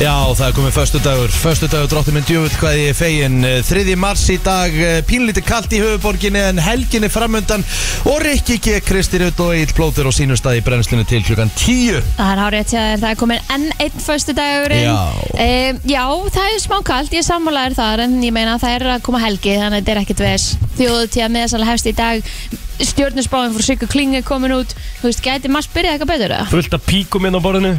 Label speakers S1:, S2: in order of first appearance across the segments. S1: Já, það er komið förstu dagur, förstu dagur drótti minn djúvill hvað ég er fegin 3. mars í dag, pínlítið kallt í höfuborginni en helginni framöndan og Rikki G. Kristi Rutt og Egil Blóður og sínustæði í brennslinu til klukkan 10
S2: Það er hárið til að það er komin enn einn förstu dagurinn
S1: Já.
S2: já, það er smá kalt, ég sammálaður þar en ég meina það er að koma helgi þannig að þetta er ekkert veðs Þjóðu til að meðsala hefst í dag stjórnusbáin frá Sigur Klinge komin út Þú veist, gæti maður spyrjað eitthvað betur eða?
S3: Fullt af píkum inn á borðinu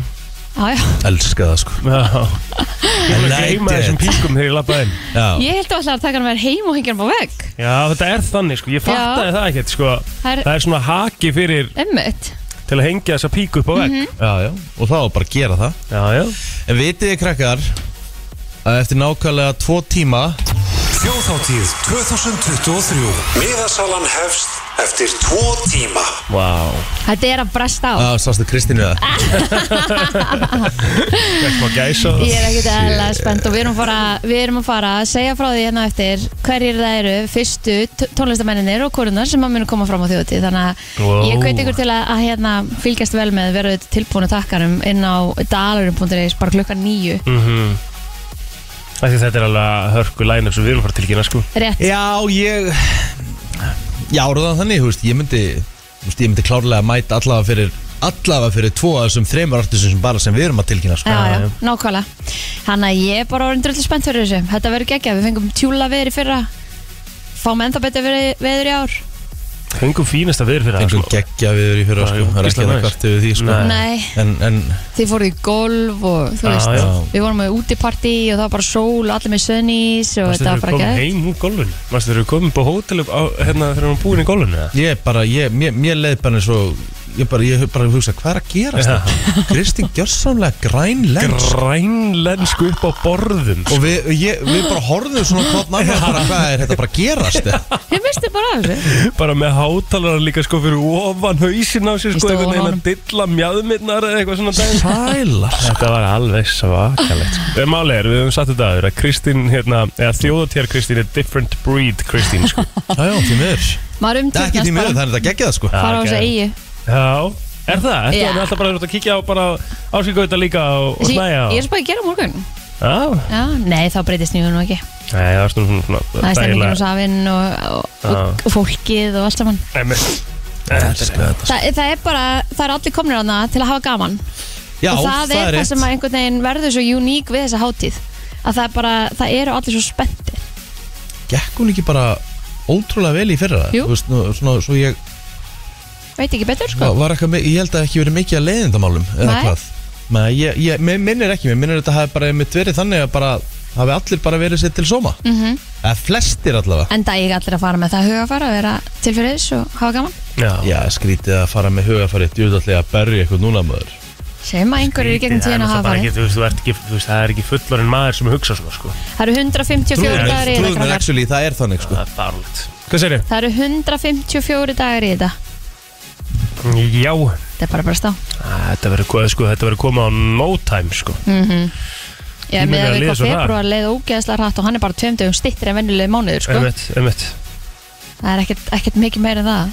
S2: Já, já,
S1: Elska það sko
S3: Já Ég er að
S1: Like
S3: gleyma
S1: it.
S3: þessum píkum þegar ég lappa inn
S1: Já,
S2: ég held að alltaf að taka hann verið heim og hengja hann á vegg
S3: Já, þetta er þannig sko, ég fattaði það ekkert sko
S2: Það er
S3: Það er svona haki fyrir
S2: ömmut
S3: til að hengja þessa píku upp á
S2: Mhm.
S3: vegg
S1: já, já, og það var bara að gera það
S3: Já, já
S1: En vitið þið krakkar að eftir nákvæmlega tvo tíma
S4: Þjóðháttíð 2023 Miðasalan hefst eftir tvo tíma
S3: Vá
S2: Þetta er að bresta á
S1: Já, sástu Kristínu það
S3: Vekk maður gæsa
S2: Ég er ekkert eðlilega spennt og við erum, fara, við erum að fara að segja frá því hérna á eftir hverjir það eru fyrstu t- tónlistamennir og korunar sem að munu koma fram á þjóti þannig að
S3: Wow.
S2: ég hveit ykkur til að, að hérna, fylgjast vel með verðu tilbúinu takkarum inn á dalarum.is bara klukkan nýju
S3: Mhm. Því þetta er alveg hörku line-up sem við erum að fara að tilkynna sko
S2: rétt
S1: Já, ég Já, orðan þannig, þú veist, ég myndi þú veist, ég myndi klárlega mæta allavega fyrir allavega fyrir tvo af þessum þreymur artistum sem bara sem við erum að tilkynna sko.
S2: Já, já, nákvæmlega Þannig að ég er bara orðin dröldu spennt fyrir þessu Þetta verður geggjað, við fengum tjúla veður í fyrra Fáum ennþá betur veður veður í ár
S3: Fengum fínasta veður fyrir það
S1: Fengum
S3: sko
S1: geggja viður í fyrra
S3: Já,
S1: sko.
S3: jú,
S1: Það er ekki
S3: gísla
S1: að
S3: næs.
S1: kvartu við því sko.
S3: Nei.
S2: Nei,
S1: En, en
S2: þið fóruð í golf og þú
S3: Já,
S2: veist
S3: já.
S2: Við vorum með útipartí og það var bara sól og allir með sönnís og
S3: Manstu
S2: þetta
S3: þegar við
S2: var bara
S3: komum
S2: gæð
S3: heim úr golfinu Manstu þegar við komum upp á hótel upp á, hérna þegar við erum búin í golfinu eða?
S1: ég bara, ég, mér, mér leið bara eins og ég bara, ég hef bara hugsa, hvað er að gerast
S3: Já.
S1: það? Kristín gjörsamlega grænlensk
S3: Grænlensku upp á borðum sko.
S1: og við, ég, við bara horfðum svona hvort náttúrulega bara hvað er þetta bara að gerast Já,
S2: Þið mistu bara af þessu
S3: bara með hátalara líka sko fyrir ofan hausin á sér
S2: Í
S3: sko einhvern veginn að
S2: stofunum.
S3: dilla mjadminnar eða eitthvað svona dæmis
S1: Sælar
S3: Þetta var alveg svakalegt sko. En Máli er, við höfum satt þetta aður að Kristín hérna, eða þjóðatjár Kristín er different breed Kristín sko
S1: Já, já, því miður
S2: Maður
S1: Það er ekki
S2: umtýrnast
S1: því miður,
S2: bara
S1: það er þetta geggjað sko
S2: fara á
S3: Já,
S2: þessu
S3: ok.
S2: eigi
S3: Já, er það? Þetta
S2: Já.
S3: er alltaf bara að kíkja á bara áskilgauta líka og, og
S2: Ég
S3: snæja og...
S2: ég er svo bara að gera á morgun
S3: Já,
S2: Já, nei, þá breytist nýjum nú ekki
S3: Nei, það er svona svona, svona
S2: Það er stemmingin og
S3: dægilega
S2: safinn og, og, og, og fólkið og allt saman
S3: Einmitt.
S2: Þa, Það er bara, það er allir komnir hana til að hafa gaman
S1: Já,
S2: og það, er það
S1: rétt.
S2: sem að einhvern veginn verður svo uník við þessa hátíð að það er bara, það eru allir svo spenntir
S1: gekk hún ekki bara ótrúlega vel í fyrra
S2: Jú.
S1: Þú veist, nú, svona, svo ég,
S2: veit ekki betur sko
S1: var eitthvað, með- ég held að ekki verið mikið að leiðindamálum eða
S2: Nei.
S1: hvað Nei, ég, ég, mér minnir ekki, mér minnir að þetta hafi bara einmitt verið þannig að bara hafi allir bara verið sér til sóma mm -hmm. eða flestir allavega
S2: Mhm. en það allir að fara með það hugafara að vera til fyrir þess og hafa gaman
S3: Já,
S1: Já, skrítið að fara með hugafarið djúðallega að berja eitthvað núna maður
S2: sem að einhverjir í gegnum
S3: Það er
S2: tíðan
S3: náttúrulega
S2: að hafa
S3: bara
S2: farið
S3: ekki, þú veist, þú ert ekki, þú veist, það er ekki fullorinn maður sem hugsa svona sko
S2: það eru 154
S1: Trúðu mér,
S2: dagar í þetta
S1: trúðu mér,
S2: krakkar.
S1: actually, það er þannig sko
S3: Það er farlegt Hvað segir
S2: það eru 154 dagar í þetta
S3: Já,
S2: þetta er bara bara stá
S3: þetta verður ko- sko, þetta verður komið á no time sko
S2: Mhm. ég
S3: Tíminn
S2: með
S3: er að
S2: að við
S3: líða
S2: hvað
S3: svo hratt.
S2: februar leið ógeðslega hratt og hann er bara tveim dögum stittir en venjuleg mánuður sko
S3: Einmitt, einmitt
S2: það er ekkert, ekkert mikið meira en það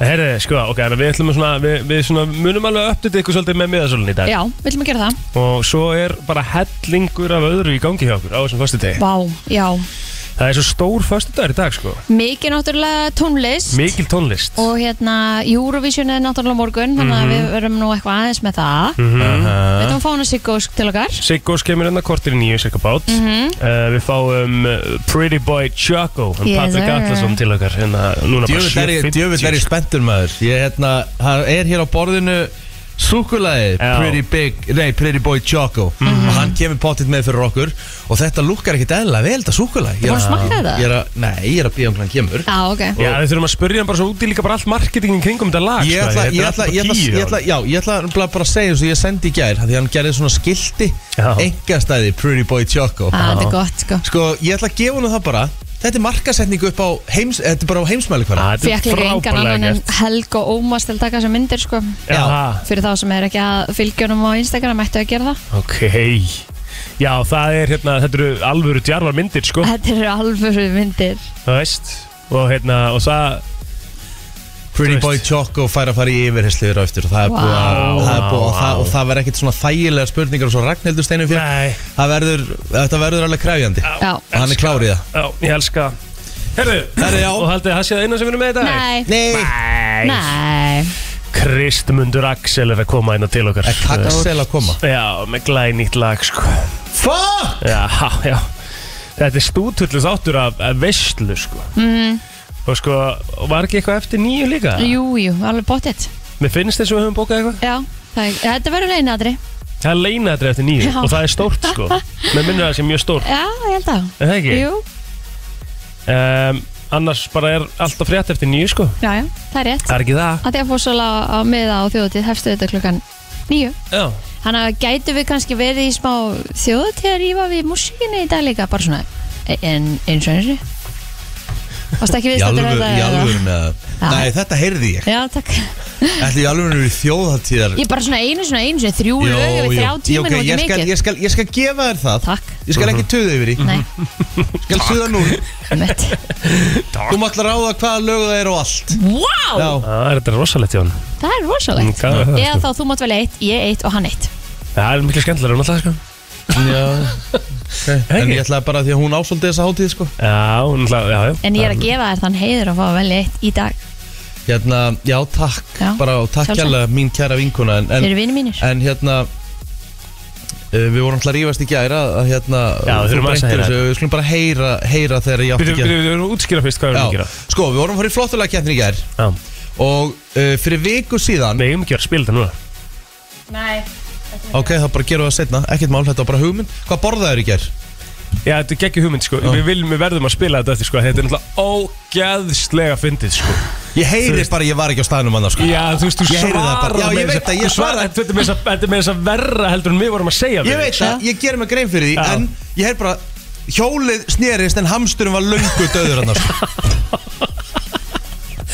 S3: Herri, sko, ok, þannig að við ætlum að svona, við, við svona munum alveg að uppdita ykkur svolítið með miðasölun í dag
S2: já, viljum að gera það
S3: Og svo er bara hellingur af öðru í gangi hjá okkur á þessum föstudegi
S2: Vá, já,
S3: Það er svo stór föstudagur í dag, sko
S2: mikið náttúrulega tónlist
S3: Mikil tónlist
S2: og hérna Eurovision er náttúrulega á morgun þannig
S3: Mhm.
S2: að við verum nú eitthvað aðeins með það við ætlum að fá hana Siggósk til okkar
S3: Siggós kemur hérna kortir í nýju cirka bát
S2: Mhm.
S3: uh, Við fáum uh, Pretty Boy Choco um
S2: Yes,
S3: Patrik
S2: sir.
S3: Atlason til okkar hérna, núna bara
S1: Djöfull er ég-
S3: 7:50,
S1: Djöfull er ég
S3: sko.
S1: spenntur maður Ég hérna, það er hér á borðinu Súkulaði,
S3: Já.
S1: Pretty Big Nei, Pretty Boy Choco Og hann kemur pottitt með fyrir okkur Og þetta lukkar ekkit eðla vel þetta súkulaði
S2: Þú búin að smakka þetta?
S1: Ég er að, nei, ég er að bíða um hvað hann kemur
S2: Já, ok
S3: Já, við þurfum að spurja hann bara svo út í líka bara allt marketingin kringum þetta lag
S1: Ég
S3: sko,
S1: ætla,
S3: þetta er
S1: ég
S3: allt
S1: ætla,
S3: bara
S1: ég ætla,
S3: tíu
S1: ég ætla,
S3: ára.
S1: já, ég ætla bara bara að segja þessu ég sendi í gær af Því að hann gerði svona skilti
S3: Já.
S1: Engastæði Pretty Boy Choco
S2: Ah, Þetta er gott sko
S1: Sko, ég ætla að gefa hann það bara Þetta er markasetning upp á heims, þetta er bara á heimsmæli
S3: Á, þetta er
S2: Fekk líka engan
S3: frábærlega
S2: annan en
S3: gert.
S2: Helg og Ómas til að taka þessar myndir sko
S1: Já.
S3: Já,
S2: Fyrir þá sem er ekki að fylgjónum á Instagram ættu að gera það
S3: ok Já, það er hérna, þetta eru alvöru djarvar myndir sko
S2: Þetta eru alvöru myndir
S3: Það veist Og hérna, og það
S1: Pretty Boy Choco fær að fara í yfirherslu á eftir og það er
S2: Vá.
S1: búið að- það er búið
S3: Vá,
S1: og það-
S3: vá.
S1: og það verður ekkert svona þægilega spurningar og svo Ragnhildur steinu fyrir
S3: Nei.
S1: það verður, þetta verður alveg krefjandi
S2: Já.
S1: og hann er klárið það
S3: Já, ég elska Herðu,
S1: Herðu, já.
S3: Og haldið þið það sé það eina sem við erum með í dag
S2: Nei,
S1: Nei,
S2: nei
S3: Kristmundur Axel er að koma inn til okkar
S1: er kaksel að koma
S3: Já, með glænýtt lag sko
S1: Fuck!
S3: Já, já Þetta er stútullu þáttur af, af veistlu sko mm. Og sko, var ekki eitthvað eftir nýju líka?
S2: Jú, jú, alveg bóttið
S3: Mér finnst þess að við höfum bókað eitthvað
S2: Já, það er, þetta verður leinadri
S3: Það er leinadrið eftir nýju
S2: Já.
S3: og það er stórt sko Mér minnir að það sé mjög stórt,
S2: Já, ég held að
S3: er það ekki?
S2: Jú,
S3: Um, annars bara er allt á frétt eftir nýju sko
S2: já, já, það er rétt
S3: Það er ekki það?
S2: Að því að fórsala á miða á þjóðatíð hefstu þetta klukkan nýju
S3: Já
S2: Þannig að gætu við kannski verið í smá þjóðatíð að rífa við músíkinni í dag líka bara svona e- en, eins og einri Varst ekki
S1: Í
S2: viðstættur
S1: alvöru- í
S2: eða?
S1: alvöru með
S2: Já.
S1: Nei, þetta heyrði ég
S2: Já, takk
S1: Þetta í alvöru með þjóðhattíðar
S2: Ég bara svona einu, svona einu, svona þrjú lög yfir þrjá tíma nú
S1: ég,
S2: ekki
S1: skal,
S2: mikið
S1: ég, skal, ég skal gefa þér það
S2: Takk,
S1: Ég skal ekki tuða yfir í
S2: nei,
S1: Ég skal tuða nú
S2: mitt
S1: Þú mátt ráða hvaða lög það er og allt
S2: Vá,
S1: Já,
S3: Það er þetta rosalegt Jón
S2: það er
S3: Mm,
S2: rosalegt
S3: hvað er það,
S2: Eða þá þú mátt velja eitt, ég eitt og hann eitt
S3: Það er miklu skemmtilega hún alltaf sko
S1: já
S3: Ekki?
S1: En ég ætlaði bara að því að hún ásóldi þessa hátíð sko
S3: Já, hún alltaf, já, já
S2: En ég er að gefa þér þann heiður að fá að velja eitt í dag
S1: Hérna, já takk
S2: Já,
S1: Bara og takk
S2: sjálfsagt.
S1: kjærlega mín kæra vinkuna En,
S2: Þeir
S1: en,
S2: eru vinir mínir
S1: en hérna eh, Við vorum alltaf að rífast í gæra að hérna
S3: Já, við
S1: þú
S3: þurfum aðeins að
S1: breyttir
S3: heyra
S1: þessu, Við skulum bara heyra, heyra þegar ég átti
S3: Byrju, byrju,
S1: að gera
S3: við erum að útskýra fyrst hvað við erum að
S1: Já,
S3: gera
S1: sko, við vorum að fara í flottulega keppni í gær
S3: Já,
S1: Og uh, fyrir viku síðan
S3: við eigum ekki að vera að spila þetta núna
S2: Nei
S1: Ok, þá bara gerum við það setna, ekkert mál, þetta var bara hugmynd Hvað borðaður í gær?
S3: Já, þetta er geggjum hugmynd sko Við viljum, við verðum að spila þetta eftir sko Þetta er náttúrulega ógeðslega fyndið sko
S1: Ég heyri bara, að ég var ekki á staðnum annars sko.
S3: Já, þú veist, þú
S1: Ég heyri það bara.
S3: svarar
S1: Já, ég
S3: meira
S1: veit
S3: þess-
S1: það, ég
S3: þú svarar-
S1: svara-
S3: Þetta er með þess að- þetta er með þess að verra heldur en við vorum að segja
S1: Ég
S3: við.
S1: veit það, ég gerir mig grein fyrir því
S3: Já.
S1: En ég heyr bara, hjólið snerist En hamsturinn var löngu döður annars sko.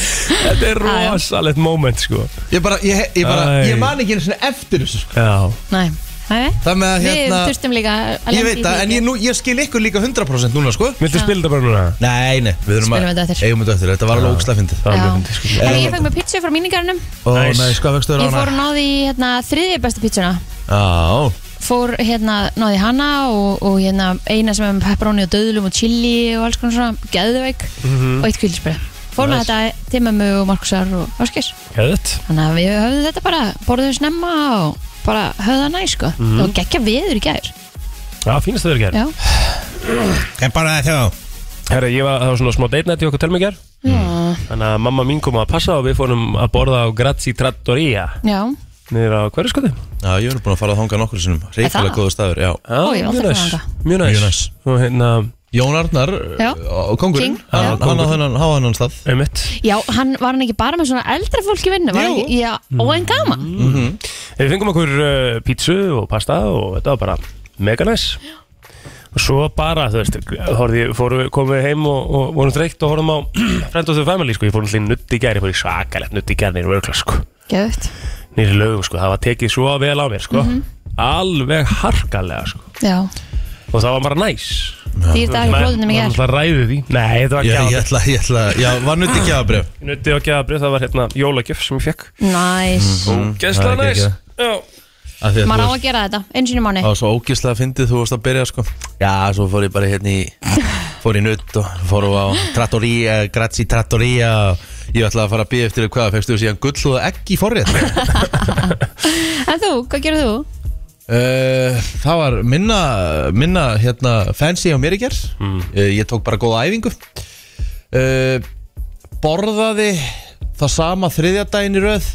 S3: Þetta er
S2: Já, já.
S3: rosalegt moment sko
S1: Ég bara, ég, ég, bara,
S3: Æ.
S1: ég man ekki einu sinni eftir þessu sko.
S3: Já
S2: Nei, nei,
S1: Það með að
S2: við
S1: hérna
S2: þurftum líka að
S1: Ég veit það, en ég, nú, ég skil ykkur líka 100% núna sko
S3: Viltu
S2: Já.
S3: spila þetta bara núna?
S1: Nei, nei, við erum að
S2: Spilum þetta eftir.
S1: Eigum þetta eftir, þetta var alveg ógslag fyndið
S3: Já, mjög fyndið, sko.
S2: Já, Herri, ég fæk mér pítsu frá míningarnum
S1: Ó,
S3: Nice.
S1: nei, sko, vextu
S2: Ég
S1: þér
S2: fór og
S1: hana
S2: náði í hérna, þriðja bestu pítsuna
S1: Já,
S2: Fór hérna, náði í hana og, og hérna, eina sem er með pepperoni og döðlum og chili og alls konar svona Geðveik
S1: Mhm.
S2: og eitt kvílisbrið Fór með þetta til mömmu og Markusar og Áskis
S3: Geðut
S2: Þannig að við höfðum þetta bara, borðum snemma og bara höfða næ sko
S1: Mhm.
S2: Það var geggja viður í gær
S3: Já, fínast þau eru gerð
S2: Já,
S1: en bara þegar
S3: Herra, ég var, það var svona smá date night í okkur telmi gerð
S2: já,
S3: Þannig að mamma mín kom að passa og við fórum að borða á Grazi Trattoria
S2: já.
S3: Niður á hverju skoði?
S1: Já, ég er búin að fara að þanga nokkur sinnum
S2: það?
S1: Reykjavík góðu staður, já
S3: Já,
S2: Ó, ég hef aldrei
S3: mjög
S2: farið
S3: næs
S2: þangað.
S3: Mjög næs
S1: Mjög næs.
S3: Og hérna,
S1: Jón Arnar,
S2: Já.
S1: uh, kongurinn
S2: King,
S1: Hann
S3: já.
S1: hann á þennan- hann á hennan stað
S3: einmitt
S2: já, hann var hann ekki bara með svona eldra fólk í vinnu, var hann
S1: Jú. Mhm.
S2: ekki, já, og en gaman
S3: En Mhm. Við fengum okkur uh, pítsu og pasta og þetta var bara mega næs Og svo bara, þú veist, horfði, fóru, komum við heim og, og vorum dreikt og horfum á Friend of the Family, sko, ég fór allir nutt í gær, ég fór í svakalegt nutt í gær nýri vörgla, sko
S2: Geðvægt,
S3: Nýri lögum, sko, það var tekið svo vel á mér, sko
S2: Mhm.
S3: Alveg harkalega, sko
S2: já,
S3: Og það var bara næs
S2: þýr dagar blóðunum í
S3: Það var
S2: gær
S3: alltaf ræðið því Nei, þetta var
S1: Ég, ég
S3: gjáðabrif
S1: ætla, ég ætla, já, var nutt ekki aðabrif
S3: Nutti og gjáðabrif, það var hérna jólagjöf sem ég fekk
S2: Næs,
S3: Gæsla
S1: það er
S3: næs
S1: geggjað.
S3: Já
S2: maður á að gera þetta, einu sinni í mánu
S1: Það var svo ógíslega fyndið þú varst að byrja sko Já, svo fór ég bara hérna í Fór í nutt og fór á Trattoria, Grazi Trattoria Ég ætlaði að fara að býja eftir þér hvað Fekstu þú síðan gullúða egg í forrétt
S2: En þú, hvað gerir þú?
S1: uh, Það var minna, minna hérna, fancy á mér í ger uh, Ég tók bara góða æfingu uh, Borðaði það sama þriðjadaginn í röð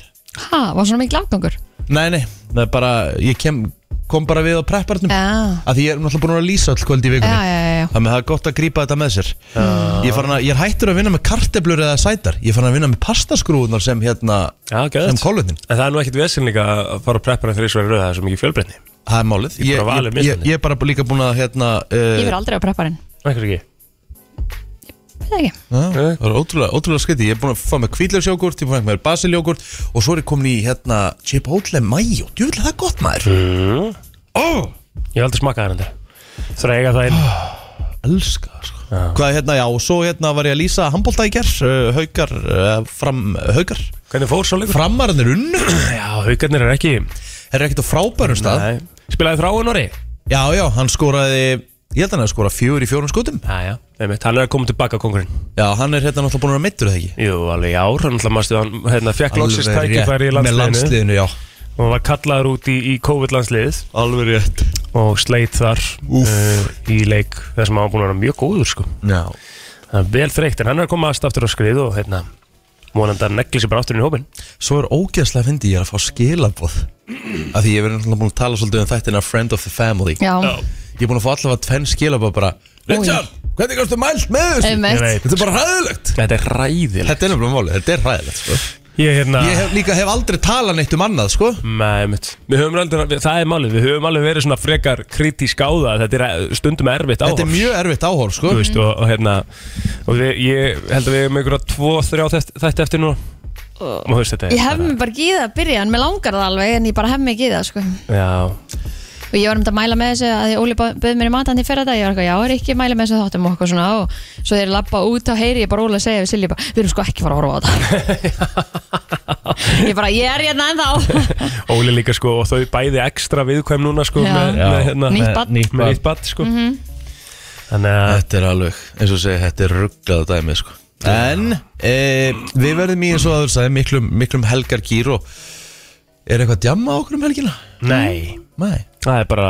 S2: Ha, var svona mikil afgangur?
S1: Nei, nei, það er bara Ég kem, kom bara við á prepparnum
S2: Já,
S1: að því ég er náttúrulega búin að vera að lýsa all kvöld í
S2: já,
S1: vikunni
S2: já, já, já.
S1: Þannig að það er gott að grípa þetta með sér ég, er farin að, ég er hættur að vinna með karteblur eða sætar Ég er farin að vinna með pastaskrúðunar sem hérna
S3: Já,
S1: sem
S3: gæðið
S1: kólutnin
S3: En það er nú ekkit vesen líka að fara að preppa hann fyrir sværi röð, það er svo mikið fjölbreytni.
S1: Það er málið
S3: Ég er bara valið
S1: ég, ég,
S3: mismunandi.
S1: ég er bara líka búin að hérna
S2: Ég
S1: uh,
S2: verð aldrei á prepparinn,
S3: Ekkert ekki.
S2: veit það ekki
S1: á, Það er ótrúlega, ótrúlega skriti Ég er búin að fá með kvíðlausjógurt, ég er búin að fá með basiljógurt Og svo er ég komin í hérna Chipotle mayo, djúvill það er gott maður
S3: Mm.
S1: Ó, Ah.
S3: Ég hef aldrei smakað hann endur. Þræga það inn.
S1: elska það, sko Hvað hérna, já, og svo hérna var ég að lýsa handbólta í ger uh, Haukar, uh, fram, haukar
S3: Hvernig fór svo leikur?
S1: Framarinn er unnu
S3: Já, haugarnir er ekki
S1: Er ekkert á frábærum stað
S3: Nei. Spilaði þráin orri?
S1: Já, já, hann skoraði Ég held að hann að skora fjögur í fjórum skotum
S3: Já, já Einmitt, hann er að koma tilbaka kongurinn
S1: Já, hann er hérna náttúrulega búin að vera meittur eða ekki
S3: Jú, alveg í ár, hann alltaf mástu hann hérna, fekk loksist
S1: Alveg rétt,
S3: tækifæri í
S1: Með
S3: landsliðinu
S1: landsliðinu, já
S3: og hann var kallaður út í, í COVID-landsliðið
S1: Alveg rétt
S3: og sleit þar
S1: Úff.
S3: uh, í leik þar sem hann var búin að vera mjög góður sko.
S1: Já,
S3: hann er vel þreytt en hann er að koma aðstaftur á skrið og hérna vonandi að negli sér bara aftur inn í hópin
S1: svo er ógeðslega fyndi ég er að fá skilaboð Af því ég verið náttúrulega búin að tala svolítið um þættina Friend of the Family
S2: Já,
S1: Ég er búin að fá allavega tvenn skilaboð bara Richard, hvernig kannstu mælt með þessu?
S3: Ég
S2: einmitt
S3: veit,
S1: Þetta er bara hræðilegt
S3: þetta er ræðilegt
S1: Þetta er nefnilega máli, þetta er hræðilegt sko.
S3: ég hérna
S1: Ég hef, líka hef aldrei talað neitt um annað sko.
S3: Nei, mitt. Við höfum aldrei, við- það er málið, við höfum alveg verið svona frekar kritísk á það, þetta er eh, stundum erfitt áhorf.
S1: Þetta er mjög erfitt áhorf sko.
S3: þú veist, og, og hérna og við, ég held að við erum einhverja tvo, þrjá þætt- þætti eftir nú og þú veist þetta er
S2: Ég hef
S3: bara-
S2: mig bara ekki í það að byrja, en mér langar það alveg en ég bara hef mig ekki í það, sko
S3: já,
S2: og ég var um þetta að mæla með þessu að því Óli bað- bauð mér í matan til ferða dag ég var eitthvað, já, er ekki að mæla með þessu þáttum og okkur svona og svo þeir lappa út á heyri ég bara Óli að segja við Silji bara, við erum sko ekki fara að horfa á þetta ég bara, ég er hérna ennþá
S3: Óli líka sko og þau bæði ekstra viðkvæm núna sko
S2: Já.
S3: með,
S1: Já.
S3: með, hérna,
S2: Nýtt
S3: með-
S2: barn. Mhm.
S3: með nýtt bad sko þannig að
S1: Þetta er alveg, eins og segja, þetta er rugglaða dæmi sko. En e, við verðum í eins og aður sagði miklum, miklum helgar gýr og er eitthvað djamma á okkur um helgina?
S3: nei,
S1: Nei,
S3: það er bara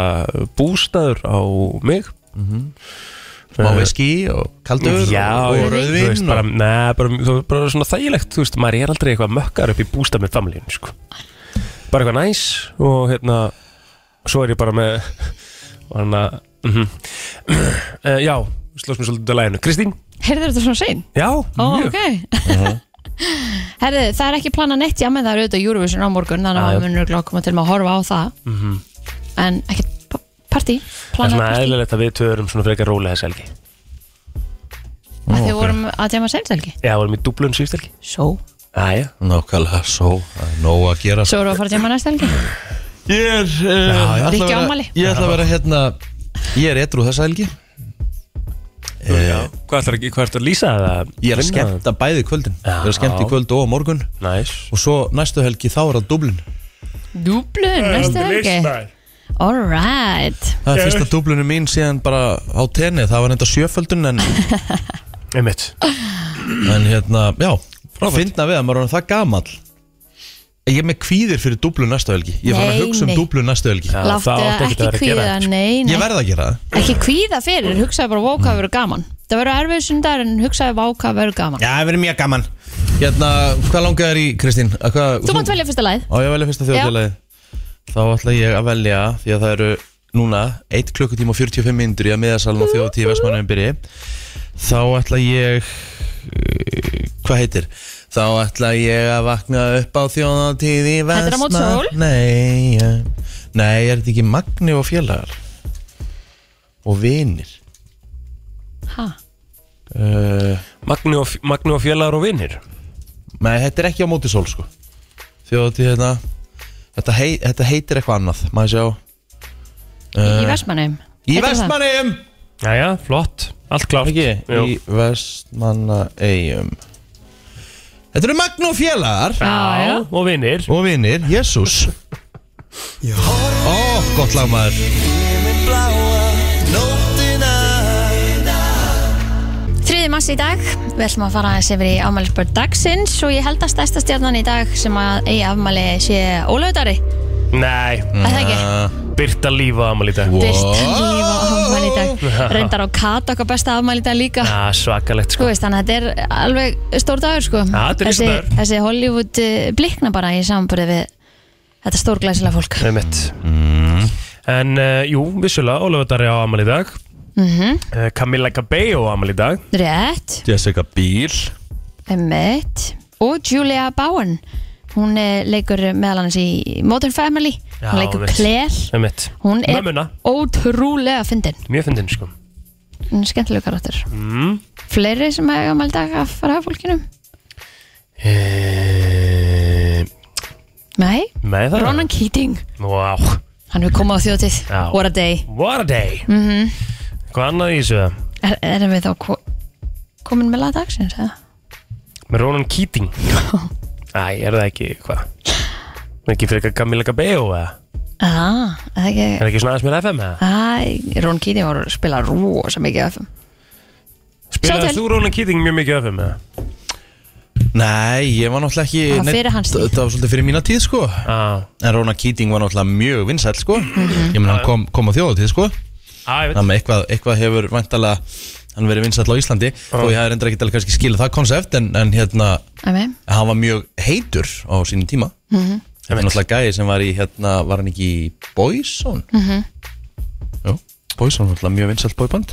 S3: bústaður á mig Eh,
S1: má við skí Mhm. og kaldur
S3: Já,
S1: og,
S3: þú veist,
S1: og rauðvinn
S3: bara,
S1: og...
S3: neð, bara, þú- bara svona þægilegt, þú veist, maður er aldrei eitthvað mökkar upp í bústað með familíun, sko bara eitthvað næs og hérna svo er ég bara með og hann að mm -hmm. uh, já, slóst mér svolítið að læginu Kristín,
S2: heyrður þetta svona sein?
S3: já,
S2: ó,
S3: mjög
S2: ok
S1: Mhm.
S2: herðu, það er ekki planað neitt já, menn það er auðvitað Eurovision á morgun þannig
S3: Já,
S2: að
S3: já.
S2: við munum örugglega að koma til með að horfa á það en ekki partí,
S3: Mhm. það er
S2: planað
S3: svona
S2: partí
S3: eðlilegt að við törum svona frekar rólega þessi helgi
S2: að þið vorum að djama seinselgi
S3: já, við erum í dublun síðust helgi
S2: svo,
S3: aðja,
S1: Nákvæmlega, svo, það er nóg að gera
S2: svo erum við að fara að djama næsta helgi
S1: Ég er
S3: e,
S2: ætla að
S1: uh,
S2: Rikki vera- afmæli.
S1: Ég ætla að vera hérna Ég er etru þessa helgi
S3: já. hvað ætlar að, hvað ætlar að lýsa það
S1: Eh. Ég er að skemmta bæði kvöldin Ég er að skemmta í kvöld og á morgun
S3: næs,
S1: Og svo næstu helgi þá er það Dublin
S2: Dublin, næsta helgi Alright
S1: Það er fyrsta Dublinu mín síðan bara á tenni Það var enda sjöföldun en,
S3: einmitt
S1: en hérna, já Fyndna við að maður er orðinn það gamall Ég er með kvíðir fyrir Dublin næstu helgi Ég er farin
S2: Nei,
S1: að hugsa um
S2: nei.
S1: Dublin næstu helgi
S3: Já,
S2: Láttu
S3: það átti
S2: það
S3: ekkert
S2: ekki
S3: að vera að gera
S2: kvíða,
S3: þetta, sko.
S2: nei, nei
S1: Ég verð að gera það
S2: Ekki kvíða fyrir, hugsaði bara Vá hvað verður gaman Það verður erfið sundar en hugsaði vá hvað verður gaman
S1: Já, það verður mjög gaman Hérna, hvað langar þér í, Kristín? Að Hvað,
S2: Þú mátt velja fyrsta lagið
S1: Á ég að velja fyrsta þjóðfélagið Þá ætla ég að velja Því að það eru núna 1 klukkutíma og 45 myndur í að miðasalun og þjóðtíð Vestmannum byrji Þá ætla ég eh, Hvað heitir? Þá ætla ég að vakna upp á þjóðatíð í
S2: Þetta er á móti
S1: Vestmann
S2: sól.
S1: Nei, eh, nei, er þetta ekki Magni og félagar? Og vinir
S2: Ha,
S1: uh,
S3: Magni og, Magni og félagar og vinnir
S1: Nei, þetta er ekki á móti sól sko Þjóðatíð hérna Þetta, hei, þetta heitir eitthvað annað, maður sjá Uh,
S2: Í Vestmannum
S1: Í Vestmanneum
S3: Jæja, flott, allt klárt Jú.
S1: Í Vestmannaeyjum Þetta eru Magnó félagar
S2: Já, já.
S3: og vinnir
S1: Og vinir, Jésús Ó, gott lag maður
S2: Þriði massi í dag, við ætlum að fara aðeins yfir í afmælisbörn dagsins og ég held að stærsta stjarnan í dag sem að eigi afmæli sé Ólöfudari,
S3: Nei,
S1: Mm.
S2: er það ekki?
S1: Ah.
S3: Birta lífa ámali í dag
S2: Byrst líf á afmæli í dag Reyndar á Kata okkar besta afmæli í dag líka
S3: ah, Svakalegt
S2: Þú
S3: sko
S2: veist, þannig að þetta er alveg stór dagur sko
S3: Ja, þetta er
S2: þessi,
S3: risadagur.
S2: þessi Hollywood eh, blikna bara í samanbörði við þetta stórglæsilega fólk
S3: Með mitt
S1: Mm.
S3: En uh, jú, vissulega, Ólafur Darri á ámali í dag uh, Camilla Cabello á ámali í dag
S2: Mhm, Rétt,
S1: Jessica Bíl
S2: emmitt Og Julia Bowen Hún eh, leikur meðal annars í Modern Family
S3: Já,
S2: Hún leikur
S3: veist.
S2: Claire
S3: Með mitt
S2: Hún er
S3: Mömmuna.
S2: ótrúlega fyndin
S3: Mjög fyndin sko
S2: Hún er skemmtilega karakter
S3: mm.
S2: Fleiri sem hefur gammal dag að fara að fólkinu
S3: e
S2: Eh. Nei,
S3: Með það
S2: Ronan Keating
S3: Wow,
S2: Hann hefur komið á þjótið
S3: Já.
S2: What a day Mhm.
S3: what a day mm -hmm. Hvað annað í þessu?
S2: er, erum við þá ko komin með laga dagsins eða?
S3: Með Ronan Keating Æ, er það ekki, hvað? Er Ekki frekar Camila Cabello, eða?
S2: Ah, eða
S3: Er
S2: ekki
S3: ekki svona aðeins meira FM, eða?
S2: Æ, Rón Kíti var að spila rosa mikið af þeim Sjá
S3: Spilaði
S2: til.
S3: þú Ronan Keating mjög mikið FM, eða?
S1: Nei, ég var náttúrulega ekki
S2: Það var
S1: neitt-
S2: fyrir hans tíð.
S1: Það var svolítið fyrir mína tíð sko
S3: Á,
S1: En Rona Keating var náttúrulega mjög vinsæll sko
S2: Mhm.
S1: Ég menn hann kom, kom á þjóðatíð sko
S3: á, ég veit
S1: Þannig að eitthvað, eitthvað hefur vantalega Hann verið vinsæll á Íslandi Og ég hafði reyndar ekki alveg kannski skilið það konsept En, en hérna,
S2: Æmi,
S1: hann var mjög heitur á sínum tíma mm -hmm. Það er náttúrulega gæði sem var í hérna Var hann ekki í Boyzone? Mm
S2: Mhm.
S1: -hmm. Jú, Boyzone var náttúrulega mjög vinsæll boyband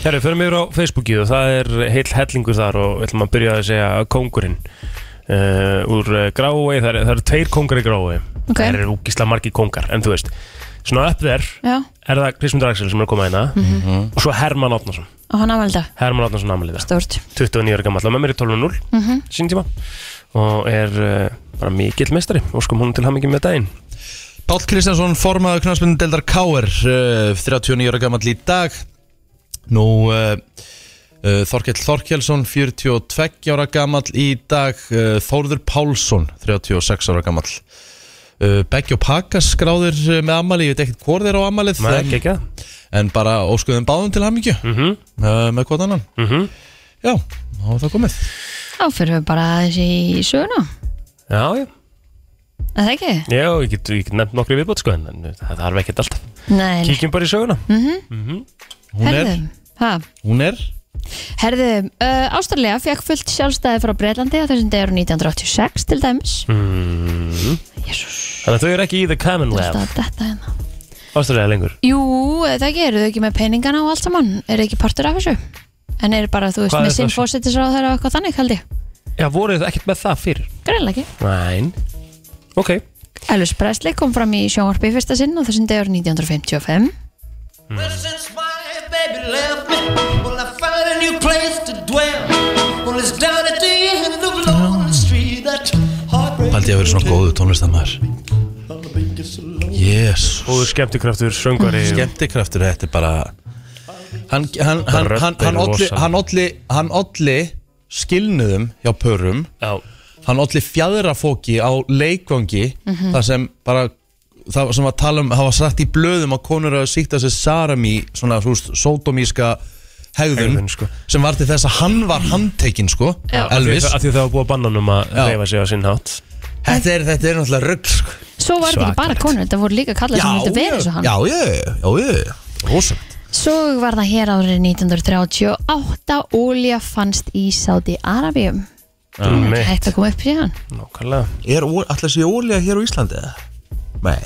S3: Herru, förum yfir á Facebookið og það er heill hellingur þar og við ætlum að byrja að segja kóngurinn uh, úr eh, Grávei, það eru það eru tveir kóngar í Grávei
S2: Ok.
S3: það eru úkislega margir kóngar, en þú veist svona upp þér
S2: já,
S3: er það Kristmundur Axel sem er að koma hérna og svo Herman Átnason
S2: og hann afvalda
S3: Herman Átnason ammaliða,
S2: Mhm. Stórt
S3: 29 ára gammal og með mér er 12.0 mm
S2: Mhm.
S3: -hmm. sín tíma og er uh, bara mikill meistari og skum hún til hamingi með daginn
S1: Páll Kristjánsson, formaður knarspindin Deldar Káer, uh, 39 ára gammal í dag Nú, uh, uh, Þorkell Þorkelsson, 42 ára gammal í dag uh, Þórður Pálsson, 36 ára gammal uh, Beggi og Pakas skráðir uh, með ammali, ég veit ekkert hvort þeir á ammalið
S3: maður
S1: en,
S3: ekki ekki það
S1: en bara óskuðum báðum til hamingju
S3: Mhm.
S1: uh, með hvort annan
S3: Mhm.
S1: Já, þá er það komið
S2: Þá fyrir við bara aðeins í söguna
S3: Já, já,
S2: Er það ekki?
S3: já, ég get, ég get nefnt nokkri viðbót sko en en það þarf ekkert alltaf
S2: Nei, nei.
S3: Kíkjum bara í söguna Mhm.
S1: Hún er,
S2: ha,
S1: hún er
S2: herðu, uh, Ástralja fekk fullt sjálfstæði frá Breitlandi á þessum degur 1986 til dæmis Jésús,
S3: Mm. Þannig að þau eru ekki í The
S2: það er
S3: Commonwealth
S2: alltaf þetta hérna
S3: Ástæðilega lengur
S2: Jú, er það ekki, eru þau ekki með peningana og allt saman eru ekki partur af þessu en eru bara, þú veist,
S3: Hvað er
S2: með sinn
S3: þessu?
S2: fósettisráð þeirra og eitthvað þannig, held ég,
S3: Já, voru þau ekkert með það fyrir?
S2: greinlega ekki
S3: Næn Ok
S2: Elvis Presley kom fram í sjónvarpi í fyrsta sinn á þessum degur 1955
S5: Well, since my baby left me, well, I found a new place to dwell. Well, it's down at the end of Lonely Street, that heartbreak.
S1: Paldi að vera svona góðu tónlistamæður Jésus
S3: Góður skemmtikraftur, söngari
S1: skemmtikraftur þetta er bara hann, hann, hann,
S3: Bara
S1: hann,
S3: rödd
S1: hann,
S3: er
S1: olli,
S3: rosaleg.
S1: hann, olli, hann olli skilnuðum hjá pörum
S3: Já
S1: hann olli fjadrafóki á leikvangi
S2: Mhm.
S1: þar sem bara það sem var tala um, það var sagt í blöðum að konur að sýkta sér sarami svona svo veist, sódómíska hegðun,
S3: Hegðun, sko.
S1: sem var til þess að hann var handtekinn sko, Elvis
S3: Af því það var búið að banna hann um að
S1: Já.
S3: reyfa sig á sinn hátt
S1: þetta er, þetta er náttúrulega rugg sko.
S2: Svo var þetta ekki bara
S3: Svakalegt.
S2: konur, þetta voru líka kallar sem vildu vera eins og hann
S1: já, já, já, já, rosalegt
S2: Svo var það hér árið 1938 ólja fannst í Sáti Arabíum
S3: Einmitt.
S2: Hægt að koma upp síðan
S3: Nákvæmlega
S1: Er alltaf sé ólíða hér á Íslandi eða? Nei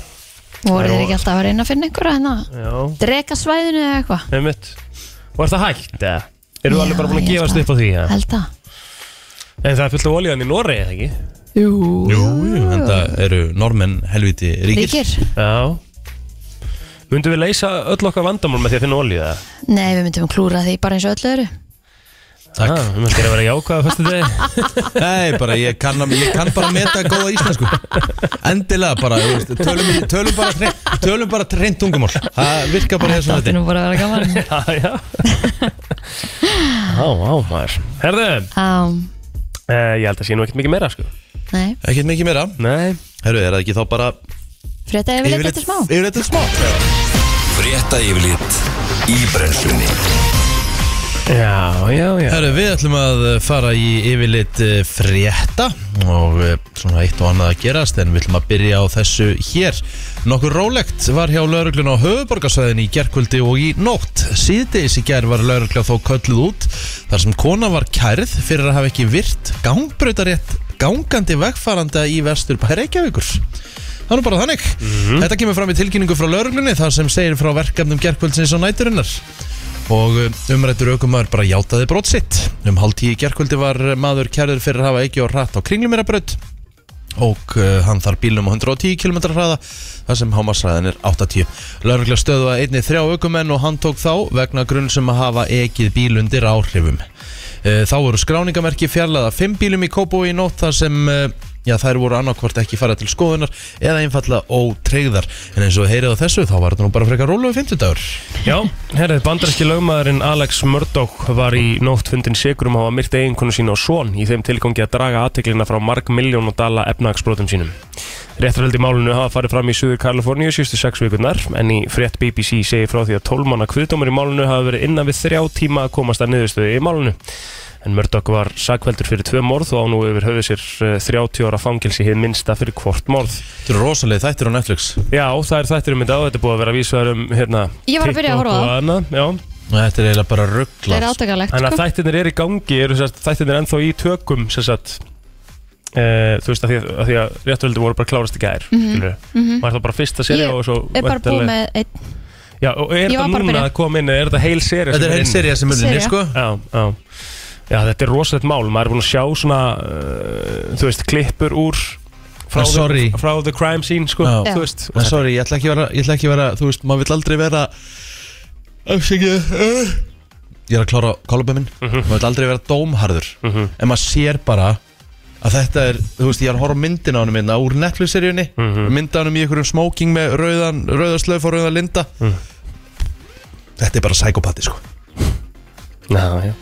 S3: Það
S2: Voru
S3: er
S2: þeir
S3: ó-
S2: ekki alltaf að reyna að finna einhverja hérna
S3: Já
S2: Drekasvæðinu eða eitthvað
S3: Með mitt Var það hægt eða? Eru
S2: Já,
S3: alveg bara búin
S2: ég
S3: að
S2: held
S3: gefast
S2: það.
S3: upp á því eða?
S2: Held það
S3: En það er fullt af olíðan í Noregi, eða ekki?
S2: Jú,
S1: Jú, jú, en það eru normenn helviti ríkir
S2: Ríkir?
S3: Já Mundum við leysa öll okkar vandamál með því að finna olíða?
S2: Nei, við myndum klúra því bara eins og öllu öðru
S3: Takk ah, Við myndum að vera jákvæða fyrstu degi
S1: Nei, bara ég kann, að- ég kann bara meta góða íslensku Endilega bara, þú veist, tölum, tölum bara hreint- Tölum bara reynd tungumál Það virkar bara þessum
S2: átti
S1: þetta
S2: nú bara að vera gaman
S3: Já, Ah, já Á, á, maður Herðu
S2: Á,
S3: Uh, ég held að sé nú ekkert mikið meira sko
S2: Nei,
S1: Ekkert mikið meira
S3: Nei
S1: Herru, er það ekki þá bara
S2: frétta yfir þetta smá
S1: Yfirleitt eftir smá
S4: Frétta yfirlit í brennslunni
S3: Já, já, já
S1: Herru, við ætlum að eh, fara í yfirleitt eh, frétta og eh, svona eitt og annað að gerast en við ætlum að byrja á þessu hér. Nokkur rólegt var hjá lauruglun á höfuborgarsvæðin í gerkvöldi og í nótt. Síðdeis í gerð var laurugla þó kölluð út þar sem kona var kærð fyrir að hafa ekki virt gangbrautarétt gangandi vegfaranda í vestur bæ Reykjavíkur. Það er nú bara þannig. Þetta kemur fram í tilkynningu frá lauruglunni þar sem segir frá verkefnum gerkvöldsins og næturinnar og uh, umrættur aukumar bara játaði brot sitt. Um hálf tíu í gerkvöldi var uh, maður kærður fyrir að hafa ekki á rætt á kringlumirabraut og uh, hann þar bílum á 110 km hraða þar sem hámasræðin er 80. Lörgla stöðuða einni þrjá aukumenn og hann tók þá vegna grunn sem að hafa ekið bíl undir Eh, áhrifum. Uh, þá voru skráningamerki fjarlæða fimm bílum í Kópó í nótt þar sem uh, já þær voru annarkvort ekki fara til skoðunar eða einfalla ótreyðar en eins og við heyrið á þessu þá var þetta nú bara frekar róluðu 50 dagur
S3: Já, herrið, bandaræski lögmaðurinn Alex Murdoch var í nótt fundin sigurum á að myrta eiginkonu sín og svon í þeim tilgangi að draga aðteklina frá marg miljón og dala efnahagsbrotum sínum. Réttarveldi í málinu hafa farið fram í Suður Kaliforníu síðustu sex vikurnar en í frétt BBC segir frá því að 12 manna kviðdómur í málinu hafa verið innan við þrjá tíma að komast að niðurstöðu í málinu. En Murdoch var sakveldur fyrir tvö morð og á nú yfir höfðu sér eh, 30 ára fangilsi hið minnsta fyrir hvort morð.
S1: Þetta eru rosalega þættir á Netflix
S3: Já, það er þættir um þetta og þetta er búið að vera vísar um hérna,
S2: Ég var að byrja
S3: TikTok
S2: að horfa á
S3: og
S2: það.
S3: annað, já.
S1: Þetta er eiginlega bara
S2: Það er
S1: ruggla
S2: átakalegt
S3: Þannig að
S2: sko.
S3: þættirnir eru í gangi, eru sérst, þættirnir ennþá í tökum sem sagt, uh, þú veist að því að, að, því að réttvöldu voru bara klárast í gær mm -hmm. var það bara fyrsta serið
S2: Mhm, Ég
S3: og svo
S2: er bara búið
S3: væntanlega-
S2: með einn
S3: Já, og er þetta
S2: Ég var bara að
S3: núna
S2: byrja.
S3: að koma inn, eða er þetta heil serið
S1: Þetta er heil serið sem munni,
S2: Sería.
S1: sko
S3: Já, já Já, þetta er rosalegt mál, maður er búin að sjá svona uh, þú veist, klippur úr frá,
S1: Ah, sorry.
S3: the, frá the crime scene, sko,
S1: Já.
S3: þú veist
S1: Nei, sorry, ég ætla ekki að vera, ég ætla ekki að vera Þú veist, maður vill aldrei vera Afsækið uh. Ég er að klára kálubið minn
S3: Mhm.
S1: Maður vill aldrei vera dómharður En maður sér bara að þetta er Þú veist, ég er að horfa á myndin á honum minna Úr Netflix-seríunni mm
S3: Mhm.
S1: -hmm. Myndanum í einhverjum smoking með rauðan, rauðaslauf og rauða linda Þetta er bara sækopati, sko
S3: Já, já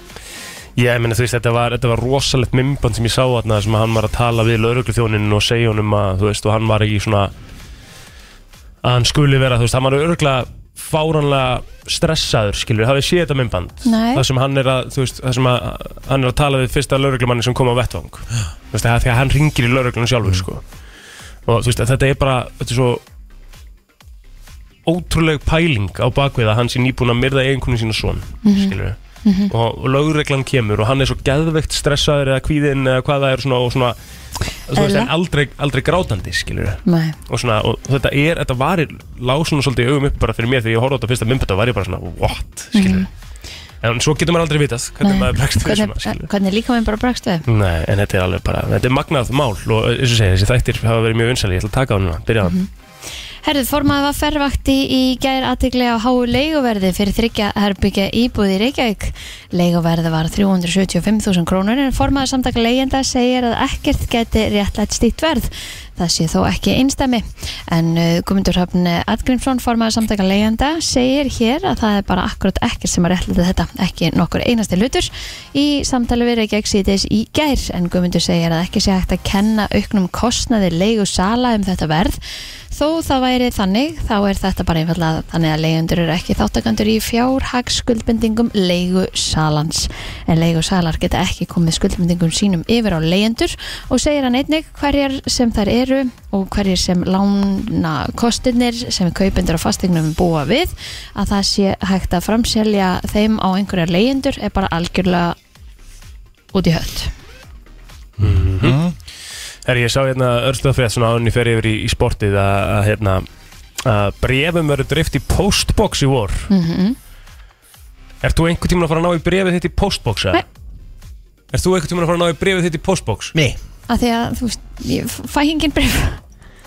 S3: Ég meina þú veist, þetta var, þetta var rosalegt mymband sem ég sá þarna sem að hann var að tala við laurugluþjóninn og segja honum að, þú veist, og hann var ekki svona að hann skuli vera, þú veist, hann var örgulega fáranlega stressaður, skilur, hafið séð þetta mymband
S2: Nei.
S3: það sem hann er að, þú veist, það sem að hann er að tala við fyrsta lauruglumanni sem kom á vettvang þú veist, það er því að hann ringir í lauruglunum sjálfur, sko og þú veist, þetta er bara, þetta er svo ótrúleg pæling á bakvið að hann sé nýbúin að myrða eiginkonu sína svon, mm skilur og, og lögreglan kemur og hann er svo geðveikt stressaður eða kvíðinn eða hvað það er svona, og svona, þú veist,
S2: Eðla.
S3: en aldrei, aldrei grátandi, skilur
S2: Nei,
S3: og, svona, og þetta er, þetta var í- lá svona svolítið í augum upp bara fyrir mér þegar ég horfði á þetta fyrsta myndbæta var ég bara svona, what, skilur en svo getur maður aldrei vitað hvernig
S2: nei.
S3: maður bregst við svona,
S2: Hvernig-
S3: skilur
S2: Hvernig líka minn bara bregst við
S3: Nei, en þetta er alveg bara, þetta er magnað mál og eins og segja, þessi þættir hafa verið mjög vinsæli, ég ætla að taka á hann núna, byrja á
S2: Mhm.
S3: hann
S2: Herðið formaði var fervakti í gær aðtikli á háu leiguverði fyrir þryggja herbyggja íbúð í Reykjavík. Leiguverði var 375.000 krónur en formaði samtaka leigjenda segir að ekkert geti réttlætt stýtt verð. Það sé þó ekki einstæmi. En uh, Guðmundur Hafn Atgrímsson formaði samtaka leigjenda segir hér að það er bara akkurat ekkert sem að réttlæta þetta, ekki nokkur einasti hlutur í samtali við Reykjavík síðis í gær. En Guðmundur segir að ekki sé hægt að kenna auknum kostnaði leigusala um þetta verð Þó það væri þannig, þá er þetta bara einfallega þannig að leigundur eru ekki þáttakandur í fjárhagsskuldbendingum leigusalans. En leigusalar geta ekki komið skuldbendingum sínum yfir á leigundur og segir hann einnig hverjar sem þær eru og hverjir sem lána kostinir sem kaupendur á fastegnum búa við að það sé hægt að framselja þeim á einhverjar leigundur er bara algjörlega út í hött.
S3: Mhm. Herri, ég sá hérna örstuðafrétt svona áðunni fer yfir í, í sportið að, að hérna að brefum verður dreift í postbox í vor mm
S2: Mhm.
S3: Ert þú einhvern tímann að fara að ná í brefið þitt í postbox? eða?
S2: Nei.
S3: Ert þú einhvern tímann að fara að ná í brefið þitt í postbox?
S1: Nei
S2: að því að þú veist, ég fæ hengin bref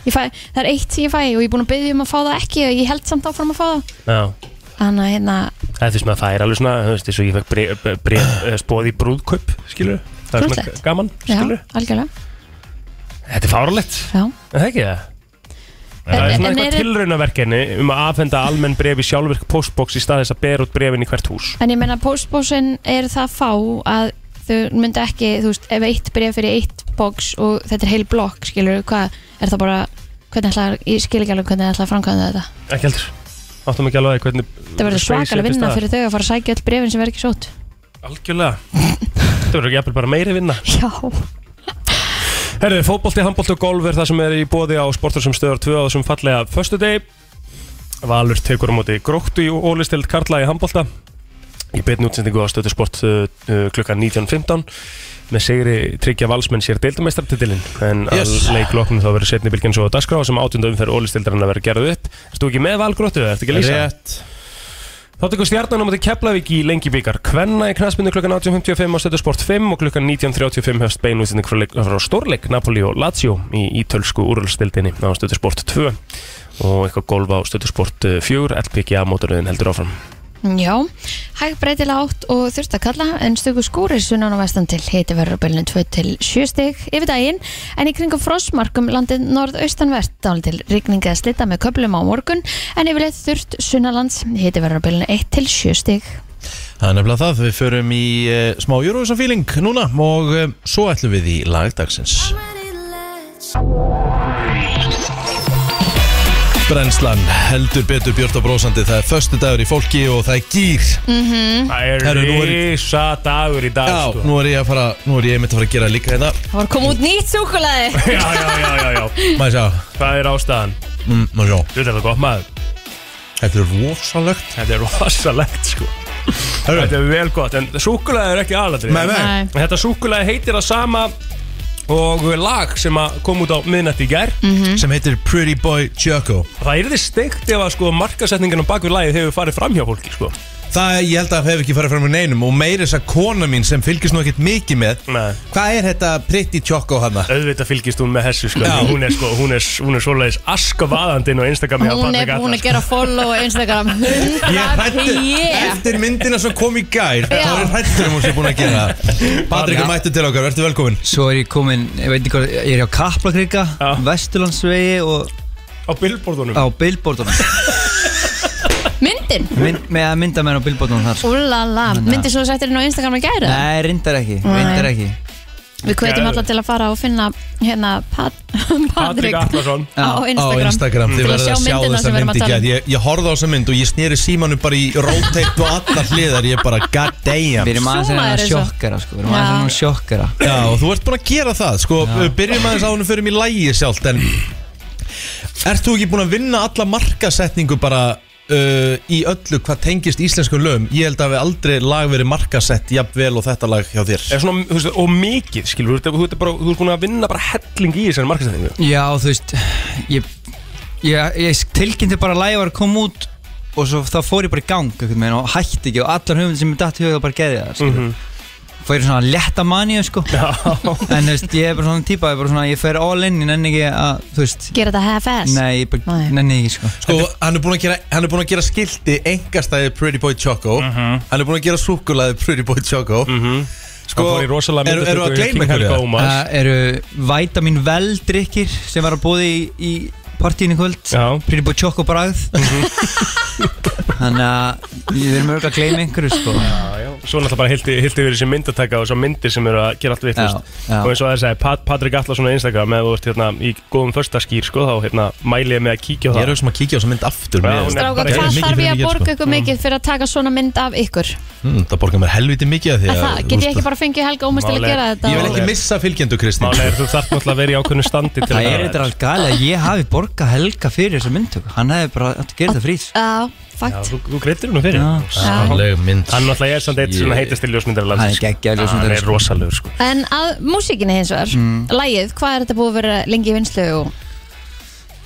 S2: ég fæ, það er eitt sem ég fæ og ég er búin að byggja um að fá það ekki og ég held samt áfram að fá það
S3: Já,
S2: þannig að hérna,
S3: það er því sem að það er alveg svona, þú veist, þess að ég fekk bref, bref eh, spóð í brúðkaup, skilur Það er svona
S2: Krúttlegt.
S3: gaman,
S2: já,
S3: skilur
S2: algjörlega
S3: Þetta er fáralegt,
S2: já.
S3: er það ekki það? Það er
S2: En- en-
S3: svona
S2: en
S3: eitthvað
S2: eru-
S3: tilraunaverkenni um að afhenda almenn brefi sjálfvirk postbox í stað þess að bera út brefin í hvert hús
S2: en ég meina postbósin er það fá að þau myndu ekki, þú veist, ef eitt bref fyrir eitt box og þetta er heil blokk skilur, hvað, er það bara hvernig ætlar, ég skil ekki alveg hvernig ætlar að framkvæmda þetta
S3: Ekki heldur Áttum ekki alveg að því hvernig
S2: það
S3: space
S2: verður
S3: er
S2: svakalega
S3: til
S2: vinna
S3: staðar.
S2: fyrir þau að fara að sækja öll brefin sem verður ekki sótt
S3: Algjörlega Þetta verður ekki jafnvel bara meiri vinna
S2: já,
S3: Herðu, fótbolti, handbolti og golf er það sem er í bóði á sportur sem stöðar 2 á þessum fallega Föstudegi Valur tekur á móti gróttu í ólistild Karla í handbolta Í beinni útsendingu á stöðu sport uh, uh, klukkan 19.15 með segri tryggja valsmenn sér deildameistartitilinn en yes.
S1: Yes.
S3: að leiklokkum þá verður setni bylgjan svo á dagskrá sem átjönda umferð ólistildarinn að vera gerðu upp Erstu ekki með valgróttu, ertu ekki að lýsa?
S1: Rétt
S3: Þá tekur stjarnan á móti Keflavík í lengi byggar Kvenna í knastbyndu klukkan 18.55 á stöðu sport 5 og klukkan 19.35 höfst bein útsending frá, leik- frá stórleik Napoli og Lazio í ítölsku úrvalstildinni á eh, stöðu sport 2 og eitthvað golf á stöðu sport 4 LPGA mótaröðin heldur áfram
S2: Já, hæg breytilega átt og þurft að kalla en stöku skúrir sunnan og vestan til hiti verður á bylnu 2 til 7 stig yfir daginn en í kringum frostmarkum landið norðaustanvert dál til rigninga að slita með köplum á morgun en yfirleitt þurft sunnalands hiti verður á bylnu 1 til 7 stig
S1: Það er nefnilega það, við förum í uh, smá Eurovision feeling núna og uh, svo ætlum við í lagdagsins Brennslan heldur betur björt og brósandi, það er föstu dagur í fólki og það er gýr
S2: Mhm.
S3: Það er
S1: Herru, nú er-
S3: risa dagur í dag
S1: Já,
S3: sko.
S1: nú er ég að fara, nú er ég einmitt að fara að gera líka hérna
S2: Það var komið út nýtt súkulaði
S3: já, já, já, já, já
S1: Má ég sjá,
S3: Hvað er ástæðan?
S1: mm, má ég sjá,
S3: Þú veit þetta gott maður
S1: þetta er rosalegt
S3: Þetta er rosalegt sko
S1: Herru,
S3: Þetta er vel gott En súkulega er ekki aðladrið
S1: Nei, nei.
S3: En Þetta súkulega heitir það sama Og lag sem að kom út á miðnætti í gær
S2: Mhm.
S1: sem heitir Pretty Boy Choco
S3: Það er þið steikt ef að sko markasetningin á bakvið lagið hefur farið fram hjá fólki sko
S1: Það, ég held að það hefur ekki farið fram með neinum og meiri þess að kona mín sem fylgist nú ekkert mikið með
S3: Nei.
S1: Hvað er þetta Pretty Choco hana?
S3: Auðvitað fylgist hún með þessu sko
S1: Já.
S3: Hún er sko, hún er, hún er svoleiðis askavaðandinn og Instagram hjá
S2: Hún er
S3: Patrik
S2: búin
S3: Atlas.
S2: að gera follow á Instagram 100
S1: Ég er hrættur
S2: yeah.
S1: Eftir myndina sem kom í gær Þá
S2: Já.
S1: er ég hrættur um hún sem er búin að gera það. Patrik er
S6: Já.
S1: mættur til okkar, ertu velkomin
S6: Svo er ég komin, ég veit ekki hvað, ég er á Kaplakrika,
S3: Já.
S6: Vesturlandsvegi og
S3: Á billboardunum
S6: á billboardunum
S2: Myndin
S6: Mynd, Með að mynda mér á billboardunum þar sko.
S2: Úlala,
S6: Þannig að-
S2: myndi svo settir hún á Instagram að gæra
S6: Nei, reyndar ekki,
S2: Nei.
S6: reyndar ekki
S2: Við hvetjum alla til að fara og finna hérna Pat
S3: Patrik
S2: Patrik
S3: Atlasson
S2: á
S1: Á
S2: Instagram,
S1: Instagram, þið
S2: Til að
S1: verður að
S2: sjá
S1: sjá
S2: myndina
S1: þessa
S2: sem
S1: mynd
S2: við erum að
S1: í
S2: tala
S1: gær
S2: um
S1: Ég, ég horfði á þessa mynd og ég sneri símanum bara í rotate og allar hliðar Ég bara, god damn
S6: Við erum aðeins
S2: Zooma
S6: að
S2: er
S6: reyna að
S2: þessu.
S6: sjokkara sko, við erum
S2: Já.
S6: aðeins að reyna að sjokkara
S1: Já, og þú ert búin að gera það Sko, byrjum aðeins á húnum fyrir mér lægi sjálft En ert þú ekki búin að vinna alla markasetningu bara uh, Í öllu hvað tengist íslenskum lögum Ég held að við aldrei lag verið markasett Jafnvel og þetta lag hjá þér
S3: er svona, þú veist, og mikið, skilur, þú ert bara, þú ert búin að vinna bara helling í þessari markasetningu
S6: Já, þú veist, ég, ég, ég tilkynnti bara að lægi var að koma út og svo þá fór ég bara í gang einhvern veginn og hætti ekki og allar höfund sem ég datt í hugað bara geði það mm
S3: Mhm.
S6: -hmm. Fór ég svona létta maníu sko Já. En þú veist, ég er bara svona típa, ég, er bara svona, ég fer all in, ég nenni ekki að, þú veist
S2: Gera þetta half-ass
S6: Nei, ég bara
S2: Nei.
S6: nenni ekki sko
S1: Sko, hann er búin að gera, hann er búin að gera skilti engastæði Pretty Boy Choco
S3: Mhm.
S1: Hann er búin að gera súkulaði Pretty Boy Choco Sko,
S3: Það Mhm. fór í rosalega
S1: eru- eru
S3: myndatöku hjá
S1: að gleyma Eh,
S3: King
S1: einhverju?
S3: Helga Ómars.
S6: Það eru Vitamin Veldrykkir sem var að búði í, í partíinu í kvöld
S3: Já. Mhm.
S6: Pretty Boy Choco bragð Þannig að við erum örg að gleyma einhverju sko
S3: Já, já. Svo náttúrulega bara hilti, hilti yfir þessi myndataka og svo myndir sem eru að gera allt vittlust
S6: Já, já.
S3: og eins og það sagði Pat, Patrik Atlasson á Instagram ef þú ert hérna í góðum förstaskýr sko, þá hérna mæli ég með að kíkja á
S1: Ég
S3: það
S1: er auðvitað sem að kíkja á þessa mynd aftur
S3: Já,
S1: með
S3: hún er-
S2: Stráka,
S3: bara-
S2: hvað
S1: Mikið
S2: þarf
S1: fyrir
S2: ég að
S1: mikið,
S2: borga
S1: sko.
S2: ykkur mikið fyrir að taka svona mynd af ykkur?
S1: mm, Það borgar mér helviti mikið að því
S2: Að
S1: þú
S2: það, get ég
S1: veist,
S2: ekki bara fengið Helga Ómas til að
S3: Málið-
S2: gera þetta?
S1: Ég vil
S2: og-
S1: ekki missa fylgjendu, Kristín
S3: Málega er þú þarf náttúrulega að vera í ákveðnu standi til
S6: Það
S3: að-
S6: er eitthvað alveg gali að ég hafi borgað helga fyrir þessa myndtöku Hann hefði bara átt að gera það frýs
S2: Já,
S3: Já,
S2: fakt
S3: þú, þú greittir húnum fyrir
S6: Já.
S2: Já.
S1: Sannleg mynd
S3: Hann náttúrulega er samt eitt svona heitast til ljósmyndar
S6: Hann er geggjaður ljósmyndari,
S3: Hann er
S6: sko.
S3: rosalegur sko
S2: En að músíkinni hins vegar, lægið, hvað er þetta búið að vera lengi í vinslu og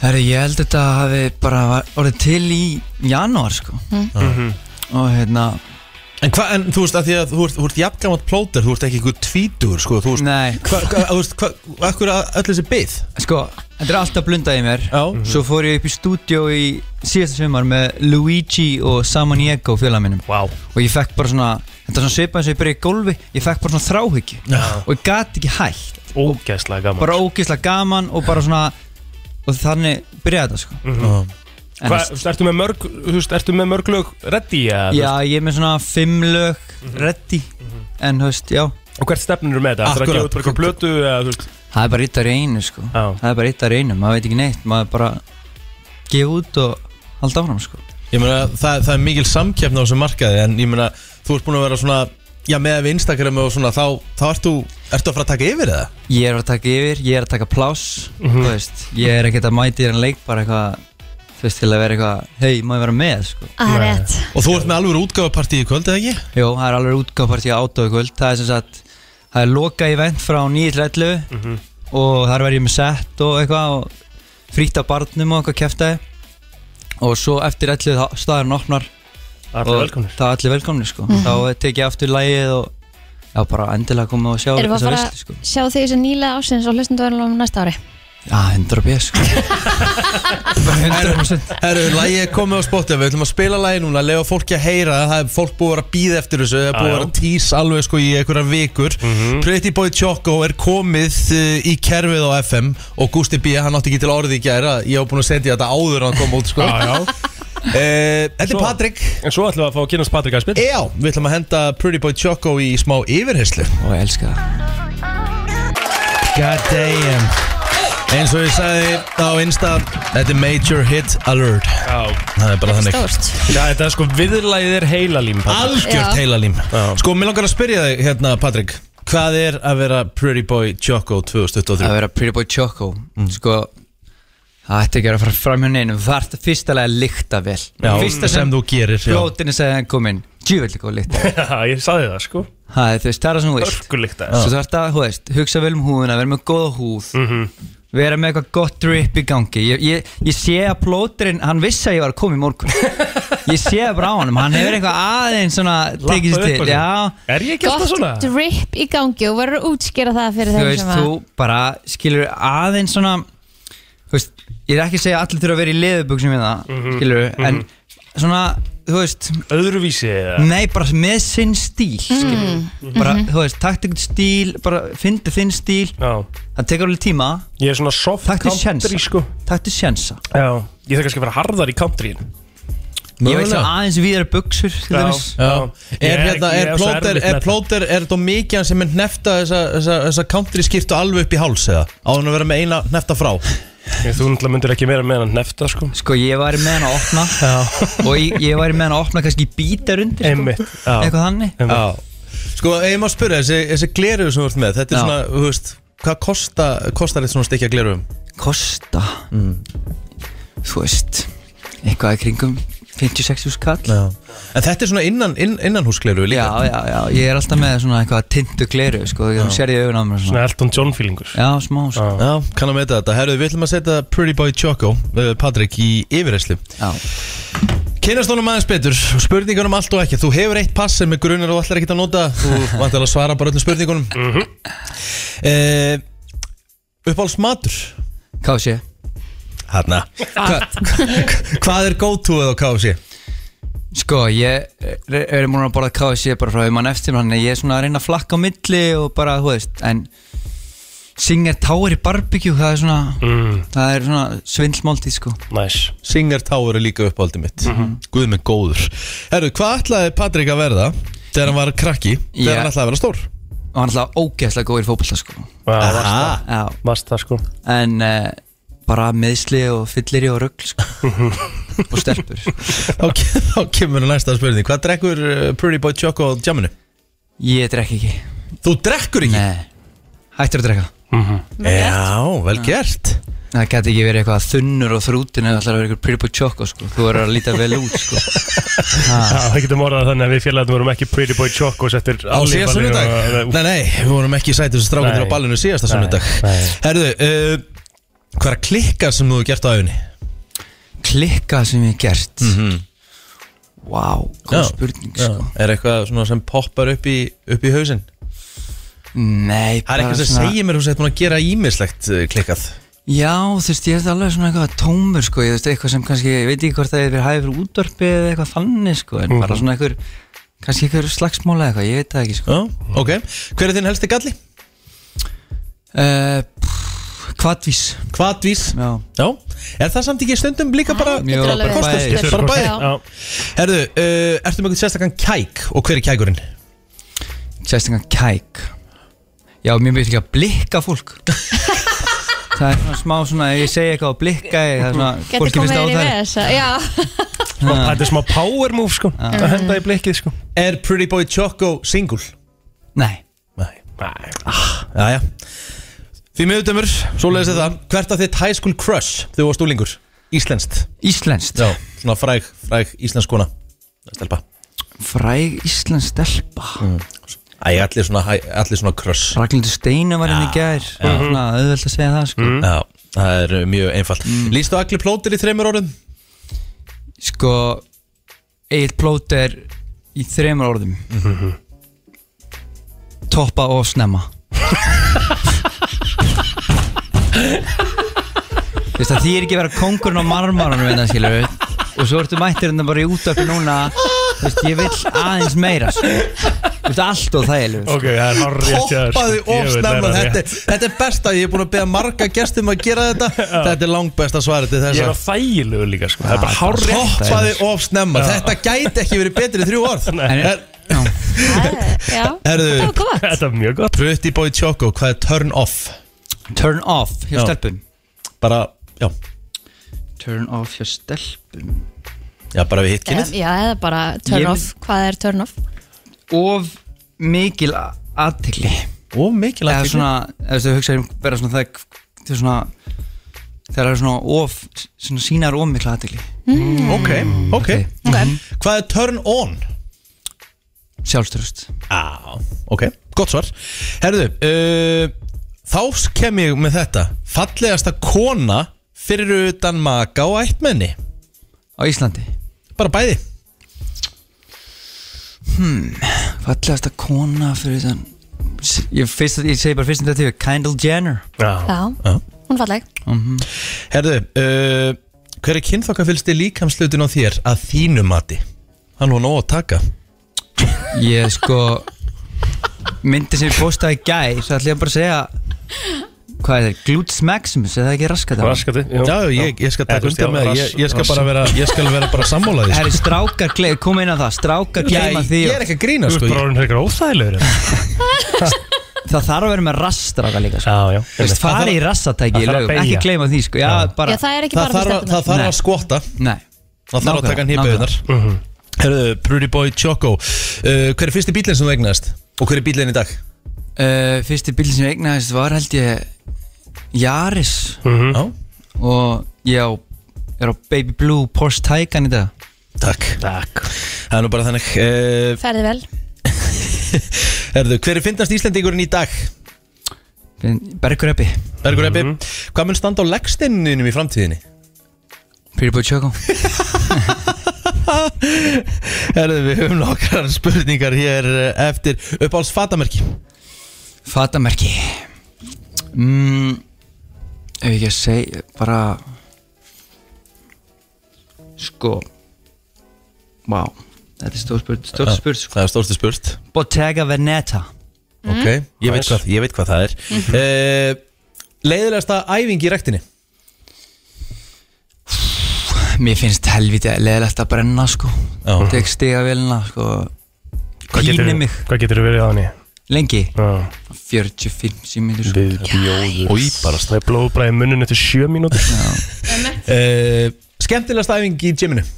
S6: Herri, ég held að þetta hafi bara var- orðið til í janúar sko
S2: Hm?
S3: Mhm.
S6: Og hérna,
S1: En hvað, en þú veist að því að þú ert, þú ert jafngamat plóter Þú ert ekki einhver tvítur, sko Þú veist,
S6: nei,
S1: hvað, hva, þú veist, hvað, akkur að öll þessi byð
S6: sko, þetta er alltaf blundað í mér
S1: Já
S6: Svo fór ég upp í stúdíó í síðasta sumar með Luigi og Saman Diego félag minnum
S3: Vá,
S6: og ég fekk bara svona þetta er svona svipað eins og ég byrja í golfi ég fekk bara svona þráhyggju og ég gat ekki hægt
S3: ógæslega gaman
S6: bara ógeðslega gaman og bara svona og þannig byrjaði þetta sko
S3: Mhm.
S6: En
S3: Hva,
S6: þú veist,
S3: ertu, með mörg, þú veist, ertu með mörg lög ready? eða, þú
S6: já ég er með svona fimm lög ready en þú veist já
S3: veist? Og hvert stefnir eru með þetta? Ertu að
S1: Akkurat.
S3: gefa út bara eitthvað blötu? eða, þú veist?
S6: það er bara eitt að reynu sko
S3: Já.
S6: það er bara eitt að reynu maður veit ekki neitt maður bara gefa út og halda áfram sko
S1: Ég meina, það, það er mikil samkeppna á þessum markaði En ég meina, þú ert búin að vera svona Já, með að við Instagram og svona Þá, þá ert þú, ertu að fara að taka yfir það?
S6: ég er að taka yfir ég er að taka pláss
S1: Mhm.
S6: þú veist ég er ekkert að mæti þér en leik bara eitthvað þú veist til að vera eitthvað hei maður vera með sko
S2: að Ah, rétt?
S1: Og þú ert með alveg útgáfapartí í kvöld, eða ekki?
S6: Jó, það er alveg útgáfartí átó í kvöld Það er sem sagt, það er loka event frá 9.11 mm
S1: Mhm.
S6: og þar verð ég með sett og eitthvað og frítt af barnum og eitthvað kæftæði og svo eftir 11 þá staðurinn opnar
S3: Allir
S6: og
S3: velkomnir
S6: það er allir velkomni sko
S2: Mhm.
S6: þá tek ég aftur lægið og já, bara endilega koma og sjá
S2: Erum við að
S6: þessa
S2: fara
S6: veislu, sko.
S2: að sjá því þessu nýlega ásins og hlustum dörlum næsta ári?
S6: Já, 100 bjöð sko Bara 100%
S1: Herru, lægi er komið á spotið, við ætlum að spila lægi núna Lega fólki að heyra, það er fólk búið að vera að býða eftir þessu Það er búið
S3: Já, Mhm.
S1: að vera
S3: já.
S1: að tís alveg sko í einhverjar vikur Pretty Boy Choco er komið uh, í kerfið á FM Og Gusti B, hann átti ekki til orði í gæra Ég hef búin að sendja þetta áður en hann kom út sko
S3: Já, já.
S1: Eh, Þetta er
S3: Svo-
S1: Patrik
S3: En svo ætlum við að fá að kynast Patrik Aspil
S1: Já, við ætlum að henda Pretty Boy Choco í smá yfirheyslu
S6: Og ég elska það
S1: God damn Eins og ég sagði á Insta Þetta er Major Hit Alert
S3: Já,
S1: Það er bara þannig
S2: Stórt
S3: Já, þetta er sko viðlæðið er heilalím Patrik.
S1: Algjört
S2: Já.
S1: heilalím
S3: Já.
S1: Sko, mér langar að spyrja þig hérna, Patrik Hvað er að vera Pretty Boy Choco 2023?
S6: að vera Pretty Boy Choco
S1: Mm.
S6: sko það ætti ekki að fara fram hjá neinum það ætti fyrst alveg að lykta vel
S1: Já,
S6: fyrsta
S1: sem
S6: sem
S1: þú gerir já.
S6: flótinu segði hann kom inn djúvillig og lykt
S3: Já, ég sagði það sko
S6: það er þú veist, það er það sem þú veist
S3: Örkulíkt
S6: svo þú ert að, þú veist, hugsa vel um húðuna vera með góða húð
S3: Mhm.
S6: vera með eitthvað gott drip í gangi ég, ég, ég sé að plóturinn, hann vissi að ég var að koma í morgun ég sé það bara á honum hann hefur eitthvað aðeins svona tekið sér til, já
S3: Er ég ekki alltaf svona?
S2: Gott drip í gangi og verður að útskýra það fyrir
S6: þú
S2: þeim
S6: veist,
S2: sem að
S6: þú bara skilur aðeins svona þú veist, ég er ekki að segja að allir þurfa að vera í leðubuxum við það,
S3: Mhm,
S6: skilur, en svona, þú veist,
S3: Öðruvísi eða?
S6: nei, bara með sinn stíl, skilur
S2: Mm.
S6: bara,
S2: Mhm.
S6: þú veist, takt einhvern stíl, bara fyndi þinn stíl,
S3: Já
S6: það tekur alveg tíma
S3: Ég er svona soft
S6: taktu
S3: country
S6: sjensa,
S3: sko
S6: taktu sjensa
S3: Já Ég þarf kannski að vera harðar í countryin
S6: ég
S1: Mögulega.
S6: veit það aðeins viðar buxur, til dæmis
S1: Já. Er, hérna, er plóter, er plóter, er þetta mikið hann sem er nefta þessa, þessa, þessa country skiptu alveg upp í háls eða? Áður en að vera með eina nefta frá
S3: Þú náttúrulega myndir ekki meira með hann nefta sko
S6: sko, ég væri með hann að opna og ég, ég væri með hann að opna kannski bítar undir, sko,
S3: Einmitt Já.
S6: eitthvað þannig
S3: Einmitt.
S1: Já Sko, ef ég má spyrja, þessi, þessi gleruðu sem þú ert með Þetta er
S6: Já.
S1: svona, þú veist, hvað kosta, kostar þetta svona stikja gleruðum?
S6: kosta
S1: Mm.
S6: þú veist eitthvað í kringum 56 skall
S1: Já En þetta er svona innan, inn, innanhúsgleruðu
S6: já,
S1: líka
S6: já, já, ég er alltaf með svona eitthvað tindu gleru, sko, þú sér ég augun á mér svona.
S3: Svona Elton John feelingur
S6: já, smá, sko.
S3: Já.
S1: Já, kannan með þetta Herru, við ætlum að setja Pretty Boy Choco, uh, Patrik, í yfirreyslu
S6: já.
S1: Kynast honum aðeins betur, spurningunum allt og ekki Þú hefur eitt pass sem er grunar og allir ekkert að nota Þú vantar að svara bara öllum spurningunum mm
S3: Mhm.
S1: -hmm. Uppáhalds matur
S6: hvað sé,
S1: Hanna Hva, Hvað er go-to-ið á KFC?
S6: sko, ég er, er múin að borða hvað sé bara frá því mann eftir hann ég er svona að reyna að flakka á milli og bara, þú veist, en Singer Tower í barbecue, það er svona
S3: Mm,
S6: það er svona svindlmáltíð, sko
S3: Nice
S1: Singer Tower er líka uppáhaldið mitt mm Guð með góður Herru, hvað ætlaði Patrik að verða þegar hann var krakki, þegar
S6: Ég-
S1: hann ætlaði að vera stór?
S6: og hann er alltaf ógeðslega góður í fótbolta, sko
S3: Já, varst það-
S1: Aha,
S6: já,
S3: Varst það sko
S6: en uh, bara meðsli og fyllir í og rugl sko. og stelpur sko.
S1: þá, ke- þá kemur næsta spurning Hvað drekkur eh, Pretty Boy Choco á jamminu?
S6: ég drekk ekki
S1: Þú drekkur ekki?
S6: Nei. hættur að drekka
S3: Mhm.
S1: Já, vel gert
S6: það geti ekki verið eitthvað þunnur og þrútin eða alltaf verið eitthvað pretty boy choco sko. þú verður að líta vel út sko.
S3: Já, það getum orðað þannig að við félagum vorum ekki Pretty Boy Chocos eftir
S1: Á síðast sunnudag? Nei, nei, við vorum ekki sætið þessu strákandur
S3: Nei.
S1: á ballinu síðasta
S3: Nei,
S1: sunnudag
S3: nei.
S1: Herðu, uh, hvað er að klikka sem þú hefur gert á æfinni?
S6: klikka sem ég hef gert mm
S1: Mhm.
S6: -hmm. wow, góð
S1: Já,
S6: spurning sko.
S1: Er eitthvað svona sem poppar upp í, upp í hausinn?
S6: nei,
S1: Það er eitthvað sem segir mér þú sett búin að gera ímislegt eh, klikkað
S6: já, þú veist, ég er þetta alveg svona eitthvað tómur sko. ég veist, eitthvað sem kannski, ég veit ekki hvort það er verið hæfur útvarpi eða eitthvað þannig sko. en
S3: Mhm.
S6: bara svona eitthvað, kannski eitthvað slagsmála eða eitthvað, ég veit það ekki sko.
S1: Já, ok Hver er þinn helsti galli?
S6: Eh, pff, Hvatvís
S1: Hvatvís?
S6: Já
S1: Já Er það samt ekki stundum líka bara
S2: Já. Getur alveg
S6: bara
S2: verið.
S6: kostar-
S1: Þetta er bara bæði.
S2: Já.
S1: Herðu, uh, ertu með eitthvað sérstakann kæk og hver er kækurinn?
S6: Sérstaklega kæk Já, mér myndi ekki að blikka fólk Það er svona smá svona ef Ég segi eitthvað að blikka ég, Það er svona
S2: Getur
S6: Fólki
S2: komið
S6: finnst á
S2: yfir í
S6: það
S2: þess Já,
S3: Þetta er smá power move sko
S1: Ah.
S3: Að henda í blikkið sko
S1: Er Pretty Boy Choco single?
S6: Nei
S1: Nei Ah,
S3: Nei
S1: Jæja Því miður dömur, svo leiðis þetta Hvert af þitt high school crush þegar þú varst úlingur? Íslenskt
S6: Íslenskt
S1: Já, svona fræg, fræg íslensk kona Stelpa Mm.
S6: Fræg Íslensk stelpa
S1: Æ, allir svona, hæ- allir svona crush
S6: Ragnhildur Steina var henni í gær
S3: Mhm.
S6: Svona auðvelt að segja það sko.
S1: Já, það er uh, mjög einfalt mm. Lýstu allir plótir í þreymur orðum?
S6: sko Egil Plóter Í þremur orðum
S3: Mhm.
S6: Toppa og snemma Þú veist að því er ekki að vera kongurinn á marmaranum hérna skilur Og svo ertu mættir hérna bara í útöfni núna Þú veist ég vill aðeins meira sko. Þú veist allt og sko. þægileg
S3: Ok, það er hár rétt hjá þér, sko.
S1: Poppaði
S3: Ég
S1: of
S3: veit, það
S1: snemma
S3: er
S1: þetta,
S3: rétt.
S1: þetta er besta, ég er búin að beða marga gestum að gera þetta Þetta er langbesta svarið til
S3: Ég er
S1: þess
S3: á þægilegu líka sko. Það er
S1: Ah,
S3: bara
S6: Já,
S3: hár rétt
S1: Poppaði of snemma, þetta gæti ekki verið betri í þrjú orð
S6: En-
S1: Er-
S2: Já,
S1: Herðu.
S2: þetta var gott
S3: Þetta er mjög gott
S1: Pretty Boy Choco, hvað er turn off?
S6: Turn off hjá
S1: Já.
S6: stelpum
S1: Bara, já,
S6: Turn off hjá stelpum
S1: já bara við hitt kynnið
S2: Já, eða bara turn
S6: Ég-
S2: off, hvað er turn off?
S6: Of mikil aðtikli
S1: Ó, mikilvægt
S6: Eða svona, eða þú hugsaðir um vera svona það Þú svona Þegar það er svona of, svona sínar of mikla aðtikli
S1: Ok, ok Hvað er turn on?
S6: Sjálfströst
S1: Já, ok, gott svar Herðu, uh, þá kem ég með þetta Fallegasta kona fyrir utan maka og ættmenni
S6: Á Íslandi
S1: Bara bæði
S6: Hmm, Fallegasta kona fyrir þann Ég, fyrst, ég segi bara fyrst um þetta Kendall Jenner
S3: Já.
S2: Já,
S1: Já.
S2: hún er falleg
S1: Herðu, uh, hver er kynþokkafylsti líkamslutin á þér að þínu mati? Hann var nóg að taka
S6: Ég sko Myndi sem ég postaði í gæ Svo ætlum ég bara að segja Hvað er það? Glutes Maximus Er það ekki raskat á hann?
S3: Raskati
S1: Já, ég, ég
S3: Eða,
S1: skal taka
S3: þú veist,
S1: undir
S3: já,
S1: með það.
S3: rass-
S1: ég, ég skal
S3: rass-
S1: bara vera, ég skal vera bara sammála því
S6: Það
S1: sko.
S6: er strákar gle- Kom inn á það Strákar
S1: Já,
S6: gleyma því
S1: ég er ekki að grína
S3: Þú
S1: sko
S3: ert bara
S1: ég-
S3: orðin hrekar óþægilegur
S6: Það þarf að vera með rassstrákar líka sko.
S3: Já, já
S6: Þú veist, fara í rassatæki
S3: Það
S6: í
S3: þarf að
S6: lögum
S3: beygja.
S6: Ekki gleyma því sko Já, bara
S2: Já, það er ekki
S1: Það
S2: bara
S1: þarf að-
S2: fyrir
S1: það
S2: stelpunar.
S1: þarf
S6: Nei.
S1: að skota
S6: Nei
S1: Það þarf að
S6: Nákvæmlega,
S1: taka hann hýpaðunar
S3: Mhm.
S1: Herðu, Pretty Boy Choco uh, Hver er fyrsti bílinn sem þú egnaðist? Og hver er bílinn í dag?
S6: uh, Fyrsti bíl sem ég eignaðist var held ég Jaris
S3: Mhm.
S1: Já,
S6: Og ég á, er á Baby Blue Porsche Taycan í dag
S1: takk
S3: Takk
S1: Það er nú bara þannig uh,
S2: Ferði vel
S1: Herðu, hver er fyndnast Íslendingurinn í dag?
S6: Bergur Eppi
S1: Bergur Eppi
S6: Mhm.
S1: Hvað mun standa á leggsteininum í framtíðinni?
S6: Pretty Boy Choco
S1: Herðu, við höfum nokkrar spurningar hér eh, eftir uppáhalds fatamerki
S6: Fatamerki mm, Ef ég ekki að segja bara Sko Vá Þetta er stór spurt, stór spurt sko.
S1: Ah, Það er stórstu spurt
S6: Bottega Veneta
S3: Mm.
S1: Ok, ég veit, hvað, ég veit hvað það er mm
S6: Mhm.
S1: Leiðilegasta æfing í rektinni
S6: Mér finnst helviti leðilegt að brenna sko
S1: Já.
S6: Tek stiga velina sko
S3: Hvað
S6: Pínir
S3: getur,
S6: mig
S3: hvað getur verið á henni?
S6: Lengi
S3: Já.
S6: 45 símínur
S3: Við bjóðum
S1: Í bara
S3: Það er blóðbræði munnun eftir sjö mínútur Eh,
S1: uh, Skemmtilegasta æfing í gyminu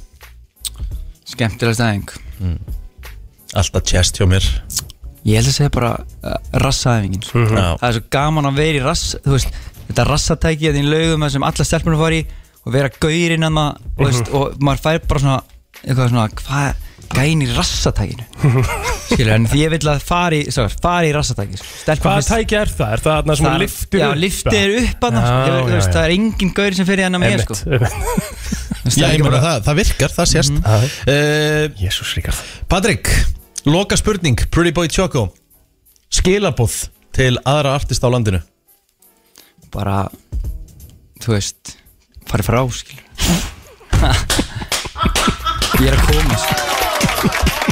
S6: Skemmtilega stæðing
S1: Mm. Alltaf chest hjá mér
S6: Ég held að segja bara uh, rassaæfingin sko.
S1: Já.
S6: Það er svo gaman að vera í rass Þú veist, þetta rassatæki að þín laugum sem alla stelpunum fari í og vera gaurinn að maður
S3: Mhm.
S6: mm veist, og maður fær bara svona eitthvað svona, hvað gæn í rassatækinu skilur, en því ég vil að fara í svo, fara í rassatæki sko. Stelpum
S3: Hvaða
S6: finnst-
S3: tæki er það? Er það þarna sem
S6: það er-
S3: liftir
S6: Já,
S3: upp?
S6: liftir er upp að
S3: Já,
S6: það sko. Ég- þú
S3: já,
S6: veist,
S3: já.
S6: Það er engin gaur sem fyrir hennar með sko.
S3: Einmitt, einmitt.
S6: Þú veist,
S1: Já, ég
S6: það er ekki
S1: meina
S6: bara- Mhm.
S1: það, það virkar, það sést mm
S3: Jésús ríkar
S1: Patrik, loka spurning Pretty Boy Choco Skilabóð til aðra artist á landinu
S6: bara þú veist, farið frá skilur Ég er að koma sko.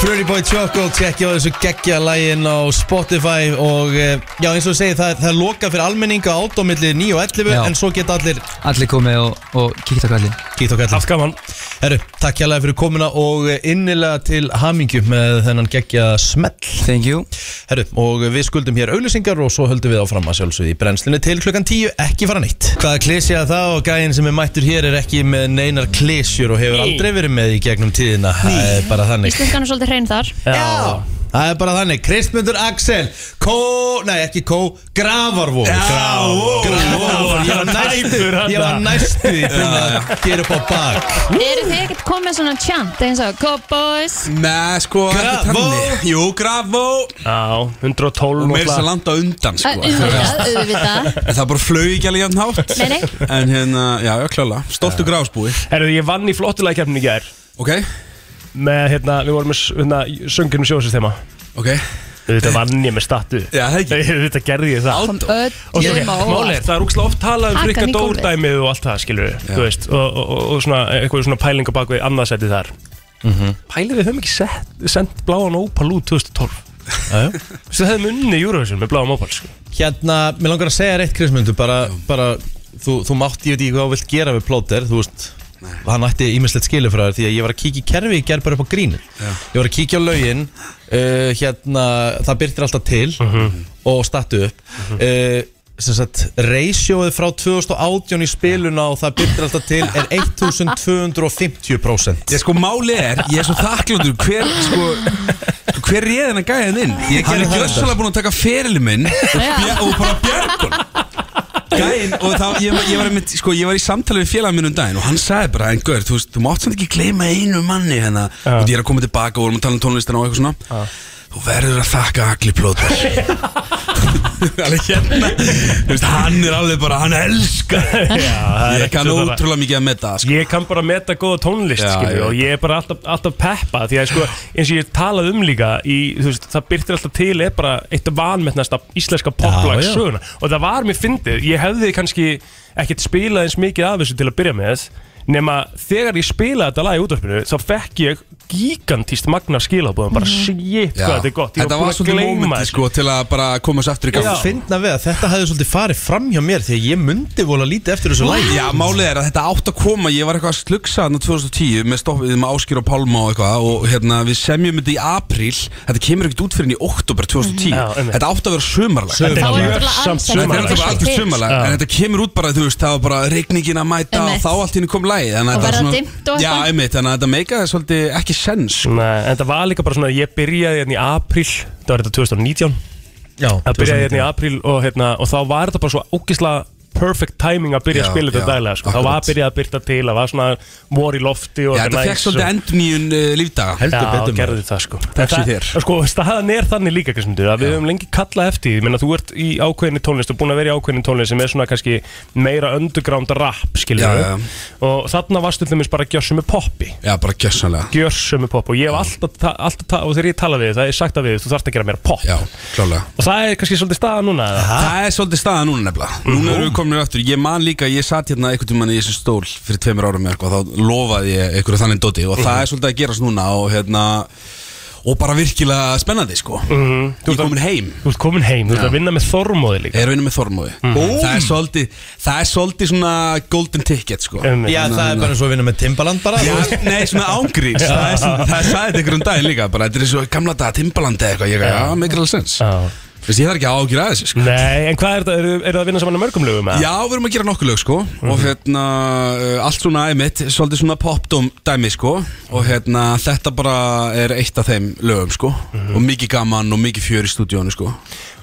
S1: Pretty Boy Choco, tjekkja á þessu geggja lægin á Spotify og eh, já, eins og ég segi, það, er- það er loka fyrir almenninga átómillir 9 og 11
S6: Já.
S1: en svo geta allir
S6: Allir komið og, og kíkt á kallin
S1: gít og kallið
S3: Allt gaman
S1: Herru, takk hérlega fyrir komuna og eh, innilega til hamingju með þennan geggja smell
S6: Thank you
S1: Herru, og við skuldum hér auðlýsingar og svo höldum við áfram að sjálfsögðu í brennslinu til klukkan 10, ekki fara neitt. Hvaða klísja það og gæinn sem er mættur hér er ekki með neinar klísjur og hefur aldrei verið með í gegnum tíðina. Það er bara þannig.
S2: Íslenskan er svolítið hrein þar
S1: Já. Það er bara þannig. Kristmundur Axel, Kó, nei ekki Kó, Gravarvóð. Gravarvóð. Gravarvóð. Ég var næstu,
S3: Tæpur þarna.
S1: ég var næstu í búin að gera upp á bak.
S2: Eru þið ekkert komið svona tjant eins og Go boys
S7: Nei, sko, ekki
S1: Gravó.
S7: tannig Jú, Gravó
S3: Já, 112
S7: Og meira þess að
S3: náttúrulega.
S7: landa á undan,
S2: Ö,
S7: sko
S2: Auðvitað, auðvitað
S7: En Það bara flög ekki alveg jafn hátt
S2: Nei, nei.
S7: En hérna, já, já, klála Stoltu gráðsbúi
S3: Herðu, ég vann í flottulega keppnin í gær
S7: Ok,
S3: Með, hérna, við vorum með s- hérna, sönginum sjóðsistema
S7: ok
S3: Þetta um vann ég með statu
S7: Já, það ekki.
S3: Þetta gerði ég það
S2: kom öllum á
S3: Mál er,
S2: óvart
S3: það er úkslega oft talað um
S2: Hakan
S3: frikka
S2: í gólfið.
S3: dórdæmið og allt það, skilur Þú veist, og, og, og, og svona eitthvað svona pælinga bak við annarsæti þar Pælið við höfum ekki sett, sendt bláan ópal út 2012 Þessi það hefum unni Eurovision með bláan ópal sko.
S1: Hérna, mér langar að segja rétt Krismundur bara, bara þú, þú mátt, ég veit ekki hvað þú vilt gera við plóter þú veist, hann ætti ímislegt skilu frá þér því að ég var að kíkja í kerfi, ég ger bara upp á grínu ég var að kíkja á laugin uh, hérna, það byrtir alltaf til og statu upp uh, sem sagt, reisjóið frá 2018 í spiluna og það byrtir alltaf til er 1250%
S7: Ég sko máli er, ég er svo þakkláttur hver, sko, sko, hver réði hennar gæðin inn Ég
S1: gerði
S7: hann er
S1: það
S7: gjössalega búin að taka ferili minn og, björ, og bara björgun Gæðin, og þá, ég, ég, var einmitt, sko, ég var í samtali við félagin minn um daginn og hann sagði bara, en gaur, þú veist, þú mátt samt ekki gleyma einu manni hennar og ég er að koma tilbaka og vorum að tala um tónlistina og eitthvað svona Þú verður að þakka allir plótar Alveg hérna Þú veist, hann er alveg bara, hann elskar
S3: Já, það er
S7: Ég
S3: ekki
S7: kann
S3: svo bara-
S7: ótrúlega mikið að metta sko.
S3: Ég kann bara meta góða tónlist
S7: Já,
S3: skilur,
S7: ég
S3: við, og
S7: veit
S3: ég er bara alltaf, alltaf peppa því að sko, eins og ég talað um líka í, þú veist, það byrtir alltaf til er bara eitt vanmetnasta íslenska poplag
S1: Já, já.
S3: söguna og það var mér fyndið ég hefði kannski ekkert spilað eins mikið af þessu til að byrja með nema þegar ég spilaði þetta lag í útvarpinu þá fekk ég gigantíst magna skilabóðum bara shit
S7: Mhm. Já.
S3: hvað þetta er gott ég
S7: Þetta var
S3: búinn
S7: svolítið momenti
S3: þessu.
S7: sko til að bara koma sér aftur í gang
S1: Ég finna við að þetta hefði svolítið farið fram hjá mér því að ég myndi vola lítið eftir þessu lægi
S7: Já, málið er að þetta átt að koma Ég var eitthvað að slugsa hann á 2010 með, stoppið, með áskýr og pálma og eitthvað og hérna, við semjum þetta í apríl Þetta kemur ekkert út fyrir í oktober 2010
S3: Mm-hmm. Já, einmitt.
S7: Þetta átt að vera sömarlag
S3: Þetta
S2: Þá er
S3: er
S2: náttúrulega
S3: samt sömarlag
S7: Þetta er alltaf
S2: alls ekki Sumarlag. alls-
S7: algjör sumarlag
S3: Já.
S7: En þetta kemur út bara, þú veist, það var bara regningin að mæta
S2: Einmitt.
S7: og þá allt hérna kom lægi
S2: Og verða dimmt og
S7: Já,
S2: eitthvað.
S7: einmitt, þannig að þetta meika svolítið ekki sens sko.
S3: Nei, en það var líka bara svona ég byrjaði hérna í april það var þetta 2019
S1: Já,
S3: Það byrjaði hérna í apríl og, hérna, og þá var þetta bara svo ógislega perfect timing að byrja
S7: Já,
S3: að spila þetta
S7: já,
S3: daglega sko. þá
S7: akkurat.
S3: var byrjað að byrta til, það var svona vor í lofti og
S7: Já, þetta fekk svolítið endnýjun uh, lífdaga
S1: heldur
S3: Já,
S1: betur maður.
S3: gerði það sko
S7: Takk sé
S3: Þetta-
S7: þér.
S3: Sko, staðan er þannig líka, Kristmundur að við höfum lengi kallað eftir því, menna þú ert í ákveðinni tónlist og búin að vera í ákveðinni tónlist sem er svona kannski meira underground rap, skiljum
S7: Já, já.
S3: og þarna varstu þeimist bara gjössum með poppi
S7: sko. Já, bara gjössanlega
S3: gjössum með pop og ég hef alltaf, ta- alltaf ta- og þegar ég tala við þig, það er sagt að við þig, þú þarft að gera meira pop
S7: Já, klálega
S3: og það er kannski svolítið staðan núna eða?
S7: Það er svolítið staða núna nefnilega Núna erum við komin aftur Ég man líka, ég satt hérna einhvern tímann í þessum stól Fyrir tveimur árum eða eitthvað Þá lofaði ég einhverju þannig doti Og það er svolítið að gerast núna Og hérna Og bara virkilega spennandi sko Ég er komin heim
S3: Mhm. Þú ert komin heim, þú ert að vinna með þormóði líka Mhm.
S7: Ég er vinna með Þormóði Það er svolítið Það er svolítið svona golden ticket sko
S3: Einmitt.
S1: Já, það er bara eins og að vinna með Timbaland bara
S7: Já, nei, svona ángríns Það er svona- það sagði þetta einhverjum daginn líka bara, Þetta er svo gamla daga Timbalandi eða eitthvað Ég er já, mikil alveg sens
S3: Já.
S7: Þessi, ég þarf ekki að ágjöra að þessu sko
S3: Nei, en hvað er það, eru er það að vinna saman að mörgum lögum? eða?
S7: Já, við erum að gera nokkur lög sko og hérna, uh, allt svona æmitt svolítið svona popdóm dæmi sko og hérna, þetta bara er eitt af þeim lögum sko og mikið gaman og mikið fjör í stúdíónu sko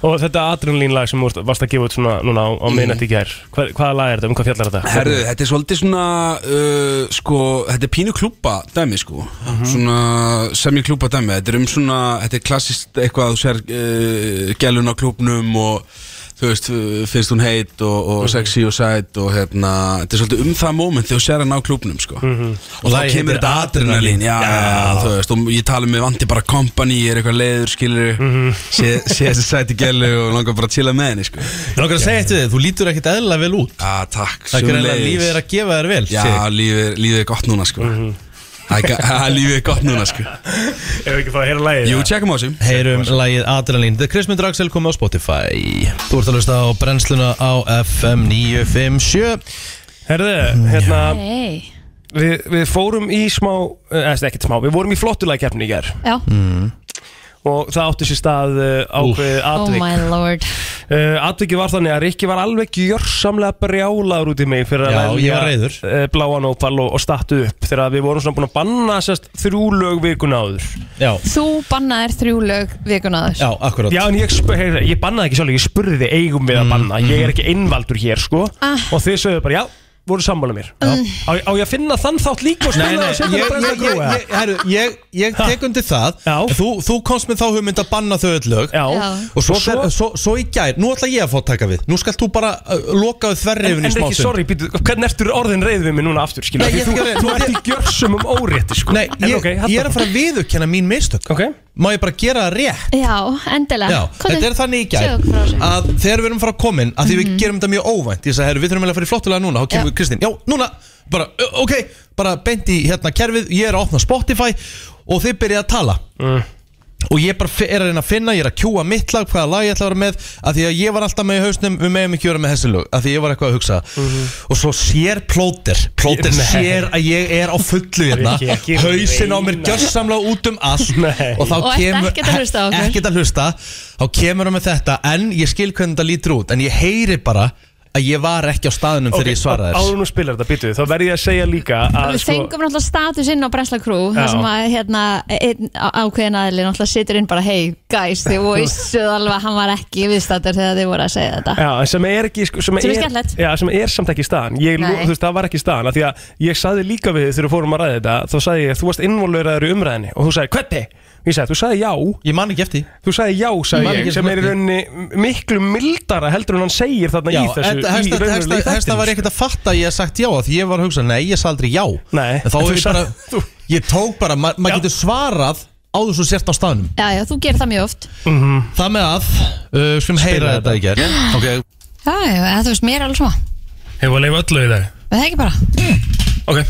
S3: Og þetta adrenalínlag sem þú varst- varst að gefa út svona núna á, á minnætti í gær Hva, Hvaða lag er þetta, um hvað fjallar þetta?
S7: Herðu, þetta er svolítið svona uh, sko, þetta er pínu klúpa dæmi sko, svona semjur klúpa dæmi, þetta er um svona þetta er klassist eitthvað að þú sér uh, gælun á klúpnum og þú veist, uh, finnst hún heit og, og sexy og sæt og hérna þetta er svolítið um það moment þegar þú sér hann á klúpnum sko. og þá
S1: Lagið
S7: kemur
S1: heitir
S7: þetta adrenalín já, já, þú veist, og ég tala um mig vandi bara company, ég er eitthvað leiður skilur
S1: Mhm.
S7: sé, sé þessi sæti gælu og langar bara að chilla með henni sko.
S1: Ég langar að segja eitt við þig, þú lítur ekkit eðla vel út
S7: ah, takk,
S1: Það er greinilega að
S7: sömuleiðis.
S1: lífið er að gefa þér vel
S7: Já,
S1: Sig.
S7: lífið, er- lífið er gott núna sko
S1: Mhm.
S7: Það er ga- ha, Lífið er gott núna sko
S3: Ef við ekki fá að heyra lagið
S7: Jú,
S3: eða?
S7: tjekkum á þessu
S1: Heyrum lagið Adrenalín The Christmund Raxel komið á Spotify Þú ert að hlusta á brennsluna á FM 957
S3: Herðu,
S1: Mm,
S3: hérna,
S2: Hey.
S3: við, við fórum í smá, eh, eða ekkert smá, við vorum í flottulagkeppni í gær
S2: Já,
S3: Og það átti sér stað uh, ákveðið
S2: oh
S3: atvik
S2: my lord
S3: Uh, Atvikið var þannig að Rikki var alveg gjörsamlega brjálaður út í mig fyrir að
S1: Já, ég var
S3: velja,
S1: reiður.
S3: uh, bláan ópal og, og stattu upp þegar að við vorum svona búin að banna sérst þrjú lög vikuna áður
S1: Já,
S2: Þú bannaðir þrjú lög vikunaður
S1: já, akkurat Mm,
S3: Já, en ég, sp- heyr, ég bannaði ekki sjálf, ég spurði þig eigum við að banna Ég er ekki innvaldur hér, sko
S2: Ah. Mm.
S3: Og þið sögðu bara, já, voru sammála mér á, á ég að finna þann þátt líka og spila og
S1: ég,
S3: setja
S1: ég,
S3: það
S1: ég,
S3: brennsla
S1: ég, herru, ég, ég tek undir það
S3: Já.
S1: En þú, þú komst með þá hugmynd að banna þau öll lög
S3: Já,
S2: Já.
S1: Og svo, svo, svo, svo í gær, nú ætla ég að fá að taka við Nú skalt þú bara uh, lokaðu
S3: En,
S1: þverrifin
S3: en
S1: í smá
S3: ekki, sorry, býtu, hvernig ertur orðin reyð við mig núna aftur, skilja?
S1: Nei, ég
S3: Þú,
S1: skal-
S3: þú ert í gjörsum um órétti, sko.
S1: Nei,
S3: en,
S1: ég,
S3: ok,
S1: ég er að fara að viðurkenna mín mistök
S3: Ok,
S1: Má ég bara gera það rétt
S2: Já, endilega
S1: Já,
S2: Komdu.
S1: þetta er þannig í gær
S2: Segðu okkur frá þessu. Mhm.
S1: að þegar við erum fara að koma inn að því við gerum þetta mjög óvænt ég sagði, herru, við þurfum eiginlega að fara í flottulega núna þá kemur
S2: Já.
S1: Kristín, já, núna, bara, ö, ok bara beint í hérna kerfið, ég er að opna Spotify og þið byrja að tala
S3: Mm.
S1: og ég bara fi- er að reyna að finna ég er að kjúa mitt lag, hvaða lag ég ætla að vera með að því að ég var alltaf með í hausnum, við meðum ekki vera með þessi lög, að því ég var eitthvað að hugsa og svo sér plóter, plóter
S3: Nei.
S1: sér að ég er á fullu hérna,
S3: Ekki- ekki
S1: hausin á mér
S3: reyna.
S1: gjörsamlega út um allt
S3: Nei.
S1: og þá
S2: Og ert
S1: kemur
S2: ekkert að hlusta á okkur.
S1: ekkert að hlusta þá kemur hann með þetta en ég skil hvernig þetta lítur út en ég heyri bara að ég var ekki á staðunum
S3: ok,
S1: þegar ég
S3: á-
S1: svaraði þess
S3: áður nú spilar þetta, býtu, þá verð ég að segja líka að, sko,
S2: Við
S1: sko-
S2: fengum náttúrulega status inn á Bresla Crew
S3: Já.
S2: þar sem að hérna, einn á- ákveðin aðli náttúrulega situr inn bara hey guys, þið vissuð alveg að hann var ekki viðstættur þegar þið voru að segja þetta
S3: Já, en sem er ekki sko, sem,
S2: Sem er
S3: er,
S2: skemmtilegt.
S3: já, sem er samt ekki staðan ég, lo-
S2: Nei.
S3: Þú veist, það var ekki staðan af Því að ég saði líka við þig þegar við fórum að ræða þetta Þá saði ég, þú varst innvolveraður í umræðinni Og þú sagði, hvernig? Og Ég sagði, þú sagði já
S1: ég man ekki eftir því.
S3: Þú sagði já,
S1: Man
S3: sagði ég,
S1: ekki
S3: sem er í
S1: eftir
S3: rauninni miklu mildara heldur en hann segir þarna
S1: Já,
S3: í þessu
S1: þetta-
S3: í
S1: hesta-
S3: raunverulegu
S1: hesta- hesta
S3: þættinum,
S1: var ekkert að fatta að ég hef sagt já að því ég var að hugsa, nei ég sagði aldrei já
S3: Nei.
S1: en þá
S3: En
S1: er
S3: þú
S1: ég bara,
S3: sagði- þú-
S1: ég tók bara ma- maður
S3: Já.
S1: getur svarað áður svo sért á staðunum
S2: Já, já, þú gerir það mjög oft
S3: Mhm.
S1: það með að, uh, skulum heyra þetta í gerð okay.
S8: Já, já, eða þú veist, mér er alveg svona
S3: Hefur að leifa öllu í dag
S8: Við það ekki bara
S3: Ok,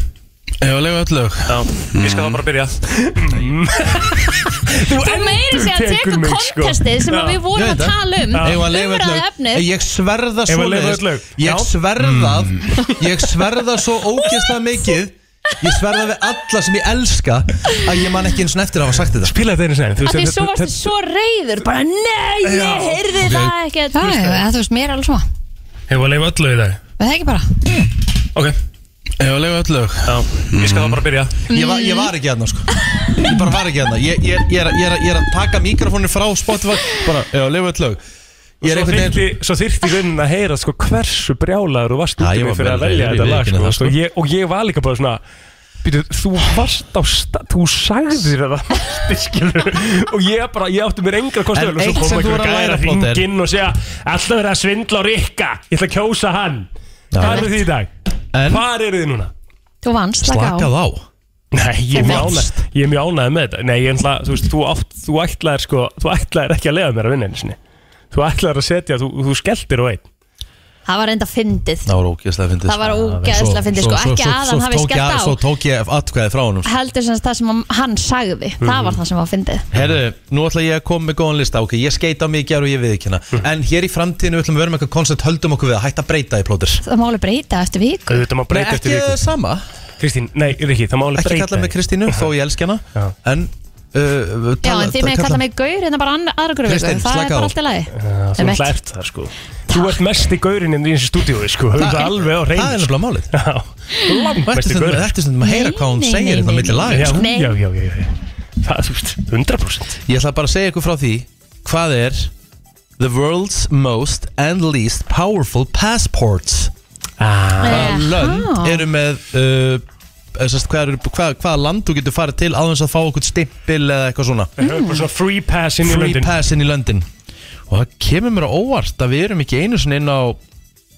S1: ég var leiðu öll lög
S3: já, ég skal þá bara byrja
S2: Þú meiri sig að
S3: tekur
S2: teka
S3: mig, sko.
S2: kontestið sem
S3: Já.
S2: að við
S1: Ég
S2: vorum
S1: veit
S2: að
S1: það.
S2: tala um
S1: Eigum við að leyfa öll
S2: umræðu
S1: lög?
S2: efnið
S1: Ég sverða
S3: Eigum við að leyfa öll
S1: svo
S3: lög? Já. Mm.
S1: Ég sverða Ég sverða svo ógeðslega mikið Ég sverða við alla sem ég elska Að ég man ekki eins og eftir að hafa sagt þetta
S3: Píla þetta einu sen
S2: af því svo varstu svo reyður bara nei,
S3: Já.
S2: ég heyrði það ekkert
S8: Já, já, eða þú veist, mér er alveg svona
S3: Hefur að leifa öllu í dag
S8: Við það ekki bara
S3: Ok,
S1: Ég var leiðu öll lög
S3: já,
S1: Mm.
S3: ég skal þá bara byrja
S1: Ég var, ég var ekki aðna sko Ég bara var ekki aðna Ég, ég, ég, er, að- ég, er, að- ég er að taka mikrofónu frá Spotify Bara, ég var leiðu öll lög Ég er
S3: Svo
S1: einhvern veginn
S3: þyrfti, svo þyrfti raunin að heyra sko hversu brjálaður þú varst
S1: Já,
S3: út í
S1: ég
S3: mig
S1: var
S3: fyrir að
S1: vel
S3: velja
S1: reiður,
S3: þetta
S1: ég
S3: lag
S1: viðurkenni
S3: sko,
S1: það,
S3: sko.
S1: sko.
S3: Ég, og ég var líka bara svona býtu, þú varst á stað þú sagðir að það varst skilur, og ég bara, ég átti mér engra kostu
S1: En eitt sem þú er að læra, Plóter.
S3: hringinn og segja, alltaf verið að svindla á Rikka ég ætla að kjósa hann hvað eru þið í dag?
S1: En
S3: hvað eru þið núna?
S2: þú vannst, slaka á
S1: slakað á
S3: Nei, ég er
S2: Þú
S3: mjög
S2: vannst.
S3: ánægð Ég er mjög ánægð með þetta Nei, ég ætla, þú veist, þú, átt, þú ætlaðir sko Þú ætlaðir ekki að leiða mér að vinna einu sinni Þú ætlaðir að setja, þú, þú skelltir á einn
S2: það var enda fyndið
S1: Það var ógeðslega fyndið
S2: Það var
S1: sko.
S2: ógeðslega fyndið,
S1: Svo-
S2: sko.
S1: svo-
S2: Ekki
S1: svo-
S2: að
S1: svo
S2: hann
S1: tók
S2: hafi
S1: ég
S2: skellt
S1: að-
S2: á.
S1: Svo tók ég atkvæði frá honum sko.
S2: heldur sem sagt það sem hann sagði
S1: Mhm.
S2: það var það sem var fyndið
S1: Herru, nú ætla ég að koma með góðan lista Ok, ég skeita á mig í gerð og ég við ekki hana En hér í framtíðinu ætlum við að vera með eitthvað koncept Höldum okkur við að hætta að breyta í plótur
S2: það máli breyta eftir viku
S3: Þetta má
S1: Nei,
S3: breyta
S1: ekki
S3: eftir viku
S1: sama
S3: Kristín, nei, Rikki, það má alveg
S1: Ekki
S3: breyta
S1: kalla mig
S3: því.
S1: Kristínu, þó ég elski hana
S3: Já.
S1: En uh,
S2: Já,
S1: tala-
S2: en þið með kalla mig gaur hérna bara ann- aðra hverju viku,
S1: Kristinn,
S2: það er
S1: slaka á.
S2: bara allt í lagi
S3: Já, Þú
S2: Einmitt.
S3: ætla ert það sko Þú ert mest í gaurinn inn í þessu stúdíói sko Höfum það alveg á
S1: Það er
S3: reynd
S1: nefnilega málið Þetta er
S3: Langmest í
S1: stundum-
S3: gaurinn
S1: þetta er stundum að heyra
S2: Nei,
S1: hvað hún
S2: nei,
S1: segir
S2: nei,
S1: Þetta
S2: nei,
S1: milli
S2: nei.
S1: lag
S3: Já,
S1: sko.
S2: Nei.
S3: já, já, já, já Það, þú veist, 100%
S1: Ég ætla bara að segja ykkur frá því Hvað er The world's most and least powerful passports
S3: ah,
S1: Hvaða
S2: Aha.
S1: lönd Hm? eru með uh, eh, sest, hvað, eru- hvað, hvaða land þú getur farið til aðeins að fá okkur stimpil eða eitthvað svona
S3: Það er bara svona free pass inn í
S1: Free
S3: löndin
S1: pass inn í London Og það kemur mér á óvart að við erum ekki einu sinni inn á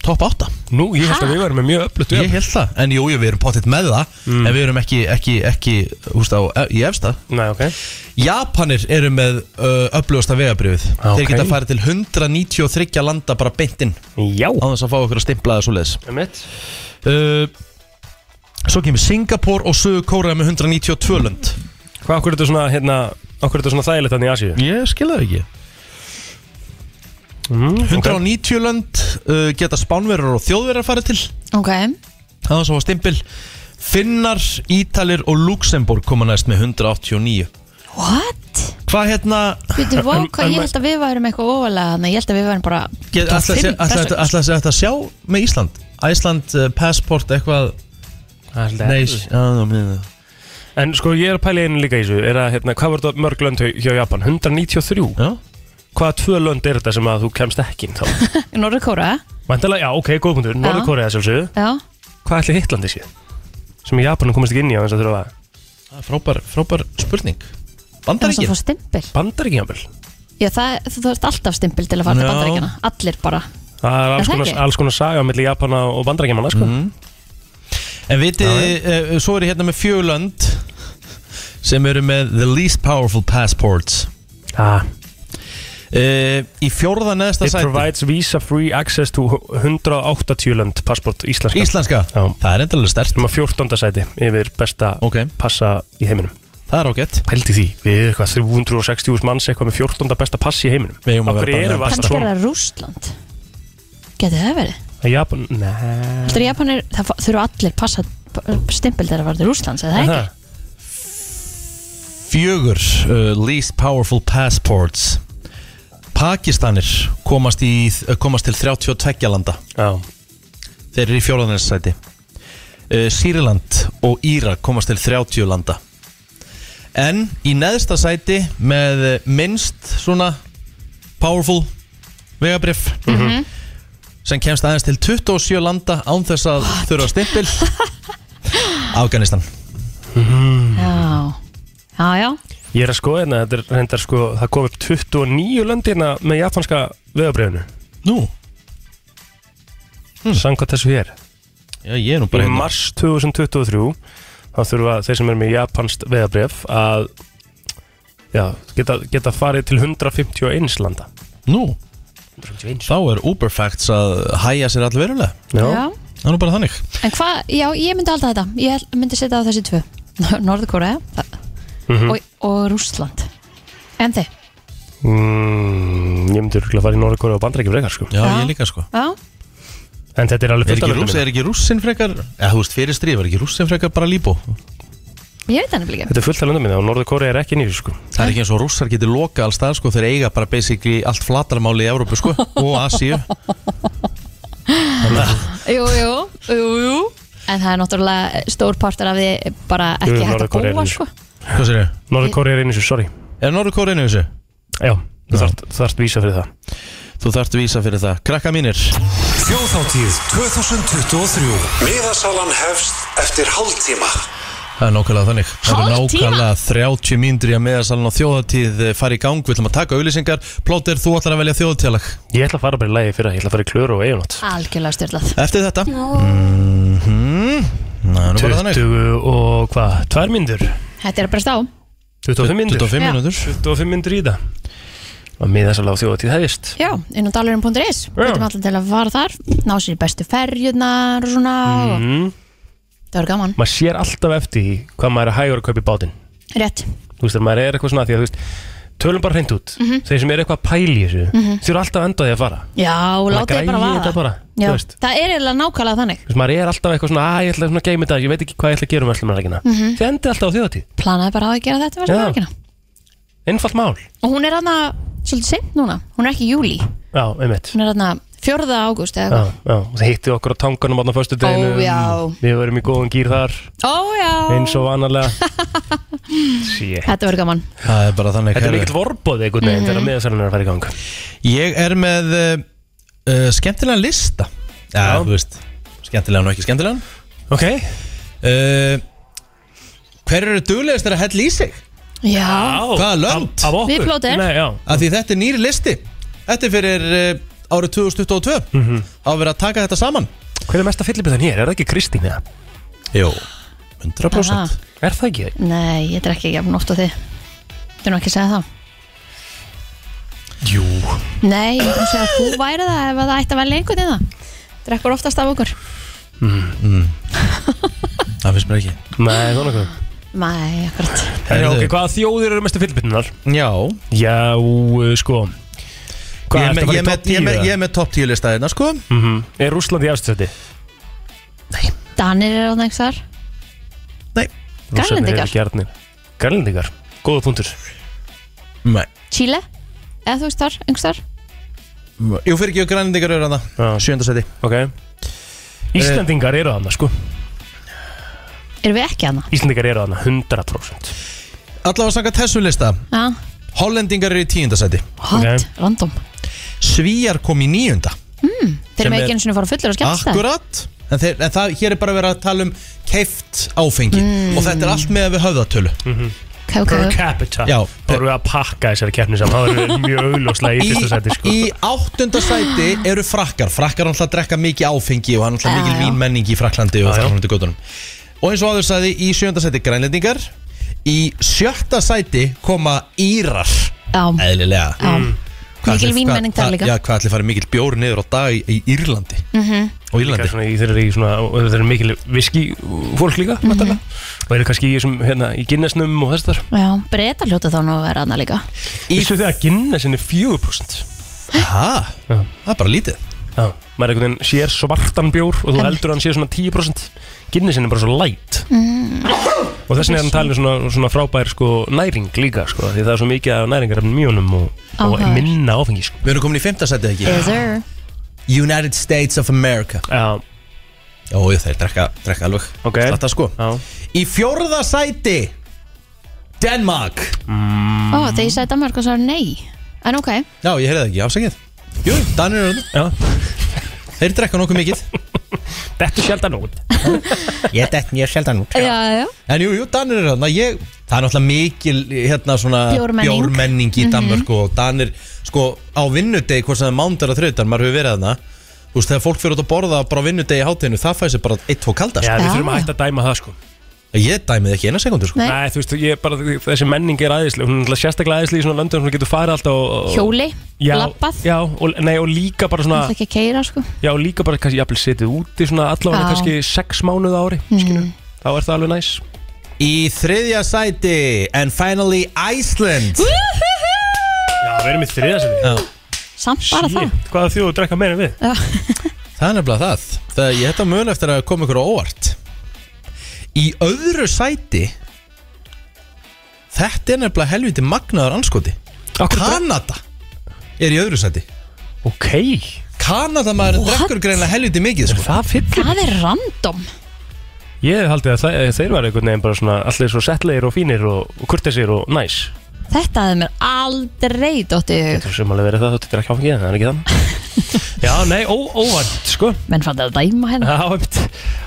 S1: top 8
S3: Nú, ég held að við varum með mjög öflugt Mm.
S1: Ég held það, en jú, jú, við erum pottitt með það En við erum ekki, ekki, ekki húst á, í efsta
S3: Nei, ok
S1: Japanir eru með uh, öflugasta vegabrifið
S3: Ah, ok.
S1: Þeir geta farið til 193 landa bara beint inn
S3: Já,
S1: Á þess að fá okkur að stimplaða svo leiðis
S3: emitt
S1: uh, Svo kemur Singapore og Suðu Kóra með 192 lönd
S3: Hvað, okkur er þetta svona, hérna Okkur er þetta svona þægilegt þannig í Asíu
S1: Ég skil það ekki
S3: mm, ok.
S1: 190 lönd uh, geta spánverður og þjóðverðar farið til
S2: ok,
S1: Það var svo að stimpil Finnar, Ítalir og Luxemburg koma næst með 189
S2: what?
S1: Hvað hérna
S2: Býtu, vá, hvað
S3: en-
S2: ég held að við værum eitthvað ofalega þannig, ég held að við værum bara
S1: get- ætla að sé- ætla- ætla- ætla að sé hægt að sjá með Ísland Æsland, uh, passport, eitthvað
S3: Það er svolítið
S1: Nei,
S3: erfitt.
S1: já, já, já.
S3: En sko ég er að pæla í einu líka í þessu er að, hérna, Hvað var þetta mörg lönd hjá Japan? 193
S1: já
S3: Hvaða tvö lönd er þetta sem að þú kemst ekki inn þá?
S2: Norður Kóra,
S3: Væntalega, já, ok, góð punktur Norður Kóriða sjálfsögðu
S2: já
S3: hvað ætli Hittlandi sé sem Japanin komist ekki inn í á þess að þurfa
S1: Það er Frábær, frábær spurning
S2: Það er svo að
S1: Bandaríkin
S2: fá stimpil
S3: bandaríkjafel
S2: Já, það, þú ert alltaf stimpil til að fara til
S1: Já.
S2: bandaríkjana Allir bara
S3: það er alls
S2: Er það
S3: konar,
S2: ekki?
S3: alls konar saga millir Japana og bandaríkjamanna sko.
S1: Mhm. En vitið, uh, svo er ég hérna með fjölönd sem eru með the least powerful passports
S3: ah,
S1: uh, Í fjórða neðsta
S3: It
S1: sæti
S3: provides visa free access to 180 lönd passport íslenska
S1: Íslenska,
S3: Já.
S1: það er endalega stert
S3: sem að 14. sæti yfir besta
S1: Ok.
S3: passa í heiminum
S1: Það er ágætt
S3: pældi því, við erum eitthvað 360.000 manns eitthvað með 14. besta pass í heiminum
S1: Við eigum að
S3: Af
S1: vera
S3: hverju erum við
S1: bara með
S3: alltaf
S2: Kannski er
S3: svona
S2: það Rússland Getur það verið?
S3: Að Japan, neða
S2: Þetta er Japanir, það fa- þurfa allir passa stimpil til að fara til Rússlands eða ekki?
S1: Fjögur uh, least powerful passports Pakistanir komast, í, uh, komast til 32 landa
S3: Já,
S1: Þeir eru í fjórða neðsta sæti uh, Sýrland og Íra komast til 30 landa En í neðsta sæti með eh, minnst svona powerful vegabrif sem kemst aðeins til 27 landa án þess að þurfa stimpil Afganistan
S2: Já, já, já
S3: Mhm. ég er að skoða hérna, þetta er reyndar sko, það kom upp 29 lönd hérna með japanska veðabrifinu,
S1: Nú,
S3: Mm, samkvæmt þessu hér
S1: já ég er nú bara
S3: Í
S1: hérna
S3: mars 2023 þá þurfa þeir sem er með japanst veðabrif að já, geta, geta farið til 151 landa
S1: Nú,
S3: 151?
S1: þá er Uber Facts að hæja sér allir verulega
S3: Já,
S1: Það er nú bara þannig
S2: En hvað, já, ég myndi alltaf þetta Ég held- myndi setja á þessi tvö Norðkóra
S3: Mhm.
S2: og, og Rússland En þið,
S3: Mm, ég myndi örgulega að fara í Norrkóra og bandrækjum frekar sko
S1: Já,
S2: Já.
S1: ég líka sko
S2: já,
S3: En þetta er alveg
S1: Er
S3: fullt
S1: ekki,
S3: af
S1: rúss,
S3: löndum
S1: er ekki rússin frekar eða þú veist fyrir stríð, er ekki rússin frekar bara líbó
S2: ég veit hann ekki
S3: Þetta er fullt af löndum minna og Norðurkóra er ekki nýri sko
S1: Það er ekki eins og rússar getur loka alls það sko þeir eiga bara basically allt flatarmáli í Evrópu sko og Asíu
S2: Jú, jú, jú, jú En það er náttúrulega eh, stór partur af því bara ekki
S3: Jú,
S2: hægt að
S3: Norður-Kórea er
S2: búa
S3: nýr.
S2: sko
S1: Hvað sér ég?
S3: Norðurkóra er einu svo, sorry
S1: Er Norður einu þessu?
S3: Já, þú þarft, þarft vísa fyrir það
S1: Þú þarft vísa fyrir það Krakka mínir
S4: Þjóðháttíð 2023 Miðasalan hefst eftir hálftíma
S1: Það er nákvæmlega þannig Það er
S2: Hálf tíma?
S1: nákvæmlega 30 mínútur í að meðarsalun á þjóðatíð eh, fara í gang Við ætlum að taka auglýsingar Plóter, þú ætlar að velja þjóðatíðalag
S3: Ég ætla að fara bara í lagi fyrir það, ég ætla að fara í klöru og eigunótt
S2: Algjörlega styrlað
S1: Eftir þetta
S3: Mm.
S1: Mhm. Það er nú bara þannig
S3: 20 og hvað, tvær myndur?
S2: Þetta er að breyst á
S3: 25 myndur?
S1: 25
S2: Já.
S1: mínútur
S3: 25 myndur í það Og miðasala á þjóðatíð hefist
S2: Já, inn á dalurinn.is Hvetjum allir til að fara þar Ná sér í bestu ferjurnar og svona
S3: mm,
S2: Það var gaman
S3: Maður sér alltaf eftir því hvað maður er hægur að kaupa í bátinn
S2: Rétt
S3: Þú veist, þegar maður er eitthvað svona því að þú veist Tölum bara hreint út,
S2: Mhm.
S3: þeir sem er eitthvað að pæla í þessu Þeir eru alltaf endaði að fara
S2: Já, láta þið bara
S3: græi
S2: vaða
S3: þetta bara, þú
S2: Já,
S3: veist.
S2: það er eiginlega nákvæmlega þannig
S3: Þú veist, maður er alltaf eitthvað svona, að ég ætla svona að geima þetta, ég veit ekki hvað ég ætla að gera um verslumannarleikina. Mm
S2: Mhm.
S3: -hmm. Þið endið alltaf á þjóðatíð.
S2: Planaði bara á að gera þetta verður
S3: Já.
S2: helgina
S3: Einfalt mál.
S2: Og hún er aðna svolítið seint núna Hún er ekki í júli Hún
S3: Já, einmitt.
S2: er aðna 4. ágúst
S3: Já,
S2: eða eitthvað
S3: já. Og það hitti okkur á tanganum á fyrstu deginu.
S2: Ó, já.
S3: Við verðum í góðum gýr þar,
S2: Ó
S3: eins
S2: já
S3: og vanalega. Shit.
S2: Þetta verður gaman Mhm.
S1: Það er bara þannig
S3: Þetta er
S1: herðu.
S3: mikill vorbóð einhvern veginn
S2: Mm.
S3: þegar miðasalinn er að fara í gang.
S1: Ég er með uh, uh, skemmtilegan lista Já,
S3: Já.
S1: þú veist Skemmtilegan og ekki skemmtilegan
S3: Ok.
S1: uh, Hver eru duglegastir að hella í sig?
S2: Já,
S1: Hvaða lönd?
S3: Af, af okkur.
S2: Við plóter.
S3: Nei, já.
S1: Af því þetta er nýri listi Þetta er fyrir uh, árið 2022 mm -hmm. Á að vera að taka þetta saman
S3: Mhm. Hver er mesta fyllibitðan hér? Er það ekki Kristín eða?
S1: Jó 100%
S2: Aha.
S3: Er það ekki?
S2: Nei, ég drekki ekki jafn oft á þig Þú er nú ekki að segja það
S3: Jú.
S2: Nei, ég er búin að segja að þú væri það ef að það ætti að velja einhvern veginn það Drekkur oftast af okkur
S1: Mm, Það finnst mér ekki
S3: Nei, það er nokkuð.
S2: Nei, akkurat
S3: Herra,
S1: Herðu.
S3: ok, hvaða þjóðir eru mestu fyllibitðunar?
S1: Já
S3: Já, uh, sko Hvað,
S1: Ég er
S3: ertu
S1: með-
S3: að
S1: ég er
S3: fara í topp 10
S1: með- ég er með- ég
S3: eða?
S1: er með topp 10 lista hérna sko
S3: Mhm. Er Rússland í afstætti?
S2: Danir er á þengs þar
S1: Nei
S2: Grænlendingar.
S3: Grænlendingar, góða punktur
S1: Nei
S2: Chile, eða þú veist þar, einhvers þar
S1: Jú, fyrir ekki og grænindingar eru hann
S3: Já.
S1: það Sjöndasæti
S3: Ok
S1: Eh,
S3: Íslendingar eru þarna sko
S2: Erum við ekki hana?
S3: Íslendingar eru þarna 100%
S1: Allavega sanga þessu lista
S2: Já,
S1: Hollendingar eru í tíundasæti
S2: hot,
S3: Ok.
S2: random
S1: Svíjar kom í níunda
S2: Þeir
S1: Sem
S2: eru
S1: er-
S2: ekki einu sinni að fara fullur og skemmst það
S1: Akkurat en, þeir, en það, hér er bara verið að tala um keift áfengi og þetta er allt með við höfðatölu
S3: Mhm.
S8: Ok, ok,
S3: Per
S8: ok.
S3: capita
S1: Já.
S3: Þá erum við að pakka þessari keppni saman Það erum við mjög augljóslega í
S1: í,
S3: fyrsta sæti sko.
S1: í áttunda sæti eru frakkar frakkar náttúrulega drekka mikið áfengi og hann náttúrulega
S8: Já,
S1: mikil
S8: já.
S1: vínmenning í Fraklandi og
S3: Já, já.
S1: framhundu göttunum og eins og áður sæði í sjönda sæti grænlendingar í sjötta sæti koma Írar Um,
S9: Eh.
S8: Já,
S1: eðlilega Mm.
S8: já.
S1: Hvað
S8: Mikil
S1: ætli-
S8: vínmenning
S1: hvað-
S8: þar líka.
S1: Já, hvað ætli farið mikil bjór niður á dag í, í Írlandi og
S3: Líka
S1: Írlandi
S3: svona í- Þeir eru í svona og Þeir eru mikil viski fólk líka mm Og eru kannski í, þessum, hérna, í Guinnessnum og þessar
S8: Já, breyta hljóta þá nú að vera annað líka
S3: Íssu þegar að Guinnessin er 4%
S1: Aha,
S3: Já.
S1: það er bara lítið
S3: Já, maður einhvern veginn sér svartan bjór og þú heldur að hann sé svona 10% Guinnessin er bara svo light og þess vegna er hann talin svona, svona frábær sko, næring líka sko, því það er svo mikið af næringarefnum í honum og, og
S8: Áhugavert.
S3: minna áfengi sko.
S1: Við erum komin í fymta sæti ekki
S8: Yes sir
S1: United States of America
S3: Já,
S1: Jó, jú, þeir drekka, drekka alveg
S3: Ok.
S1: Slatta sko
S3: já,
S1: Í fjórða sæti Denmark
S3: Mm.
S8: Ó,
S1: Mhm.
S8: þegar ég sagði Danmark og svo nei En ok,
S1: Já, ég heyrði það ekki, afsakið Jú, Danir eru þarna.
S3: já
S1: Þeir drekka nokkuð mikið
S3: Þetta er sjaldan út
S1: Ég dett mjög sjaldan út
S8: já, já
S1: En jú, jú, Danir eru þarna ég, Það er náttúrulega mikil hérna svona
S8: Bjórmenning.
S1: bjórmenning í Danmörku Og Danir, sko, á vinnudegi Hvort sem það er mándar og þriðdar, maður hefur verið þarna Þú veist, þegar fólk fyrir út að borða bara á vinnudegi í hátinu Það fæði sér bara eitt, tvo kalda
S3: Já,
S1: sko.
S3: við
S8: Já.
S3: þurfum að hætta að dæma það sko
S1: Ég dæmið ekki eina sekundu, sko
S8: Nei.
S3: Nei, þú veist, ég bara, þessi menning er æðisleg Hún er náttúrulega sérstaklega æðisleg í svona löndum sem getur farið alltaf og, og,
S8: Hjóli,
S3: já,
S8: labbað
S3: Já, og, nei, og líka bara svona
S8: Það er ekki að keira sko
S3: Já, og líka bara kannski, jafnvel setið úti svona allavega
S8: Já.
S3: kannski sex mánuð á ári
S8: Mhm.
S3: mm. Þá er það alveg næs
S1: Í þriðja sæti And finally Iceland
S3: Já, við erum í þriðasæti
S1: Já,
S8: Samt bara það
S3: Hvaða þjóðu drekka meira en við?
S1: Það er nefnilega það Það ég þetta mun eftir að koma ykkur á óvart Í öðru sæti Þetta er nefnilega helviti magnaður anskoti
S3: Akkur
S1: Kanada er í öðru sæti
S3: Ok,
S1: Kanada maður drekkur greinlega helviti mikið sko.
S3: það fyrir
S8: Það er random
S3: Ég hef haldið að þe þeir var einhvern veginn bara svona allir svo settlegir og fínir og, og kurtesir og næs
S8: Þetta hefði mér aldrei dottið í hug
S3: Þú sem alveg verið það, þú drekka áfengið, það er ekki þannig Já, nei, ó, óvænt, sko
S8: Menn fann þetta að dæma hérna
S3: Já, einmitt,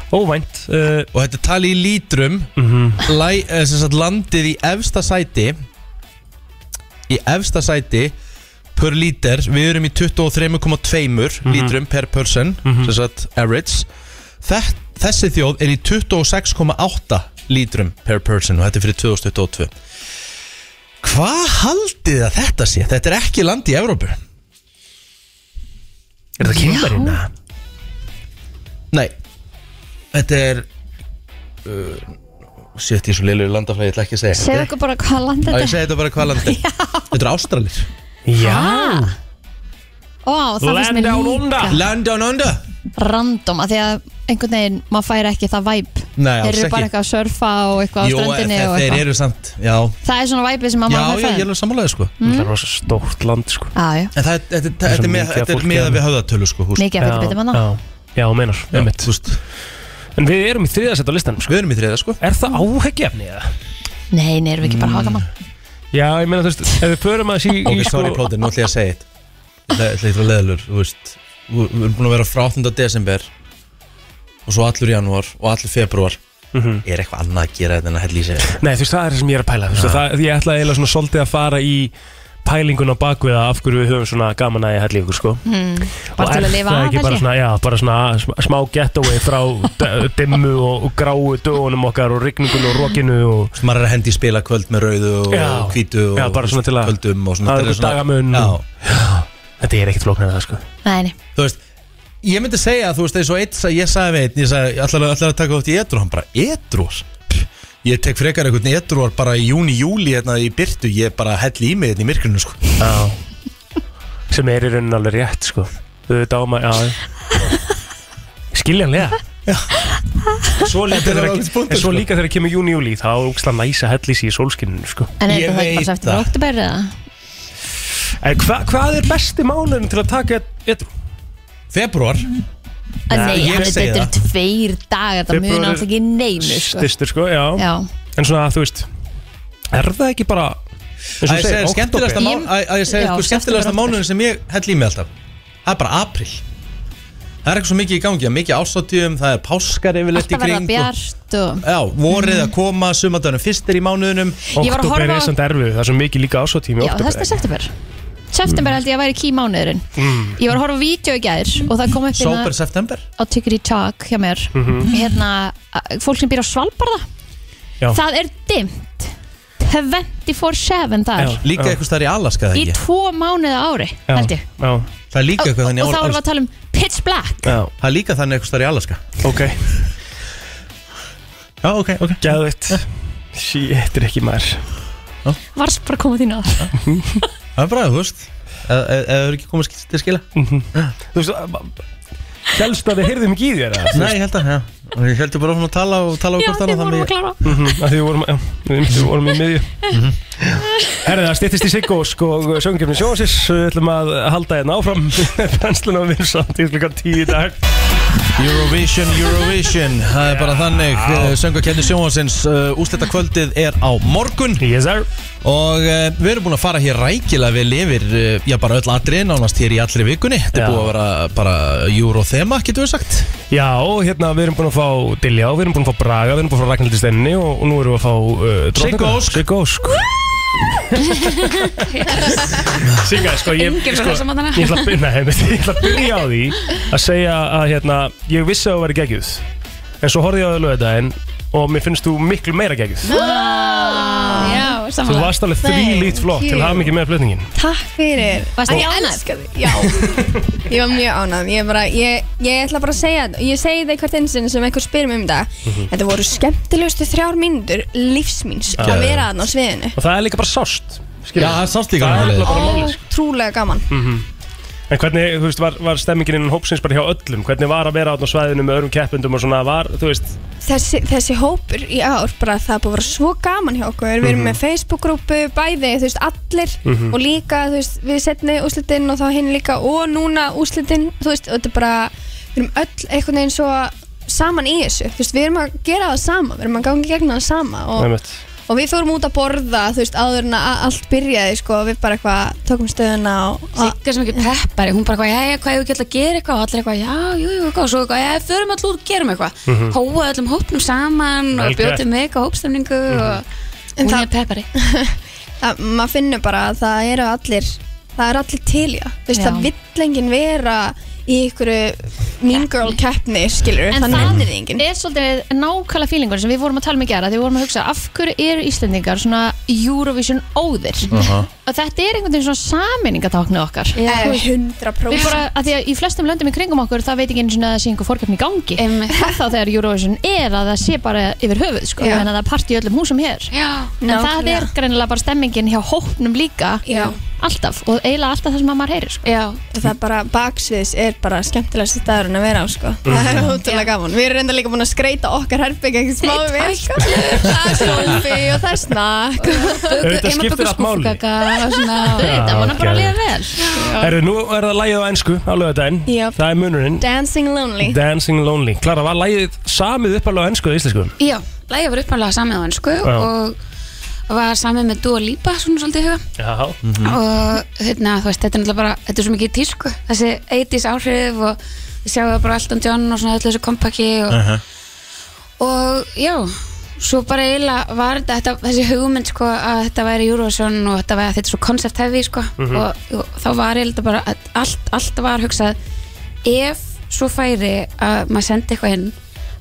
S3: óvænt uh, Mhm.
S1: Og þetta er tali í lítrum mm -hmm. læ, eh, sem sagt, Landið í efsta sæti Í efsta sæti Per líter Við erum í 23,2 lítrum per person sem sagt, Average Þett, Þessi þjóð er í 26,8 lítrum per person Og þetta er fyrir 2022 Hvað haldið þið að þetta sé? Þetta er ekki land í Evrópu
S3: Er það kynverinn?
S1: Nei Þetta er uh, Sett í svo liðlegu landafræði, ég ætla ekki að segja
S8: Segðu okkur bara hvað land
S1: Á ég
S8: þetta er
S1: segi þetta bara hvað landi Þetta eru Ástralir
S3: Já,
S8: Ó, það finnst
S3: land
S8: mér
S3: down
S8: líka
S3: under
S1: Land down under
S8: Random Af því að einhvern veginn Maður fær ekki það væp Þeir
S1: Nei, alls
S8: eru bara
S1: ekki.
S8: eitthvað að surfa og eitthvað á
S1: Jú, e,
S8: ströndinni
S1: þe-
S8: og
S1: þeir
S8: eitthvað
S1: eru samt Já,
S8: Það er svona væpið sem að Mm.
S1: já,
S8: maður fær
S1: já ég er
S8: fræðin
S1: alveg sammálaði sko En
S3: Það er rosa stórt land, sko
S8: Já, já,
S1: það er- þetta-
S3: svo
S1: þetta er
S3: mikið
S1: með-
S3: af
S1: þetta er
S3: fólki
S1: með
S3: hérna.
S1: að við höfða tölu sko hús.
S8: mikið að fyrir
S3: Já,
S8: betur manna
S3: Já, já meinar,
S1: Já,
S3: einmitt
S1: þú veist,
S3: En við erum í þriðasætt á listanum, sko
S1: Við erum í þriða sko
S3: Er það áheggjafni eða?
S8: Nei, nei, erum við
S1: Mm.
S8: ekki bara að hafa gaman
S3: Já, ég meina, þú veist, ef við förum að sí í,
S1: Ok,
S3: sko-
S1: sorry plótir, nú ætla ég að segja þetta Þetta er eitthvað leðalur, þú veist Við við erum búin að vera frá 8. desember Og svo allur janúar Og allur februar Er eitthvað annað að gera þetta en að hella í sig
S3: Mhm. Nei, þú veist, það er það sem ég er að pæla þú veist, það, Ég ætla eiginlega svona svolítið að fara í pælingun á bakviða af hverju við höfum svona gaman að ég hætli ykkur sko
S8: Bara
S3: Og
S8: til
S3: er
S8: að lifa
S3: það
S8: af,
S3: ekki
S8: held
S3: bara
S8: ég.
S3: svona, já, bara svona sm- smá getaway frá d- dimmu og, og gráu dögunum okkar og rigningun og rokinu og
S1: Maður er að hendi í spila kvöld með rauðu og
S3: Já.
S1: hvítu og
S3: Já, bara svona til að-
S1: kvöldum og svona
S3: Það er
S1: Þetta
S3: einhver dagamun
S1: Já,
S3: og- þetta er ekkert flóknar það sko
S8: Nei, nei,
S1: þú veist ég myndi segja að þú veist eins og eitt sa- ég sagði við einn, ég sagði allar, allar að taka þátt í edru hann bara edruar ég tek frekar einhvern edruar bara í júni, júli hérna í byrtu, ég bara helli í mig hérna í myrkrinu sko
S3: Já Sem er í raunin alveg rétt sko Þú veit á maður, já Skiljanlega Svo líka
S1: Þetta er
S3: þegar-
S1: ágætis punktur,
S3: en svo
S1: sko.
S3: líka þegar kemur júni júli þá er úksla næsa hellis í sólskinninu sko
S8: en
S1: Ég
S8: er þetta
S1: veit
S8: ekki bara sæfti frá
S1: það.
S8: oktober eða?
S3: En hva, hvað er besti mánuðin til að taka eitt
S1: februar,
S8: En
S3: Nei,
S8: Nei,
S1: ég
S8: en
S1: segi
S8: þetta eru tveir dagar Það
S3: Febrúar
S8: muna
S3: er
S8: alltaf ekki neinu sko.
S3: stistur sko, já.
S8: Já,
S3: En svona þú veist, er það ekki bara
S1: að ég segja skemmtilegasta,
S8: Ég-
S1: mánu, að, að ég
S8: Já,
S1: segja sko,
S8: september,
S1: skemmtilegasta
S8: október.
S1: mánuðin sem ég helli í mig alltaf það er bara april Það er eitthvað svo mikið í gangi, það er mikið ásatíðum, það er páskar yfirleitt í
S8: Alltaf verða
S1: kring sko. og-
S8: bjart og
S1: Já, vorið að koma, sumadagurinn fyrst er í mánuðunum
S8: Ég var að
S3: Oktober
S8: horfa á-
S3: er samt erfið, það er svo mikið líka ásóttími
S8: Já, það er september
S1: Mm.
S8: September held ég að væri key mánuðurinn Ég var að horfa á vídeo í gær og það kom upp hérna
S1: Sober september
S8: á Tiggeri Talk hjá mér
S1: Mhm.
S8: hérna, að- fólk sem býr á Svalbarða
S3: Já.
S8: það er dimmt 24-7 þar
S1: Líka eitthvað stær í Alaska það
S8: í
S1: ekki
S8: tvo mánuði á ári held ég
S3: Já,
S1: Það er líka
S8: og,
S1: eitthvað þannig
S8: og þá
S1: á-
S8: erum við að tala um pitch black
S3: já,
S1: Það er líka þannig eitthvað stær í Alaska
S3: ok
S1: Já, ok, ok
S3: Gæðveitt Shit, er ekki maður
S8: varst bara að koma þín á það.
S1: Það er bara, þú veist Eða eða- eða hefur ekki komið skil- til skila
S3: Mhm. Þú veist, helst að við heyrðum ekki í þér eða?
S1: Nei, ég held að, já Og Ég heldur bara áfram að tala og tala og
S8: já
S1: hvort
S8: þið
S1: annað
S8: vorum að
S1: þannig
S8: klára Mhm.
S3: Mhm, af því við vorum, já, við myndum vorum í miðju Herði, það styttist í Siggós og söngjumni sjóðsins við ætlum að halda hérna áfram brennsluna við erum samt í klukkan tíu í dag
S1: Eurovision, Eurovision Það er bara þannig eh, Söngakenni sjóhansins Úsleta kvöldið eh, er á morgun
S3: Yes sir
S1: Og uh, við erum búin að fara hér rækilega vel yfir uh, Já, bara öll atriðin Nánast hér í allri vikunni
S3: Já.
S1: Þetta er búið að vera bara Eurothema, getur við sagt
S3: Já, hérna, við erum búin að fá Diljá, við erum búin að fá Braga, við erum búin að fá Ragnhildi Stenni og, og nú erum við að fá uh,
S1: Siggósk.
S3: Siggósk Sigga, sko, ég
S2: Enginn
S3: sko,
S2: var þessa mannana.
S3: Ég ætla að byrja- nei, ég ætla að byrja á því að segja að hérna, ég vissi að þú væri geggjuð en svo horfði ég á þau lögðaðin og mér finnst þú miklu meira geggjuð
S2: Já,
S3: Þú
S2: samanlega
S3: varst alveg þrý lít flott til að hafa mikið með flutningin
S10: Takk fyrir
S8: Varst
S10: Ég
S8: ekki ánægð?
S10: elska þig Já, ég var mjög ánægð Ég, bara, ég, ég ætla bara að segja Ég segi það í hvert einsinn sem einhver spyr mig um þetta
S3: Mhm.
S10: Þetta voru skemmtilegustu þrjár mínútur lífsmíns
S3: Já.
S10: að vera þarna á sviðinu
S3: Og það er líka bara sást
S1: Já, það er sást líka
S3: Það er
S1: málið.
S3: nefnilega bara málið sko.
S10: Ótrúlega gaman
S3: En hvernig, þú veist, var, var stemmingin innan hópsins bara hjá öllum? Hvernig var að vera átna á svæðinu með öðrum keppendum og svona var, þú veist
S10: þessi, þessi hópur í ár bara það er búið að vera svo gaman hjá okkur við erum með Facebook-grúpu, bæði, þú veist, allir og líka, þú veist, við setni úslitinn og þá hinn líka og núna úslitinn, þú veist, og þetta er bara við erum öll einhvern veginn svo saman í þessu, þú veist, við erum að gera það sama við erum að gangi gegna það sama og,
S3: einmitt.
S10: og við fórum út að borða, þú veist, áður en að a- allt byrjaði, sko, og við bara eitthvað tókum stöðuna og, og
S2: Sigga sem ekki peppari, hún bara hvað, jæja, hvað hefur ekki alltaf að gera eitthvað og allir eitthvað, já, jú, jú, eitthvað, og svo eitthvað, já, förum allir út og gerum eitthvað Hóa öllum hópnum saman
S3: Vel
S2: og
S3: gert.
S2: bjótið með eitthvað hópstemningu og
S10: Mhm. En
S2: hún
S10: það-
S2: er peppari
S10: að maður finnur bara að það eru allir það eru allir til, já, þú veist,
S2: Já.
S10: það vill enginn vera í ykkur mean girl keppni, skilur
S2: En
S10: þannig
S2: það-
S10: nennir þið enginn
S2: er svolítið nákvæmlega fílingur sem við vorum að tala um í gera því við vorum að hugsa af hverju eru Íslendingar svona Eurovision óðir og þetta er einhvern veginn svona saminningatáknu okkar
S10: Eh,
S2: Við
S10: 100%
S2: bara, að því að í flestum löndum í kringum okkur það veit ekki einu sinni að það sé einhver fórkeppni í gangi
S8: Einmitt.
S2: Hvað þá þegar Eurovision er að það sé bara yfir höfuð sko,
S10: Já.
S2: en að það er part í öllum húsum hér
S8: Já,
S2: en það
S10: Nákvæmlega.
S2: er greinilega bara stemmingin hjá hópnum líka
S10: Já.
S2: alltaf og eiginlega alltaf það sem að maður heyrir sko.
S8: já
S10: það er bara baksviðs er bara skemmtilegast staðurinn að vera á sko það er ótrúlega gaman, við erum reynda líka búin að skreita okkar herbyggja ekki smá við sko það er sólfi og það er snakk
S3: Auðvitað skiptir allt máli
S2: þetta var bara að
S3: geðveikt.
S2: liða vel
S3: Herru, nú er það lægið á ennsku á lögadaginn
S10: Jöp.
S3: Það er munurinn
S10: Dancing Lonely
S3: Dancing Lonely Klara, var lægið samið uppalega á ennsku eða íslensku?
S8: Já, lægið var uppanlega samið á ennsku
S3: Já.
S8: og var samið með Dua Lipa svona svolítið í huga
S3: Já
S9: Mhm. Mm-hmm.
S8: og hérna, þú veist, þetta er náttúrulega bara þetta er svo mikið í tísku, þessi 80s áhrif og við sjáum það bara Elton John og svona öllu þessu kompaki og,
S9: Mm-hmm.
S8: og já, svo bara eiginlega var þetta, þetta, þessi hugmynd sko að þetta væri Eurovision og þetta væri þetta er svo concept heavy sko og, og þá var eiginlega bara, að allt, allt var hugsað, ef svo færi að maður sendi eitthvað inn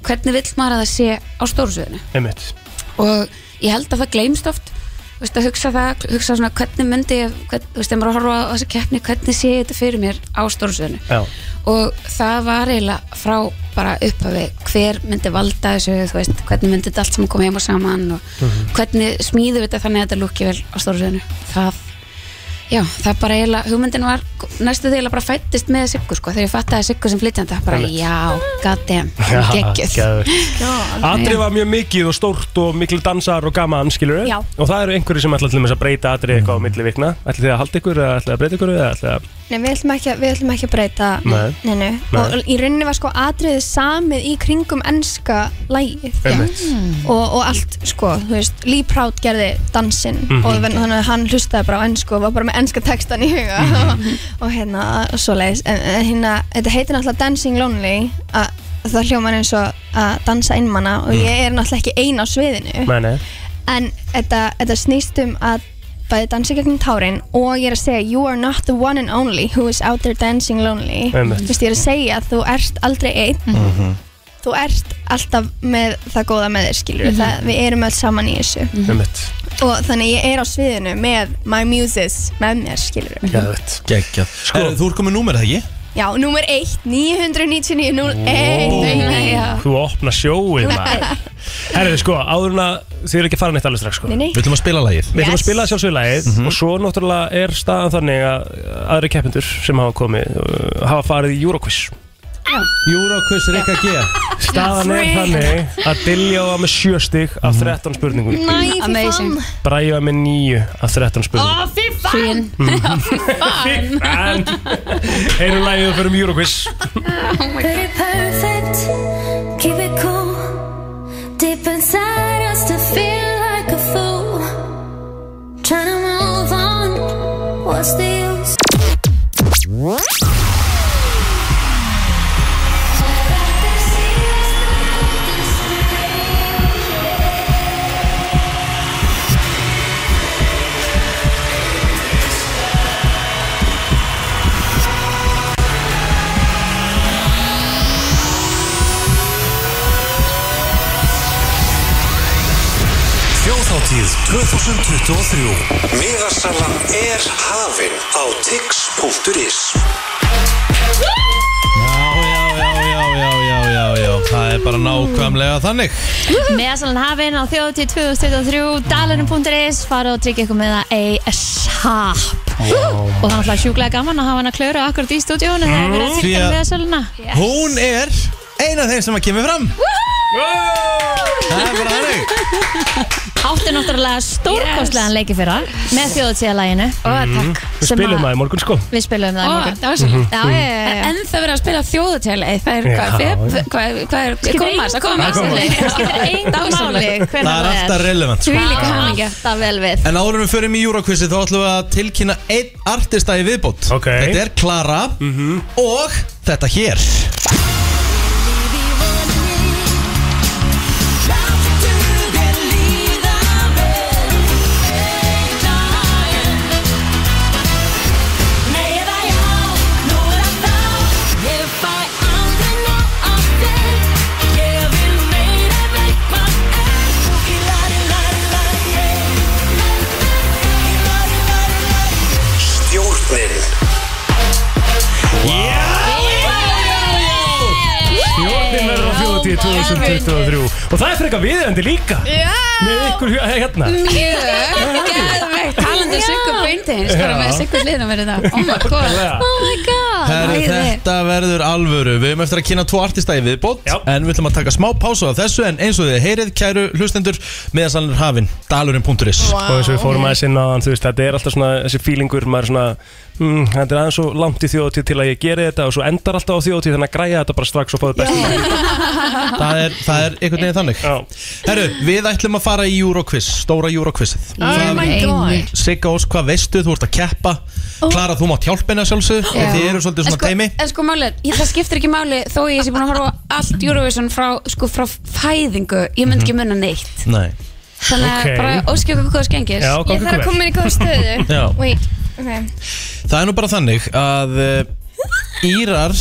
S8: hvernig vill maður að það sé á stórsviðinu
S3: Einmitt
S8: og ég held að það gleymst oft þú veist, að hugsa það, hugsa svona hvernig myndi ég, hvern, þú veist, ef maður horfa á þessu keppni hvernig sé ég þetta fyrir mér á stórsöðinu
S3: Já,
S8: og það var eiginlega frá bara upphafi hver myndi valda þessu, þú veist, hvernig myndi þetta allt saman koma heim og saman og
S9: Mm-hmm.
S8: hvernig smíðu þetta þannig að þetta lúki vel á stórsöðinu það, já, það bara eiginlega hugmyndin var, næstu því eiginlega bara fættist með Siggu, sko, þegar ég fattaði Siggu sem flytjanda bara,
S3: Einmitt.
S8: já, goddamn,
S3: Já,
S8: geggjöð
S3: geðveikt. Atrið var mjög mikið og stórt og mikil dansar og gaman, skilur
S10: Já.
S3: Og það eru einhverju sem ætla til dæmis að breyta atrið eitthvað á milli vikna Ætli þið að halda ykkur eða ætli að breyta ykkur eða ætli að
S10: Nei, við ætlum ekki, að- við ætlum ekki að breyta
S3: Nei.
S10: neinu og í rauninni var sko atriðið samið í kringum ennska lægið
S3: Einmitt.
S10: og, og allt sko, þú veist, Lee Proud gerði dansinn
S3: Mhm.
S10: og ven- þannig að hann hlustaði bara á ennsku og var bara með ennska textan í huga
S3: Mhm.
S10: og, hérna, og svo leiðis en, en hérna, þetta heitir náttúrulega Dancing Lonely að það hljóma eins og að dansa einmana og ég er náttúrulega ekki ein á
S3: Mhm.
S10: sviðinu
S3: Nei,
S9: eh.
S3: nei
S10: en þetta, þetta snýst um að bæði dansa gegnum tárin og ég er að segja you are not the one and only who is out there dancing lonely
S3: Einmitt. Mm.
S10: þú veist ég er að segja að þú ert aldrei einn
S9: Mhm. Mm-hmm.
S10: þú ert alltaf með það góða með þér skilur mm við erum öll saman í þessu
S9: Mhm.
S3: Einmitt
S10: og þannig ég er á sviðinu með my muses með mér skilur
S1: Mhm.
S3: Geðvett
S1: Geggjað sko, Þú ert komið númer það ekki?
S10: já, númer 1, 999 01
S3: Þú opna sjóið maður Herðu sko, áður en að þið eru ekki að fara neitt alveg strax sko
S10: Nei, nei.
S1: Við ætlum að spila lagið Mhm.
S3: Við ætlum að
S10: Yes.
S3: spila sjálfsögulegið mm og svo náttúrulega er staðan þannig að aðri keppendur sem hafa komið uh, hafa farið í Euroquiz
S1: Euroquiz Rikka G
S3: Staðan er þannig að Dilja var með sjö stig af 13
S1: Mhm.
S3: spurningum
S8: Amazing
S3: Bræði var með níu af 13 spurningum
S8: Fín
S3: En heyrum lagið og förum í Euroquiz
S9: Pretty perfect, keep it cool. Deep inside us to feel like a fool. Tryna move on, what's the use?
S4: Þjóðháttíð 2023 Miðasalan er hafin á tix.is
S1: Það er bara nákvæmlega þannig
S2: Meðasalan hafinn á þjóðtíð 2023 dalunum.is farið og tryggja ykkur með það ASAP og það er alltaf sjúklega gaman að hafa hann að klöra akkurat í stúdíónu þegar við erum að
S1: Því
S2: fylgja
S1: að-
S2: meðasaluna
S1: Hún er ein af þeim sem að kemur fram Það er bara þannig
S2: átti náttúrulega stórkostlegan leiki fyrir hann með þjóðtíðalæginu
S8: Ó,
S1: Mhm.
S8: takk
S3: Mhm. Við
S2: Sem
S3: spilum
S2: að-
S3: það í morgun sko
S2: við spilum
S8: Ó,
S2: það í morgun
S8: það var svo
S2: Já, ég,
S8: En en það verið að spila þjóðuteli Það er
S3: Já,
S8: hvað, feb, hvað, er- hvað er Komast, það komast
S2: skiptir engu máli
S1: Það er alltaf relevant sko.
S8: Því líka
S2: Það er
S8: hamingja
S2: alltaf vel við
S1: En áður en við förum í Euroquizi þá ætlum við að tilkynna einn artista í viðbót
S3: Ok. Mhm.
S1: Þetta er Klara og þetta hér
S4: Stjórnin
S3: Jórnin verður á þjóðatíð 2023 Og það er frekar viðeigandi líka
S10: Já. Mm.
S3: Með ykkur hjá- hérna
S8: Mjög Geðveikt. Talandi um Siggu Beinteins Hvað er með Siggu hliðum verið það? Oh my god Oh my god
S1: Herru,
S8: Æði.
S1: þetta verður alvöru Við höfum eftir að kynna tvo artista í viðbót
S3: Já.
S1: En við ætlum að taka smá pásu af þessu En eins og þið heyrið, kæru hlustendur Meðasalinn hafinn, dalurinn.is
S3: Og eins og við fórum aðeins inn á hann, þú veist, þetta er alltaf svona þessi feelingur, maður er svona, mm, þetta er aðeins svo langt í þjóðtíð til að ég geri þetta og svo endar alltaf á þjóðtíð þannig að græja þetta bara strax og fáðu bestum.
S1: það, er, það er einhvern veginn þannig
S3: Já.
S1: Herru, við ætlum að fara í Euroquiz Stóra Euroquizið
S8: Oh my god
S1: Sigga Ós, hvað veistu? Þú ert að keppa Klara, þú mátt hjálpa henni að sjálfsög
S8: Já.
S1: Þið eru svolítið
S8: En
S1: svona
S8: sko,
S1: teimi
S8: En sko málið, ég, það skiptir ekki máli þó ég sé búin að horfa á allt Eurovision frá, sko, frá fæðingu ég myndi ekki munna neitt
S1: Nei
S8: þannig að
S3: Ok.
S8: bara óskja okkur góða skengis
S3: Já,
S10: ég
S3: gangi
S10: þarf að
S3: ykkur vel.
S10: koma inn í góða stöðu
S1: Já.
S10: wait, ok
S1: Það er nú bara þannig að eh, Írar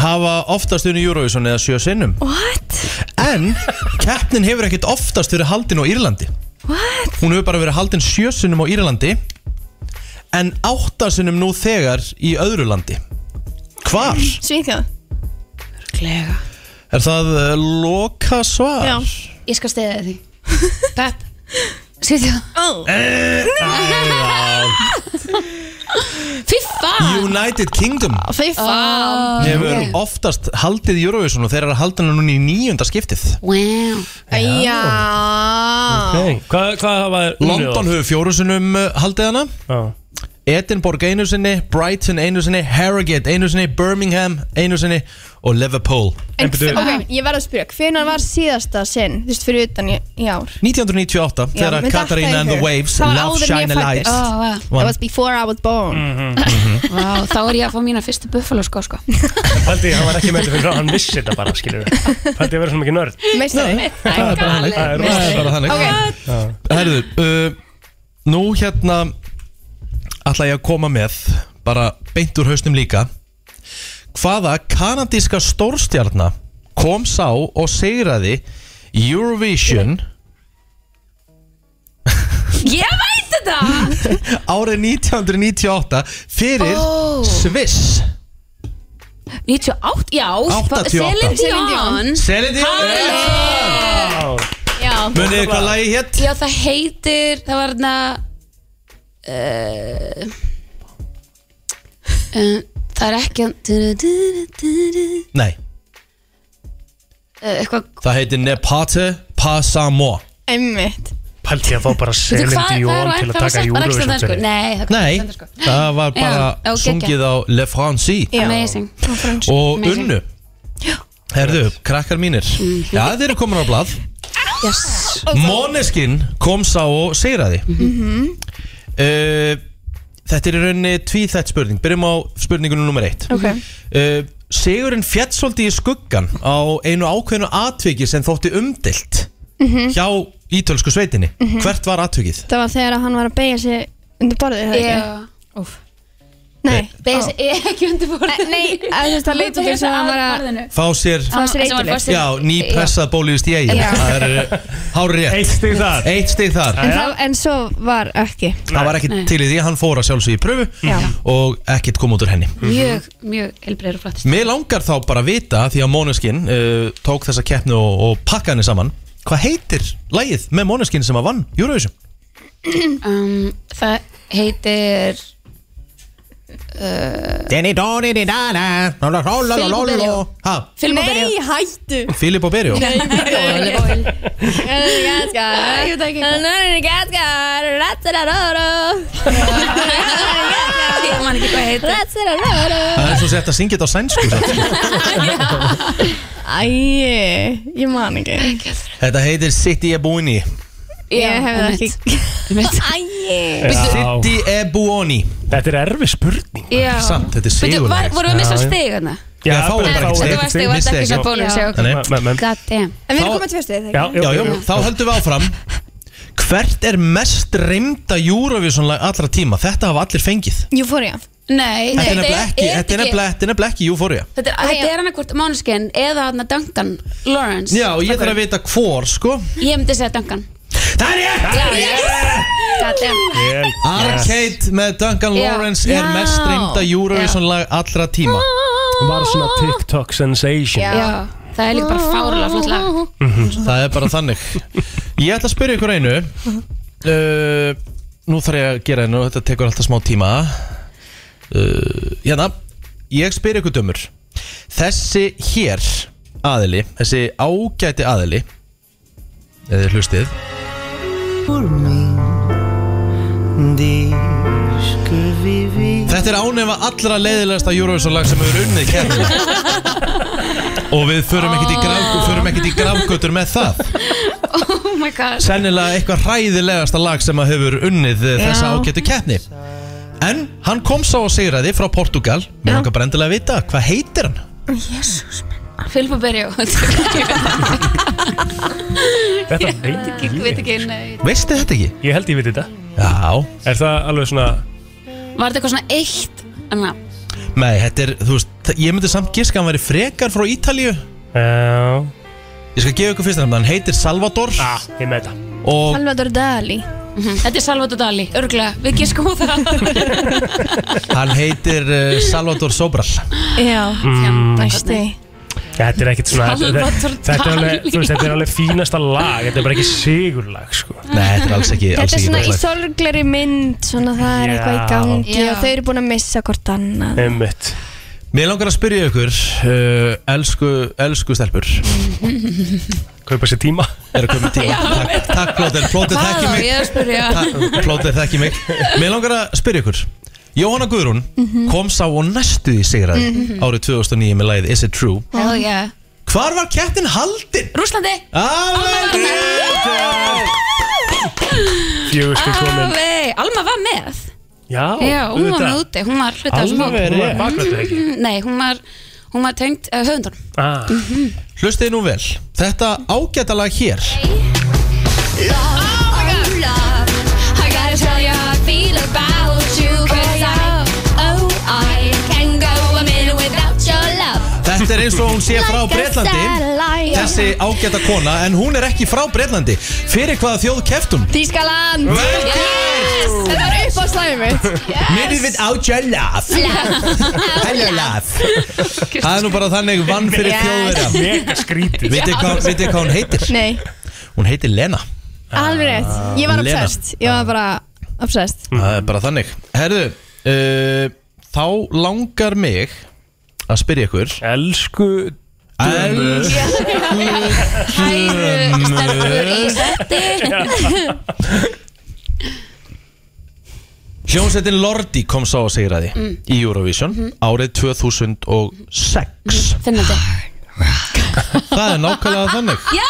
S1: hafa oftast unni Eurovision eða sjö sinnum What? En keppnin hefur ekkert oftast verið haldin á Írlandi What? Hún hefur bara verið haldin sjö sinnum á Írlandi En átta sinnum nú þegar í öðru landi Hvar?
S10: Svíþjóð
S8: Glega.
S1: Er það uh, loka svar?
S10: Já.
S8: ég skal stiða því Pepp, sýttu
S10: oh.
S1: Eh,
S8: Fiffa
S1: United Kingdom
S10: Fy fann
S8: Ah.
S1: hefur oftast haldið Eurovision og þeir eru að halda hana núna í nýjunda skiptið
S8: wow.
S10: Já
S3: Nei, hvað, hvað hafa þér?
S1: London hefur fjórusunum uh, haldið hana
S3: Já.
S1: Edinborg einu sinni, Brighton einu sinni Harrogate einu sinni, Birmingham einu sinni og Liverpool
S10: En, ok, ég verð að spyrja, hvenar var síðasta sinn, þú veist, fyrir utan í, í ár?
S1: 1998
S10: Já,
S1: þegar
S10: mér datt
S1: Katarina
S10: það í
S1: and the
S10: hug.
S1: Waves
S10: Það var
S1: Love
S10: áður en
S1: Shine
S10: ég
S1: a Light
S10: fæddist.
S8: Ó, vá.
S10: That was before I was born
S1: Mhm.
S8: Vá, þá er ég að fá mína fyrstu buffalo sko sko
S3: Paldi, hann var ekki með þetta fyrir hann vissi þetta bara, skilur Paldi að vera svona mikið nörd
S10: Meistari
S1: Það er bara þannig.
S3: Það er
S1: Það er bara þannig
S10: Ok,
S1: Herðu, uh, nú hérna ætla ég að koma með bara beint úr hausnum líka hvaða kanadíska stórstjarna kom sá og segraði Eurovision
S8: Ég veit þetta!
S1: árið 1998 fyrir Sviss
S8: 98, já
S1: 88.
S8: Celine Dion
S1: Celine Dion
S8: Já,
S1: Munið þið hvað lagi hétt?
S8: já það heitir, það var hérna uh, um, Það er ekki uh,
S1: Nei,
S8: Eh, Eitthvað
S1: það heitir Nepate Pasamo
S10: einmitt
S3: Paldi að fá bara
S8: Veitu
S3: Selin
S8: hvað, það
S3: Dion til
S8: var-
S3: að
S8: það var
S3: taka
S8: sagt- var ekki
S3: Eurovision
S8: stundar sko.
S3: fyrir.
S8: Nei, það
S1: Nei,
S8: stundar sko
S1: það var bara
S8: Já, ok,
S1: sungið á Le Franci
S10: Já.
S8: Amazing
S1: og
S8: Amazing.
S1: unnu Herðu, krakkar mínir
S10: Mhm.
S1: Já, þeir eru komin á blað
S8: yes.
S1: Måneskin kom sá og segraði
S10: Mhm.
S8: Mhm.
S1: uh, Þetta er í rauninni tvíþætt spurning Byrjum á spurningunum nummer eitt
S10: Ok.
S1: uh, Sigurinn fjall svolítið í skuggan á einu ákveðnu atviki sem þótti umdilt
S10: Mhm.
S1: hjá ítölsku sveitinni Hvert var atvikið?
S10: Það var þegar að hann var að beigja sig undir borðið, er það ekki?
S8: yeah.
S1: Eh,
S10: Nei,
S8: Besi er ekki undir borðið
S10: Nei, að þú veist, það leit út eins og hann var að
S1: Fá sér
S10: Fá sér eiturlyf.
S1: Já, nýpressað bóliðist í eigin
S10: Já.
S1: Það er uh, hár
S3: Eitt
S1: rétt
S3: stig þar
S1: Eitt stig þar
S10: En, það, en svo var ekki
S1: Það var ekkit til í því, hann fór að sjálfsög í pröfu
S10: Já.
S1: og ekkit kom út úr henni
S8: Mjög, mjög helbreyður og flott
S1: Mér langar þá bara að vita því að Måneskin uh, tók þessa keppni og, og pakka henni saman Hvað heitir lægið með Måneskin sem að vann Eurovision?
S8: um, Það heitir eh,
S1: Denny Donny Di Dana
S8: Filippo Berio. Film og byrja
S10: hættu
S1: Filip og Berjó
S10: Ég veit ekki
S8: Ég man ekki hvað heitir
S1: Það er svo sett að syngja þetta á sænsku samt.
S10: Æi, ég man ekki
S1: Þetta heitir City e Buoni
S10: Ég hef það ekki Æi
S1: City e Buoni
S3: Þetta er erfi spurning
S8: Já
S1: Samt, þetta
S8: Veitu,
S1: er sigur
S8: var- Vorum við að missa
S3: Já, já.
S8: stig hérna?
S1: Já, fáum
S3: bara
S1: bara
S3: fáum
S1: ekki
S8: Þetta
S1: stig.
S3: þetta.
S8: var stig,
S1: Misti
S8: var þetta ekki
S1: ekki.
S8: svona bónus já, ok.
S1: Nei.
S3: Men- men- men-
S8: God damn
S10: En við
S1: Þá-
S10: erum komið tvö stið,
S3: Já,
S10: þegar
S3: jú,
S1: Já,
S3: jú,
S1: jú,
S3: jú.
S1: þá höldum við áfram Hvert er mest reymda Eurovision-lag allra tíma? Þetta hafa allir fengið
S10: Jú fór ég
S8: Nei,
S1: Þetta er
S8: nei,
S1: nefnilega ekki, þetta er nefnilega- þetta er nefnilega ekki Euphoria
S8: Þetta er, þetta er annarkvort Mánuskinn eða þarna Duncan Lawrence
S1: Já, og ég þarf að vita hvor, sko
S8: Ég myndi segja Duncan
S1: Það er ég!
S8: Já, yes God damn
S3: Vel gert.
S1: Arcade með Duncan
S8: Já.
S1: Lawrence er
S8: Já.
S1: mest reynda Eurovision lag allra tíma Ah.
S3: Var svona TikTok sensation
S8: Já, það er líka Mm. bara fárlega flott lag
S10: Uh-huh.
S1: Það er bara þannig Ég ætla að spyrja ykkur einu uh, Nú þarf ég að gera einu Þetta tekur alltaf smá tíma uh, Hérna Ég spyr ykkur dömur Þessi hér aðili Þessi ágæti aðili Eða hlustið Þetta er ánefa allra leiðilegasta Eurovision lag sem hefur unnið kemur Og við förum ekkert í, graf, förum ekkert í grafgötur með það
S8: Oh my god
S1: sennilega eitthvað hræðilegasta lag sem að hefur unnið Já. þessa ágættu keppni En hann kom sá og sigraði frá Portugal Mér langar bara endilega að vita, hvað heitir hann?
S8: Filip og Berjó
S3: Þetta veit ekki
S8: Ég
S3: ég.
S8: veit ekki, nei
S1: Veistu þetta ekki?
S3: Ég held ég veit þetta
S1: Já,
S3: Er það alveg svona
S8: Var þetta eitthvað svona eitt Anna,
S1: nei, þetta er, þú veist þa- Ég myndi samt giska að hann væri frekar frá Ítalíu
S3: Já
S1: Ég skal gefa ykkur fyrst nefn, hann heitir Salvador
S3: ah, Ég með þetta
S1: Og
S10: Salvador Dali
S8: Mhm. Þetta er Salvador Dali, örgulega, við giskum á það
S1: hann heitir uh, Salvador Sobral
S10: Já, næsti
S3: Mm. Þetta er ekkert svona
S8: Salvador
S3: þetta, þetta, er alveg,
S8: Dali.
S3: þú veist, þetta er alveg fínasta lag Þetta er bara ekki sigurlag sko.
S1: Nei, þetta er alls ekki, alls
S10: Þetta er
S1: ekki
S10: svona í
S1: gott lag.
S10: sorgleri mynd, svona það er
S3: Já.
S10: eitthvað í gangi
S8: Já.
S10: og þau eru búin að missa hvort annað.
S3: Einmitt
S1: Mér langar að spyrja ykkur uh, Elsku, elsku stelpur
S3: Kaupa sér tíma
S1: Eru komið tíma Takk, takk Plóter, Plóter,
S8: Hvað
S1: takk
S8: þá,
S1: mig
S8: ég er að spyrja
S1: Plótið þekki mig Mér langar að spyrja ykkur Jóhanna Guðrún kom sá og næstu í sigraði árið 2009 með lagið Is It True
S8: Oh yeah
S1: Hvar var kettin haldin?
S8: Rúslandi
S1: Alveg rétt!
S3: Fjögur sko komin
S8: Alveg, Alma var með
S3: Já,
S8: Ah, Já, hún var með úti, hún var hluta af þessum hóp.
S3: Alveg rétt Bakvættu ekki
S8: Mm, Nei, hún var, hún var tengd uh, höfundunum
S3: Ah,
S1: Hlustið nú vel Þetta ágæta lag hér Þetta er eins og hún sé frá Breitlandi Þessi ágæta kona En hún er ekki frá Breitlandi Fyrir hvaða þjóð keft hún?
S10: Þískaland
S1: Vel gert.
S10: Þetta var upp á slæðið mitt
S1: Minni við á Jölaf Jölaf Það er nú bara þannig vann fyrir þjóðverja
S3: mega skrítið
S1: Vitið hvað, vitið hvað hún heitir?
S10: Nei,
S1: Hún heitir Lena
S10: alveg rétt Ég var
S1: Lena.
S10: obsessed Ég var bara obsessed
S1: Það er bara þannig Herðu, uh, þá langar mig að spyrja ykkur
S3: Elsku
S1: Elsku
S8: Hæru,
S10: er
S8: stelpur í setti
S1: Hljómsveitin Lordi kom sá að segra því í Eurovision árið 2006
S10: er
S8: Finnandi
S1: Það er nákvæmlega þannig
S8: Já,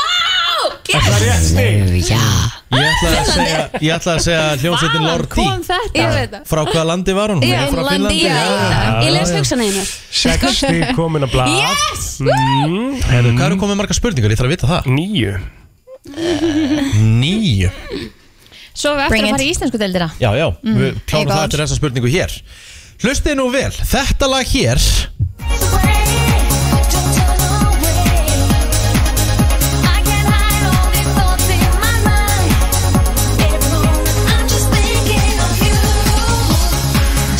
S1: Ég ætlaði að segja, ég ætlaði að segja hljómsveitin Lordi
S2: kom þetta
S8: ég veit það
S1: Frá hvaða landi var hún? Hún er frá Finnlandi.
S8: Ég veit það, ég les Sko, hugsaneginu
S3: Sexti komin að blað Mm. yes!
S1: Herðu, Hvað eru komið margar spurningar? Ég þarf að vita það
S3: Nýju
S1: Nýju
S2: Svo við eftir
S10: Bring
S2: að
S10: it.
S2: fara í íslensku deildina
S1: Já, já, við klárum
S10: Mm. Hey,
S1: það
S10: God.
S1: eftir þessa spurningu hér Hlustið nú vel, þetta lag hér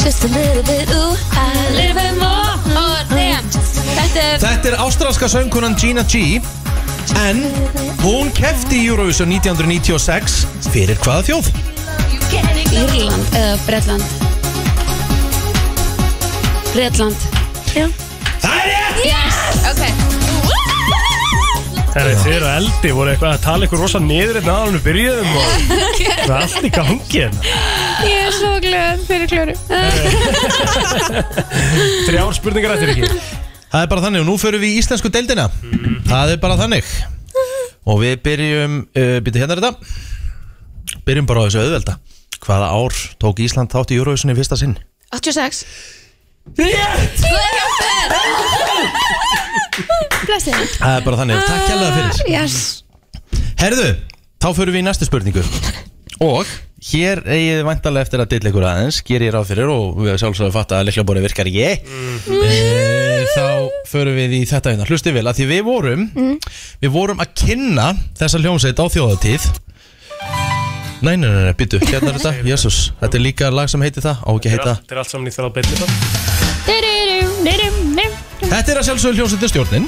S9: Just a little bit, ooh, I
S8: Little bit more, oh damn Þetta er
S1: Þetta er ástralska söngkunan Gina G En hún kefti í Eurovision 1996 Fyrir hvaða þjóð?
S8: Írland, eða Bretland Bretland
S1: Það er ég!
S8: Yes, ok
S3: Herri, þið eru eldi, voru eitthvað að tala ykkur rosa niður hérna áður en við byrjuðum og það er allt í gangi hérna.
S10: Ég er svo glöð fyrir kljóru
S3: Þrjár spurningar eftir ekki.
S1: Það er bara þannig og nú förum við í íslensku deildina Það er bara þannig Og við byrjum, uh, byrjum hérna er þetta Byrjum bara á þessu auðvelda Hvaða ár tók Ísland þátt í Eurovision í fyrsta sinn?
S8: 86
S10: Blessið
S1: Það er bara þannig, takk kjærlega fyrir
S10: Ah, Yes
S1: Herðu, þá förum við í næstu spurningu Og hér eigið væntalega eftir að dilla ykkur aðeins Ger ég ráð fyrir og við sjálfsögum fatt að leikla bóri virkar ég
S11: Eh,
S1: e, Þá förum við í þetta hérna Hlustið vel að því við vorum Við vorum að kynna þessa hljómsveit á þjóðatíð Nei, nei, nei, nei, býtu, hérna er þetta, jésús Þetta er líka lag sem heitir það, á ekki að heita
S3: Þetta er allt saman í þrjá byrju þá.
S1: Þetta er að sjálfsögðu hljómsveitin stjórnin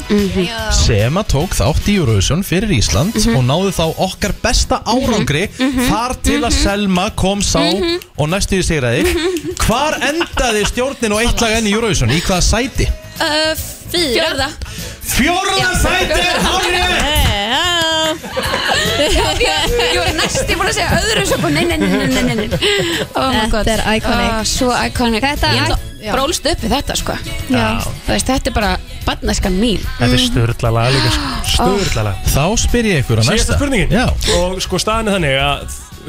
S1: sem að tók þátt í Eurovision fyrir Ísland og náðu þá okkar besta árangri þar til að Selma kom sá og næstu í sigraði Hvar endaði stjórnin og eitt lag enn í Eurovision? Í hvaða sæti?
S8: uh, Fjörða
S1: Fjórða sæti er hárið!
S8: Ég var næst, ég búin að segja öðru svo bara, Nei, nei, nei, nei, nei, nei oh my God.
S10: Þetta er iconic.
S8: Ah, Svo iconic
S10: Þetta-
S8: Ég
S10: Já.
S8: ætla brólst upp við þetta sko
S10: Já.
S8: Þú veist, þetta er bara barnæskan mín
S3: Þetta er störla lag líka, sko. störla lag.
S1: Þá spyr ég ykkur að næsta
S3: Síðasta spurningin.
S1: Já
S3: Og sko staðan er þannig að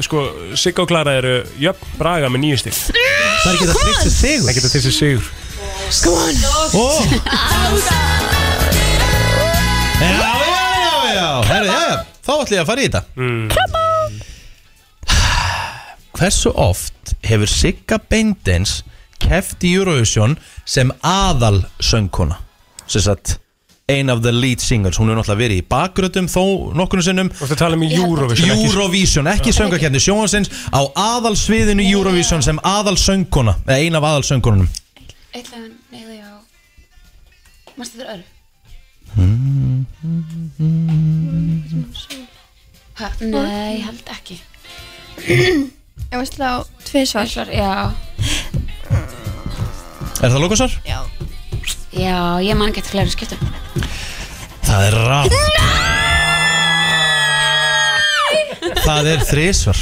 S3: sko Sigga og Klara eru jöfn braga með nýju stík.
S1: Það er ekki það tryggt sig
S3: Það
S1: þig
S3: getur þessi sigur.
S1: Ó Já, já, já, já Herri, já, já Þá ætlum ég að fara í þetta Hversu oft hefur Sigga Beindens keft í Eurovision sem aðal söngkona? Sess að ein af the lead singers Hún hefur náttúrulega verið í bakgrötum þó nokkurnu sinnum
S3: Og það tala um í Eurovision. ekki-
S1: Eurovision, ekki söngakefni sjóhansins á aðal sviðinu Eurovision sem aðal söngkona, eða ein af aðal söngkonunum
S8: Eitthvað, nei, já Mástu þér öðru? Ha, nei, ég held ekki
S1: Oh.
S10: Ég veist þá tvið svar
S8: Ætlar, já,
S1: Er það lókusar?
S8: já, ég man getur fleiri skiptum
S1: Það er rátt Það er þrísvar